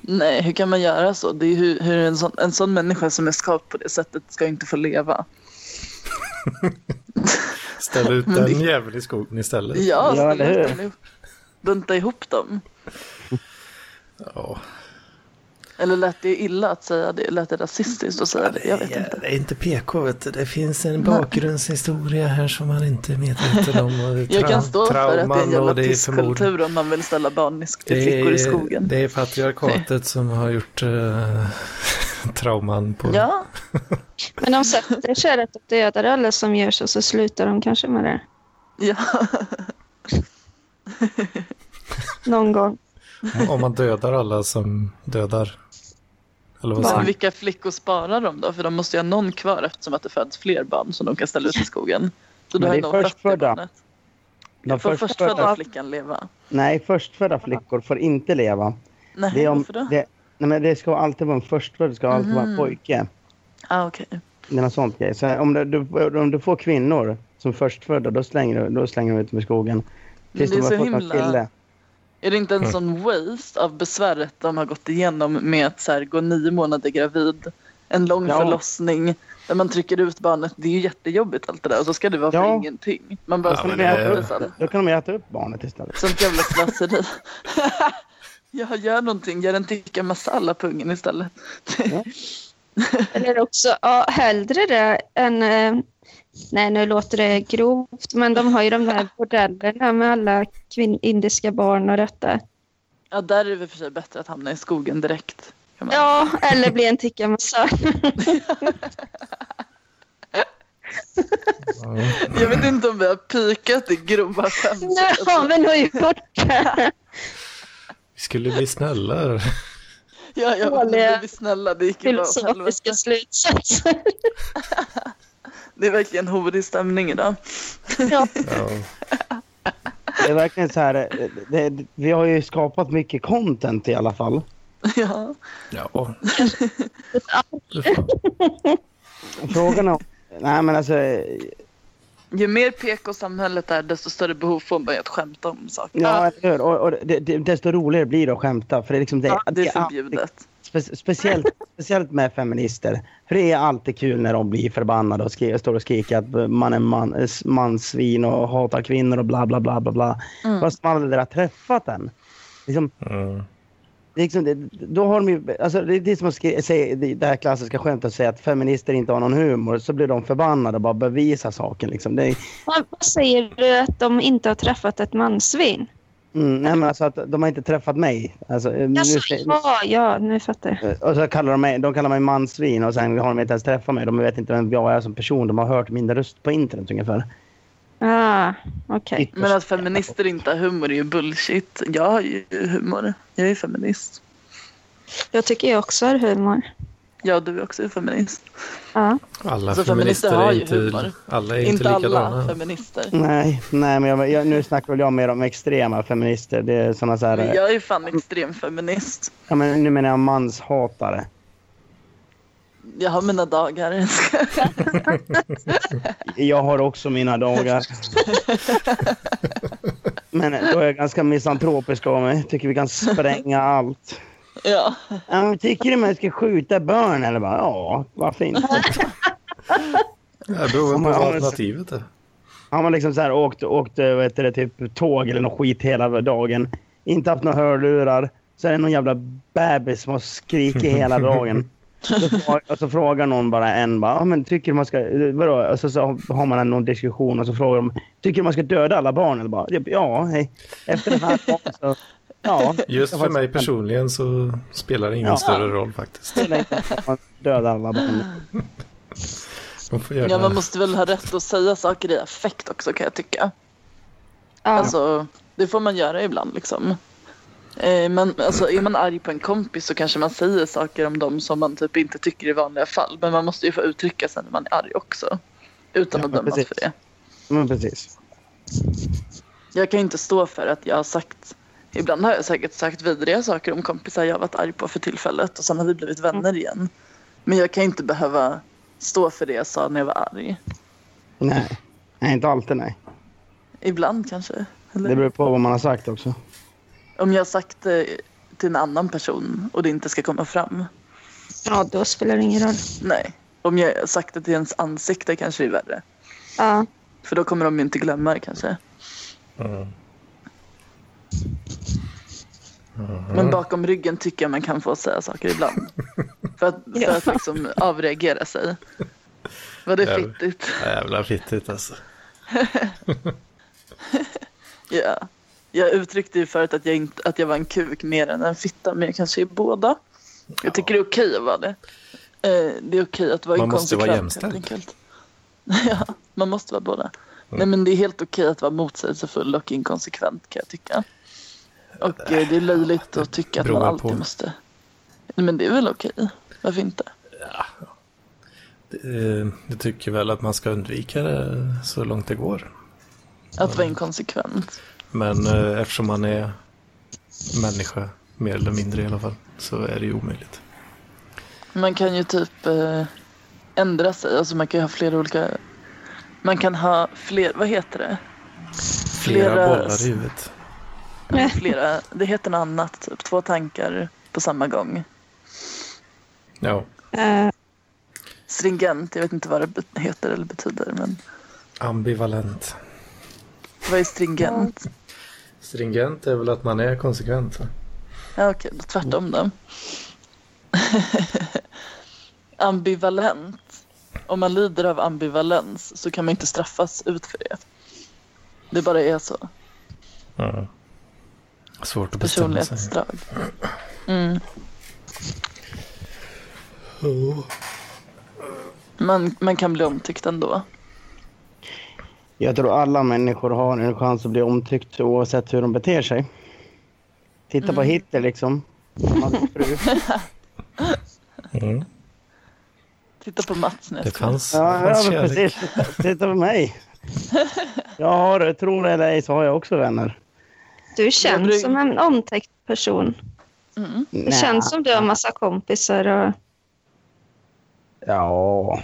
Speaker 4: Nej, hur kan man göra så? Det är ju hur, hur en, sån, en sån människa som är skapt på det sättet ska ju inte få leva.
Speaker 2: Ställ ut
Speaker 4: Men det-
Speaker 2: den jäveln i skogen istället.
Speaker 4: Ja,
Speaker 3: Ja,
Speaker 4: ställa
Speaker 3: eller
Speaker 4: ut
Speaker 3: hur?
Speaker 4: dem ihop. Bunta ihop dem.
Speaker 2: Ja.
Speaker 4: Eller lät det illa att säga det? Lät det rasistiskt att säga det? Jag vet inte.
Speaker 2: Det är inte PK, vet du. det finns en bakgrundshistoria här som man inte är medveten om. Och
Speaker 4: Jag kan stå för att det är en
Speaker 2: trauman och
Speaker 4: jävla
Speaker 2: det är
Speaker 4: pisskultur om man vill ställa barn i, sk- flickor i skogen.
Speaker 2: Det är patriarkatet som har gjort eh, trauman på...
Speaker 4: Ja,
Speaker 1: Men de sätter sig att de dödar alla som gör så, så slutar de kanske med det.
Speaker 4: ja.
Speaker 1: Någon gång.
Speaker 2: Om- Om man dödar alla som dödar. Eller vad
Speaker 4: Så
Speaker 2: säger
Speaker 4: vilka flickor sparar de då? För de måste ju ha någon kvar eftersom att det föds fler barn som de kan ställa ut i skogen. Så
Speaker 3: Men
Speaker 4: då har
Speaker 3: det
Speaker 4: ju
Speaker 3: är
Speaker 4: någon fött det
Speaker 3: förstfödda.
Speaker 4: barnet.
Speaker 3: De
Speaker 4: Får förstfödda
Speaker 3: förstfödda,
Speaker 4: flickan leva?
Speaker 3: nej, förstfödda flickor får inte leva.
Speaker 4: Nej,
Speaker 3: Det, är om,
Speaker 4: varför då? Mm.
Speaker 3: det, nej men det ska alltid vara en förstfödd, det ska alltid vara en pojke.
Speaker 4: Ah, okej.
Speaker 3: Det är något sånt grej. Så om, du, du, om du får kvinnor som förstfödda, då slänger du, då slänger du ut dem i skogen. Tills
Speaker 4: det är
Speaker 3: de har
Speaker 4: så
Speaker 3: fått en
Speaker 4: himla-
Speaker 3: kille.
Speaker 4: Är det
Speaker 2: Mm.
Speaker 4: inte en sån waste av besväret de har gått igenom med att så här, gå nio månader gravid, en lång
Speaker 3: Ja.
Speaker 4: förlossning där man trycker ut barnet. Det är ju jättejobbigt allt det där och så ska det vara för
Speaker 3: Ja.
Speaker 4: ingenting. Man bara
Speaker 2: Ja,
Speaker 4: ja,
Speaker 2: men
Speaker 4: det
Speaker 2: det är-
Speaker 4: är sen.
Speaker 3: Då kan de äta upp barnet istället.
Speaker 4: Sånt jävla slöseri. Jag gör någonting, gör en tikka masala på ungen istället.
Speaker 1: Eller också, ja, hellre det än... Eh, nej, nu låter det grovt, men de har ju de där bordellerna med alla kvin- indiska barn och detta.
Speaker 4: Ja, där är det i och för sig bättre att hamna i skogen direkt. Kan man.
Speaker 1: Ja, eller bli en tikka masala.
Speaker 4: Jag vet inte om vi har pikat i grova skämt.
Speaker 1: Nej, men nu har ju bort det.
Speaker 2: Vi skulle bli snällare.
Speaker 4: Ja, ja, men nu
Speaker 1: Dåliga
Speaker 4: är vi snälla, det gick ju bra åt helvete.
Speaker 1: Filosofiska slutsatser.
Speaker 4: Det är verkligen horig stämning idag.
Speaker 1: Ja,
Speaker 2: Ja.
Speaker 3: Det är verkligen så här. eh, Det, det, vi har ju skapat mycket content i alla fall.
Speaker 4: Ja.
Speaker 2: ja.
Speaker 3: Frågan är... Nej men alltså.
Speaker 4: Ju mer PK-samhället är, desto större behov får man ju att skämta om saker.
Speaker 3: Ja, eller hur? Och, och det, det, desto roligare blir det att skämta. För det är liksom det,
Speaker 4: Ja, det är
Speaker 3: alltid-
Speaker 4: förbjudet.
Speaker 3: Spe speciellt, speciellt med feminister. För det är alltid kul när de blir förbannade och skri- står och skriker att man är man, s- mansvin och hatar kvinnor och bla bla bla bla bla. Fast man aldrig har träffat den. Liksom,
Speaker 2: Mm.
Speaker 3: det är liksom, det, då har de ju, alltså, det, det är som att skri- säga, det det här klassiska skämtet att säga att feminister inte har någon humor. Så blir de förbannade och bara bevisar saken. Liksom. Det är,
Speaker 1: vad vad säger du att de inte har träffat ett mansvin?
Speaker 3: mm, nej, men alltså, att de har inte träffat mig. Alltså, nu,
Speaker 1: Alltså,
Speaker 3: sä-
Speaker 1: ja, ja, nu fattar jag.
Speaker 3: Eh, Och så kallar de mig, de kallar mig mansvin och sen har de inte ens träffat mig. De vet inte vem jag är som person. De har hört min röst på internet ungefär.
Speaker 1: Ah, okej.
Speaker 4: Men alltså- att feminister inte har humor är ju bullshit. Jag har ju humor. Jag är feminist.
Speaker 1: Jag tycker jag också har humor.
Speaker 4: Ja, du är också feminist.
Speaker 1: Ja.
Speaker 2: Alla
Speaker 4: Alltså,
Speaker 2: feminister
Speaker 4: feminister har
Speaker 2: är
Speaker 4: ju
Speaker 2: inte,
Speaker 4: humor.
Speaker 2: alla är
Speaker 4: Inte,
Speaker 2: inte,
Speaker 4: alla
Speaker 2: likadana.
Speaker 4: feminister.
Speaker 3: Nej, nej men jag, jag, nu snackar väl jag mer om extrema feminister. Det är såna så här,
Speaker 4: Men jag är fan extrem feminist.
Speaker 3: ja, men nu menar jag manshatare.
Speaker 4: Jag har mina dagar.
Speaker 3: Jag har också mina dagar. men då är jag ganska misantropisk av mig. Tycker vi kan spränga allt.
Speaker 4: ja.
Speaker 3: Ja, men tycker du man ska skjuta barn eller? Bara, ja, varför inte?
Speaker 2: Ja, det beror på
Speaker 3: Om man-
Speaker 2: vad
Speaker 3: om man-
Speaker 2: alternativet är.
Speaker 3: Han var liksom så här, åkt, åkt vad heter det, typ, tåg eller något skit hela dagen. Inte haft några hörlurar. Så är det någon jävla bebis som har skrikit hela dagen. Så frå- Och så frågar någon bara en bara, "Ja, men tycker du man ska, vadå? Och så, så har man någon diskussion och så frågar de, tycker du man ska döda alla barn? Eller bara, ja, hej. Efter den här dagen så, ja.
Speaker 2: Just
Speaker 3: Jag
Speaker 2: för
Speaker 3: faktiskt-
Speaker 2: mig personligen så spelar det ingen
Speaker 3: Ja.
Speaker 2: större roll faktiskt.
Speaker 3: det är lite att Man dödar alla barn.
Speaker 2: De får göra
Speaker 4: ja, man måste väl ha rätt att säga saker i affekt också kan jag tycka.
Speaker 1: Ja.
Speaker 4: Alltså, det får man göra ibland liksom. Eh, Men alltså, är man arg på en kompis så kanske man säger saker om dem som man typ inte tycker i vanliga fall. Men man måste ju få uttrycka sig när man är arg också. Utan
Speaker 3: Ja,
Speaker 4: att dömas
Speaker 3: precis.
Speaker 4: för det.
Speaker 3: Men precis.
Speaker 4: Jag kan ju inte stå för att jag har sagt Ibland har jag säkert sagt vidriga saker om kompisar jag har varit arg på för tillfället och sen har vi blivit
Speaker 3: Mm.
Speaker 4: vänner igen. Men jag kan ju inte behöva stå för det jag sa när jag var arg.
Speaker 3: Nej. nej, inte alltid nej.
Speaker 4: Ibland kanske. Eller?
Speaker 3: Det beror på vad man har sagt också.
Speaker 4: Om jag har sagt det till en annan person och det inte ska komma fram.
Speaker 1: ja, då spelar det ingen roll.
Speaker 4: Nej. Om jag har sagt det till ens ansikte kanske det är värre.
Speaker 1: Ja.
Speaker 4: För då kommer de ju inte glömma det kanske.
Speaker 2: Mm.
Speaker 4: Men bakom ryggen tycker jag man kan få säga saker ibland. för att, för att liksom avreagera sig. Var det
Speaker 2: Ja.
Speaker 4: fittigt?
Speaker 2: Jävla fittigt alltså.
Speaker 4: Ja. Jag uttryckte ju förut att jag, inte, att jag var en kuk mer än en fitta, men jag kanske är båda. Jag tycker det är okej att vara det. Eh, Det är okej att vara
Speaker 2: Man måste vara
Speaker 4: inkonsekvent, helt
Speaker 2: jämställd.
Speaker 4: enkelt. ja, man måste vara båda.
Speaker 2: Mm.
Speaker 4: Nej, men det är helt okej att vara motsägelsefull och inkonsekvent kan jag tycka. Och eh, det är löjligt att tycka att
Speaker 2: Beror
Speaker 4: man
Speaker 2: på.
Speaker 4: alltid måste... Nej, Men det är väl okej? Varför inte?
Speaker 2: Eh, Jag tycker väl att man ska undvika det så långt det går.
Speaker 4: Att vara inkonsekvent.
Speaker 2: Men eh, eftersom man är människa, mer eller mindre i alla fall, så är det ju omöjligt.
Speaker 4: Man kan ju typ eh, ändra sig. Alltså man kan ju ha flera olika... Man kan ha fler... Vad heter det?
Speaker 2: Flera
Speaker 4: Flera-
Speaker 2: bollar i huvudet.
Speaker 4: Eller Flera, det heter något annat, typ två tankar på samma gång.
Speaker 2: Ja,
Speaker 1: Eh,
Speaker 4: stringent. Jag vet inte vad det bet- heter eller betyder. Men
Speaker 2: Ambivalent.
Speaker 4: vad är stringent?
Speaker 2: Stringent är väl att man är konsekvent. va?
Speaker 4: Ja, okej, då tvärtom då. ambivalent. Om man lider av ambivalens så kan man inte straffas ut för det. Det bara är så.
Speaker 2: Ja. Svårt att bestämma sig.
Speaker 4: Personlighetsdrag. Mm. Man, man kan bli omtyckt ändå.
Speaker 3: Jag tror alla människor har en chans att bli omtyckt oavsett hur de beter sig. Titta på Hitler liksom. Han hade en fru.
Speaker 2: Mm.
Speaker 4: Titta på Mats nu.
Speaker 2: Det fanns, det
Speaker 3: Ja, ja
Speaker 2: fanns
Speaker 3: men
Speaker 2: kärlek.
Speaker 3: precis. Titta på mig. Jag har, tror det eller ej, så har jag också vänner.
Speaker 1: Du känns
Speaker 4: blir-
Speaker 1: som en omtäckt person.
Speaker 4: Mm.
Speaker 1: Det känns som du har massa kompisar och
Speaker 3: Ja.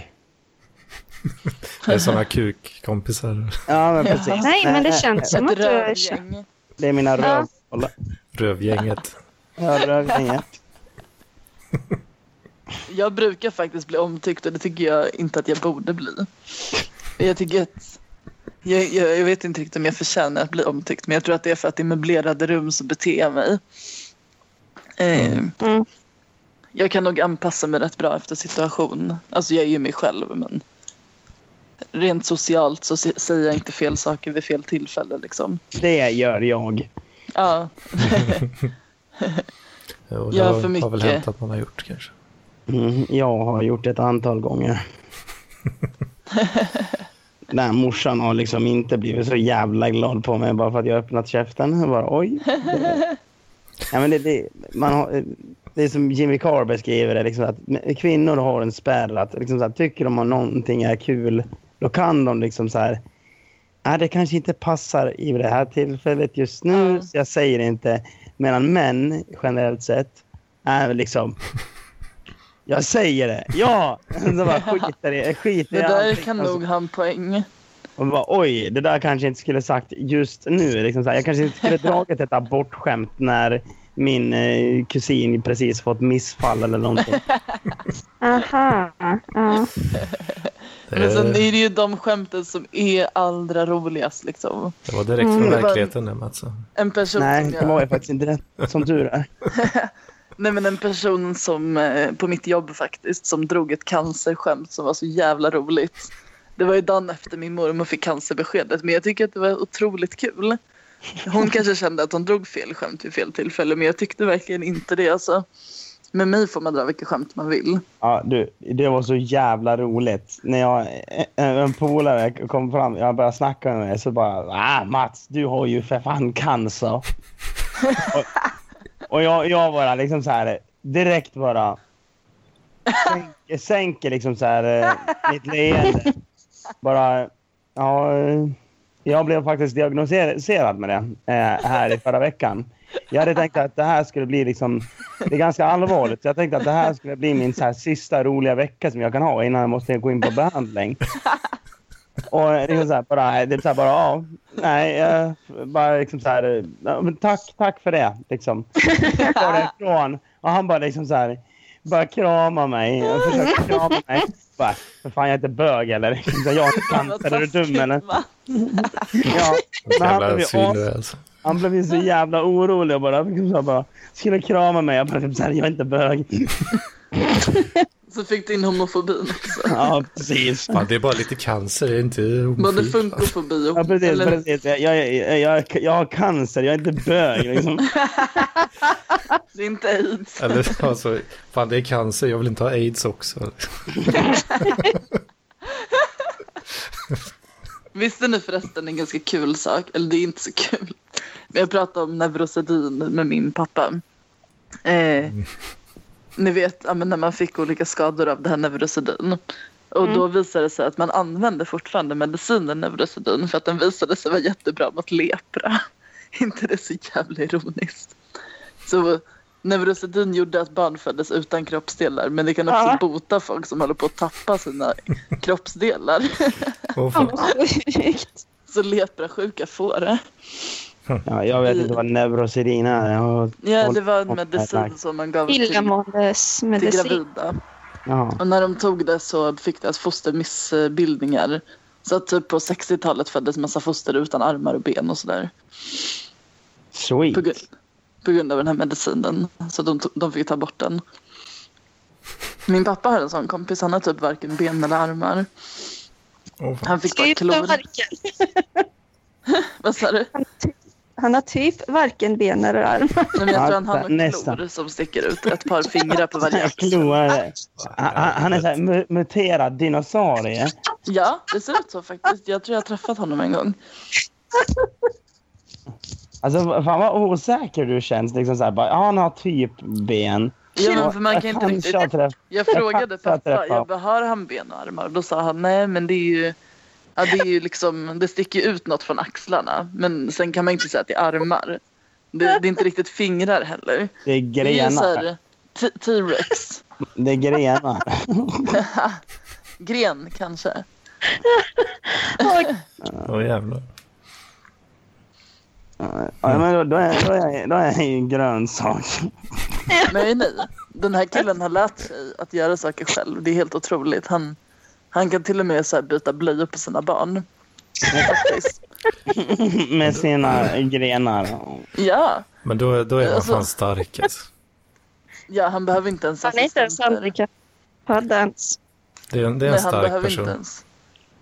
Speaker 2: Det är sådana kukkompisar.
Speaker 3: Ja, men precis.
Speaker 1: Nej, men det
Speaker 3: nej.
Speaker 1: känns som att
Speaker 4: Ett
Speaker 1: du är tjej.
Speaker 4: rövgäng.
Speaker 3: Det är
Speaker 1: Ja.
Speaker 3: mina rövhål.
Speaker 2: Rövgänget.
Speaker 3: Jag röker inget.
Speaker 4: Jag brukar faktiskt bli omtyckt och det tycker jag inte att jag borde bli. Jag tycker att jag, jag, jag vet inte riktigt om jag förtjänar att bli omtyckt men jag tror att det är för att i möblerade rum så beter jag mig. Eh,
Speaker 1: Mm.
Speaker 4: Jag kan nog anpassa mig rätt bra efter situation. Alltså jag är ju mig själv men rent socialt så se- säger jag inte fel saker vid fel tillfälle liksom.
Speaker 3: Det gör jag.
Speaker 4: Ja,
Speaker 2: Jo, Eh, det
Speaker 4: Gör
Speaker 2: har, har
Speaker 4: för
Speaker 2: väl
Speaker 4: mycket.
Speaker 2: hänt att man har gjort kanske.
Speaker 3: Mm, jag har gjort det ett antal gånger. Nej, morsan har liksom inte blivit så jävla glad på mig bara för att jag har öppnat käften. Jag bara, oj. Ja, men det, det, man har, det är som Jimmy Carr beskriver det, liksom, att kvinnor har en spärr. Att, liksom, så här, tycker de att någonting är kul, då kan de liksom så här... Nej, det kanske inte passar i det här tillfället just nu,
Speaker 4: Ja.
Speaker 3: så jag säger inte. Medan män, generellt sett, är liksom... Jag säger det. Ja! De bara skiter i, skiter
Speaker 4: det
Speaker 3: i
Speaker 4: där
Speaker 3: allting.
Speaker 4: kan
Speaker 3: Och så-
Speaker 4: nog ha en poäng.
Speaker 3: och bara, oj, det där kanske jag inte skulle sagt just nu. Liksom så här, jag kanske inte skulle dragit ett abortskämt när min eh, kusin precis fått missfall eller någonting.
Speaker 1: Aha. Ja.
Speaker 2: Det,
Speaker 4: Men alltså, sen är det ju de skämten som är allra roligast liksom.
Speaker 2: det var direkt från
Speaker 4: Mm.
Speaker 2: verkligheten alltså. det Mats. sa.
Speaker 4: En person
Speaker 3: Nej,
Speaker 4: som
Speaker 3: det
Speaker 4: jag...
Speaker 3: var ju faktiskt inte det. Som tur är.
Speaker 4: Nej men en person som eh, på mitt jobb faktiskt som drog ett cancerskämt som var så jävla roligt. Det var ju dagen efter min mormor fick cancerbeskedet men jag tycker att det var otroligt kul. Hon kanske kände att hon drog fel skämt vid fel tillfälle men jag tyckte verkligen inte det alltså. Med mig får man dra vilka skämt man vill.
Speaker 3: Ja, du, det var så jävla roligt. När jag, en en polare kom fram, jag började snacka med mig, så bara ah, Mats, du har ju för fan cancer. och och jag, jag bara liksom så här direkt bara sänker, sänker liksom så här eh, mitt leende. Bara, ja, eh, jag blev faktiskt diagnostiserad med det eh, här i förra veckan. Jag hade tänkt att det här skulle bli liksom, det är ganska allvarligt. Så jag tänkte att det här skulle bli min så här sista roliga vecka som jag kan ha innan jag måste gå in på behandling. Och liksom så här bara, det är så här bara, ja, nej, eh, bara liksom så här, eh, ja, men tack, tack för det liksom. Jag går därifrån och han bara liksom så här, bara krama mig, och försöker krama mig. Bara, för fan jag är inte bög eller? Liksom, Jag har inte cancer, är du dum eller?
Speaker 4: Va?
Speaker 3: Ja, men han blev
Speaker 2: Jävla
Speaker 3: ju
Speaker 2: svin du är alltså.
Speaker 3: han blev ju så jävla orolig och bara, liksom så här bara skulle krama mig. Jag bara typ så här, jag är inte bög.
Speaker 4: Så fick du in homofobin också.
Speaker 3: Ja, precis.
Speaker 2: Fan, det är bara lite cancer, det är inte
Speaker 4: Både
Speaker 2: homofobi.
Speaker 4: funkofobi och...
Speaker 3: Ja, precis,
Speaker 4: eller-
Speaker 3: precis. Jag, jag, jag, jag, jag har cancer, jag är inte bög. Liksom.
Speaker 4: Det är inte aids.
Speaker 2: Eller alltså, fan det är cancer, jag vill inte ha aids också.
Speaker 4: Visste ni förresten en ganska kul sak? Eller det är inte så kul. Men jag pratade om Neurosedyn med min pappa. Eh, Ni vet ja, men när man fick olika skador av det här Neurosedyn. Och då visade det sig att man använder fortfarande medicinen Neurosedyn för att den visade sig vara jättebra mot lepra. inte det så jävla ironiskt? Så Neurosedyn gjorde att barn föddes utan kroppsdelar men det kan också
Speaker 1: Ja.
Speaker 4: bota folk som håller på att tappa sina kroppsdelar.
Speaker 1: Fan,
Speaker 2: Åh, fan.
Speaker 1: vad sjukt.
Speaker 4: Så leprasjuka får det.
Speaker 3: Ja, jag vet inte vad neurosedin är. Jag har
Speaker 4: Ja,
Speaker 3: hållit
Speaker 4: det var
Speaker 3: på
Speaker 4: en
Speaker 3: med det här.
Speaker 4: medicin som man gav till, till
Speaker 1: Illamåendesmedicin.
Speaker 4: gravida.
Speaker 3: Ja.
Speaker 4: Och när de tog det så fick deras foster missbildningar. Så att typ på 60-talet föddes massa foster utan armar och ben och sådär.
Speaker 3: Sweet.
Speaker 4: På, grund- på grund av den här medicinen. Så de, to- de fick ta bort den. Min pappa har en sån kompis. Han har typ varken ben eller armar.
Speaker 2: Åh, fan.
Speaker 4: Han fick bara klor. Vad sa du?
Speaker 1: Han har typ varken ben eller arm.
Speaker 4: Nej, men jag tror han har
Speaker 3: Nästan,
Speaker 4: några
Speaker 3: nästan.
Speaker 4: klor som sticker ut. Ett par fingrar på varje axel.
Speaker 3: Kloare. Han, han- han är så här mu- muterad dinosaurie.
Speaker 4: Ja, det ser ut så faktiskt. Jag tror jag har träffat honom en gång.
Speaker 3: Alltså, fan vad osäker du känns. Liksom så här, bara, ja, han har typ ben.
Speaker 4: Ja, men
Speaker 3: Och
Speaker 4: för man kan
Speaker 3: jag
Speaker 4: inte
Speaker 3: kanske
Speaker 4: riktigt...
Speaker 3: har träff-
Speaker 4: Jag frågade
Speaker 3: kanske har
Speaker 4: pappa,
Speaker 3: träffat-
Speaker 4: jag bara, har han ben och armar? Då sa han, nej men det är ju, ja, det är ju liksom, det sticker ju ut något från axlarna. Men sen kan man inte säga att det är armar. Det, det är inte riktigt fingrar heller.
Speaker 3: Det är
Speaker 4: Det är ju så
Speaker 3: grenar.
Speaker 4: här, t- T-rex.
Speaker 3: Det är grenar.
Speaker 4: Gren kanske.
Speaker 2: Åh jävlar.
Speaker 3: Ja, men då, då, är, då, är, då är han ju en grönsak.
Speaker 4: Men jag är ny. Den här killen har lärt sig att göra saker själv. Det är helt otroligt. Han, han kan till och med så här byta blöjor på sina barn. Faktiskt.
Speaker 3: Med sina grenar.
Speaker 4: Ja,
Speaker 2: Men då, då är han
Speaker 4: Alltså-
Speaker 2: fan stark alltså.
Speaker 4: ja, han behöver inte ens
Speaker 1: Han är inte ens
Speaker 4: assistenter.
Speaker 1: handikappad ens.
Speaker 2: Det är en, det är en
Speaker 4: Nej, han
Speaker 2: stark
Speaker 4: behöver
Speaker 2: person.
Speaker 4: Inte ens.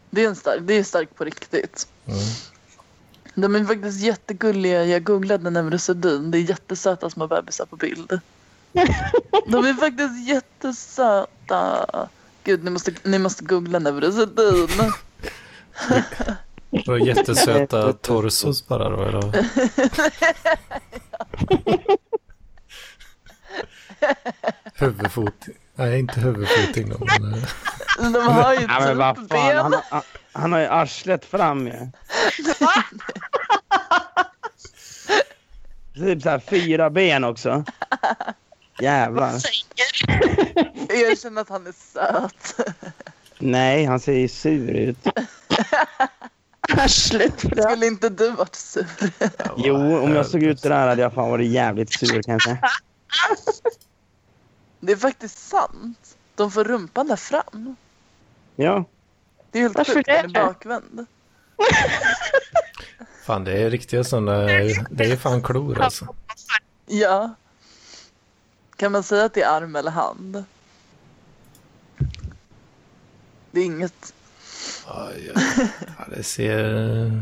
Speaker 4: Det är en stark, det är stark på riktigt.
Speaker 2: Mm.
Speaker 4: De är faktiskt jättegulliga. Jag googlade nämligen Sedin. Det är jättesöta små bebisar på bild. De är faktiskt jättesöta. Gud, ni måste, ni måste googla Neurosedyn.
Speaker 2: Det var jättesöta torsos bara då eller? huvudfot. Nej, inte huvudfoting då. Men, eh,
Speaker 4: De har ju
Speaker 3: Ja, men vad
Speaker 4: typ
Speaker 3: fan. Han,
Speaker 4: ben.
Speaker 3: har- han, han har ju arslet fram ju. Typ så här fyra ben också. Jävlar.
Speaker 4: Erkänn att han är söt.
Speaker 3: Nej, han ser ju sur ut.
Speaker 1: Arslet fram.
Speaker 4: Skulle inte du varit sur?
Speaker 3: Jo, om
Speaker 2: eh,
Speaker 3: jag såg ut så där hade jag fan varit jävligt sur kanske.
Speaker 4: Det är faktiskt sant. De får rumpan där fram.
Speaker 3: Ja.
Speaker 4: Det är helt
Speaker 1: Varför
Speaker 4: sjukt. Den är
Speaker 1: det?
Speaker 4: bakvänd.
Speaker 2: Fan, det är riktiga sådana. Det är fan klor alltså.
Speaker 4: Ja. Kan man säga att det är arm eller hand? Det är inget.
Speaker 2: Aj, aj. Ja, det ser...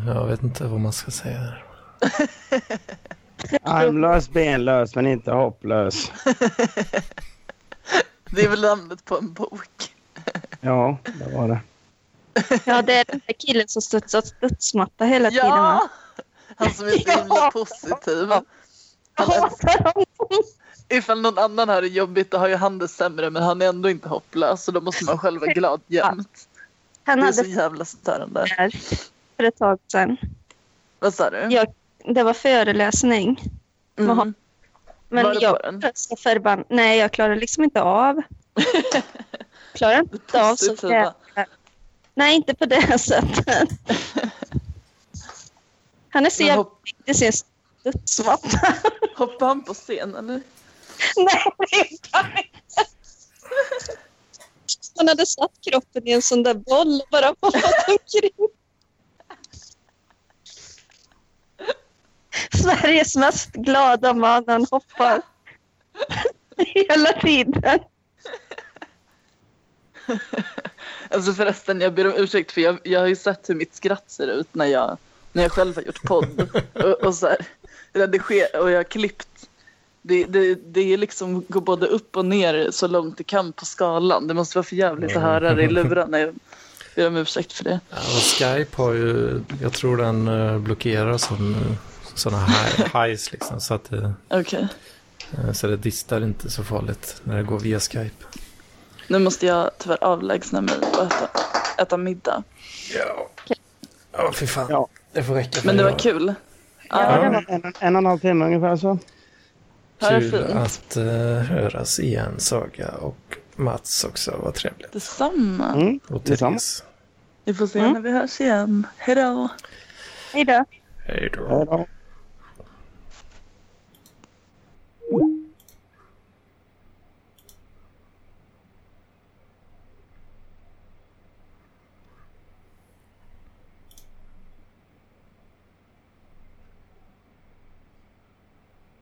Speaker 2: Jag vet inte vad man ska säga. där.
Speaker 3: Armlös, benlös, men inte hopplös.
Speaker 4: Det är väl namnet på en bok.
Speaker 3: Ja, det var det.
Speaker 1: Ja, det är den där killen som studsar studsmatta hela tiden. va?
Speaker 4: Ja! Han som är så himla positiv.
Speaker 1: Jag hatar honom.
Speaker 4: Ifall någon annan har det jobbigt då har ju han det sämre men han är ändå inte hopplös så då måste man själv vara glad jämt.
Speaker 1: Han
Speaker 4: Det är så
Speaker 1: hade
Speaker 4: jävla störande.
Speaker 1: här för ett tag sedan.
Speaker 4: Vad sa du?
Speaker 1: Jag, det var föreläsning.
Speaker 4: Mm.
Speaker 1: Men
Speaker 4: Var det på
Speaker 1: jag
Speaker 4: den?
Speaker 1: var så förbannad. Nej, jag klarar liksom inte av. klarar inte av så
Speaker 4: Positiva.
Speaker 1: Nej, inte på det sättet. Han är så
Speaker 4: Men
Speaker 1: jävla
Speaker 4: hop-
Speaker 1: viktig i sin studsmatta.
Speaker 4: Hoppar han på scen eller?
Speaker 1: Nej, det gjorde han inte. Han hade satt kroppen i en sån där boll och bara hoppat omkring. Sveriges mest glada man, han hoppar hela tiden.
Speaker 4: Alltså förresten, jag ber om ursäkt för jag, jag har ju sett hur mitt skratt ser ut när jag, när jag själv har gjort podd och, och så här, rediger, och jag har klippt. Det, det, det är liksom går både upp och ner så långt det kan på skalan. Det måste vara för jävligt att höra det i lurarna. Jag ber om ursäkt för det.
Speaker 2: Ja, och Skype har ju... Jag tror den eh, blockerar sådana highs liksom. Så, att, det-
Speaker 4: Okej,
Speaker 2: eh, så det distar inte så farligt när det går via Skype.
Speaker 4: nu måste jag tyvärr avlägsna mig och äta, äta middag.
Speaker 2: Ja. Ja, fy fan.
Speaker 3: Ja.
Speaker 2: Det får räcka. för
Speaker 4: Men det var
Speaker 2: idag.
Speaker 4: kul.
Speaker 3: Ja,
Speaker 4: Ja,
Speaker 3: det var en, en och en halv timme ungefär så.
Speaker 4: ha det
Speaker 2: Kul
Speaker 4: fint.
Speaker 2: att eh, höras igen, Saga och Mats också. Vad trevligt.
Speaker 4: Detsamma.
Speaker 3: Mm.
Speaker 2: Och
Speaker 3: Detsamma.
Speaker 2: Therese.
Speaker 4: Vi får se när vi hörs igen. Hej då.
Speaker 1: Hej då.
Speaker 2: Hej då.
Speaker 3: Hej då.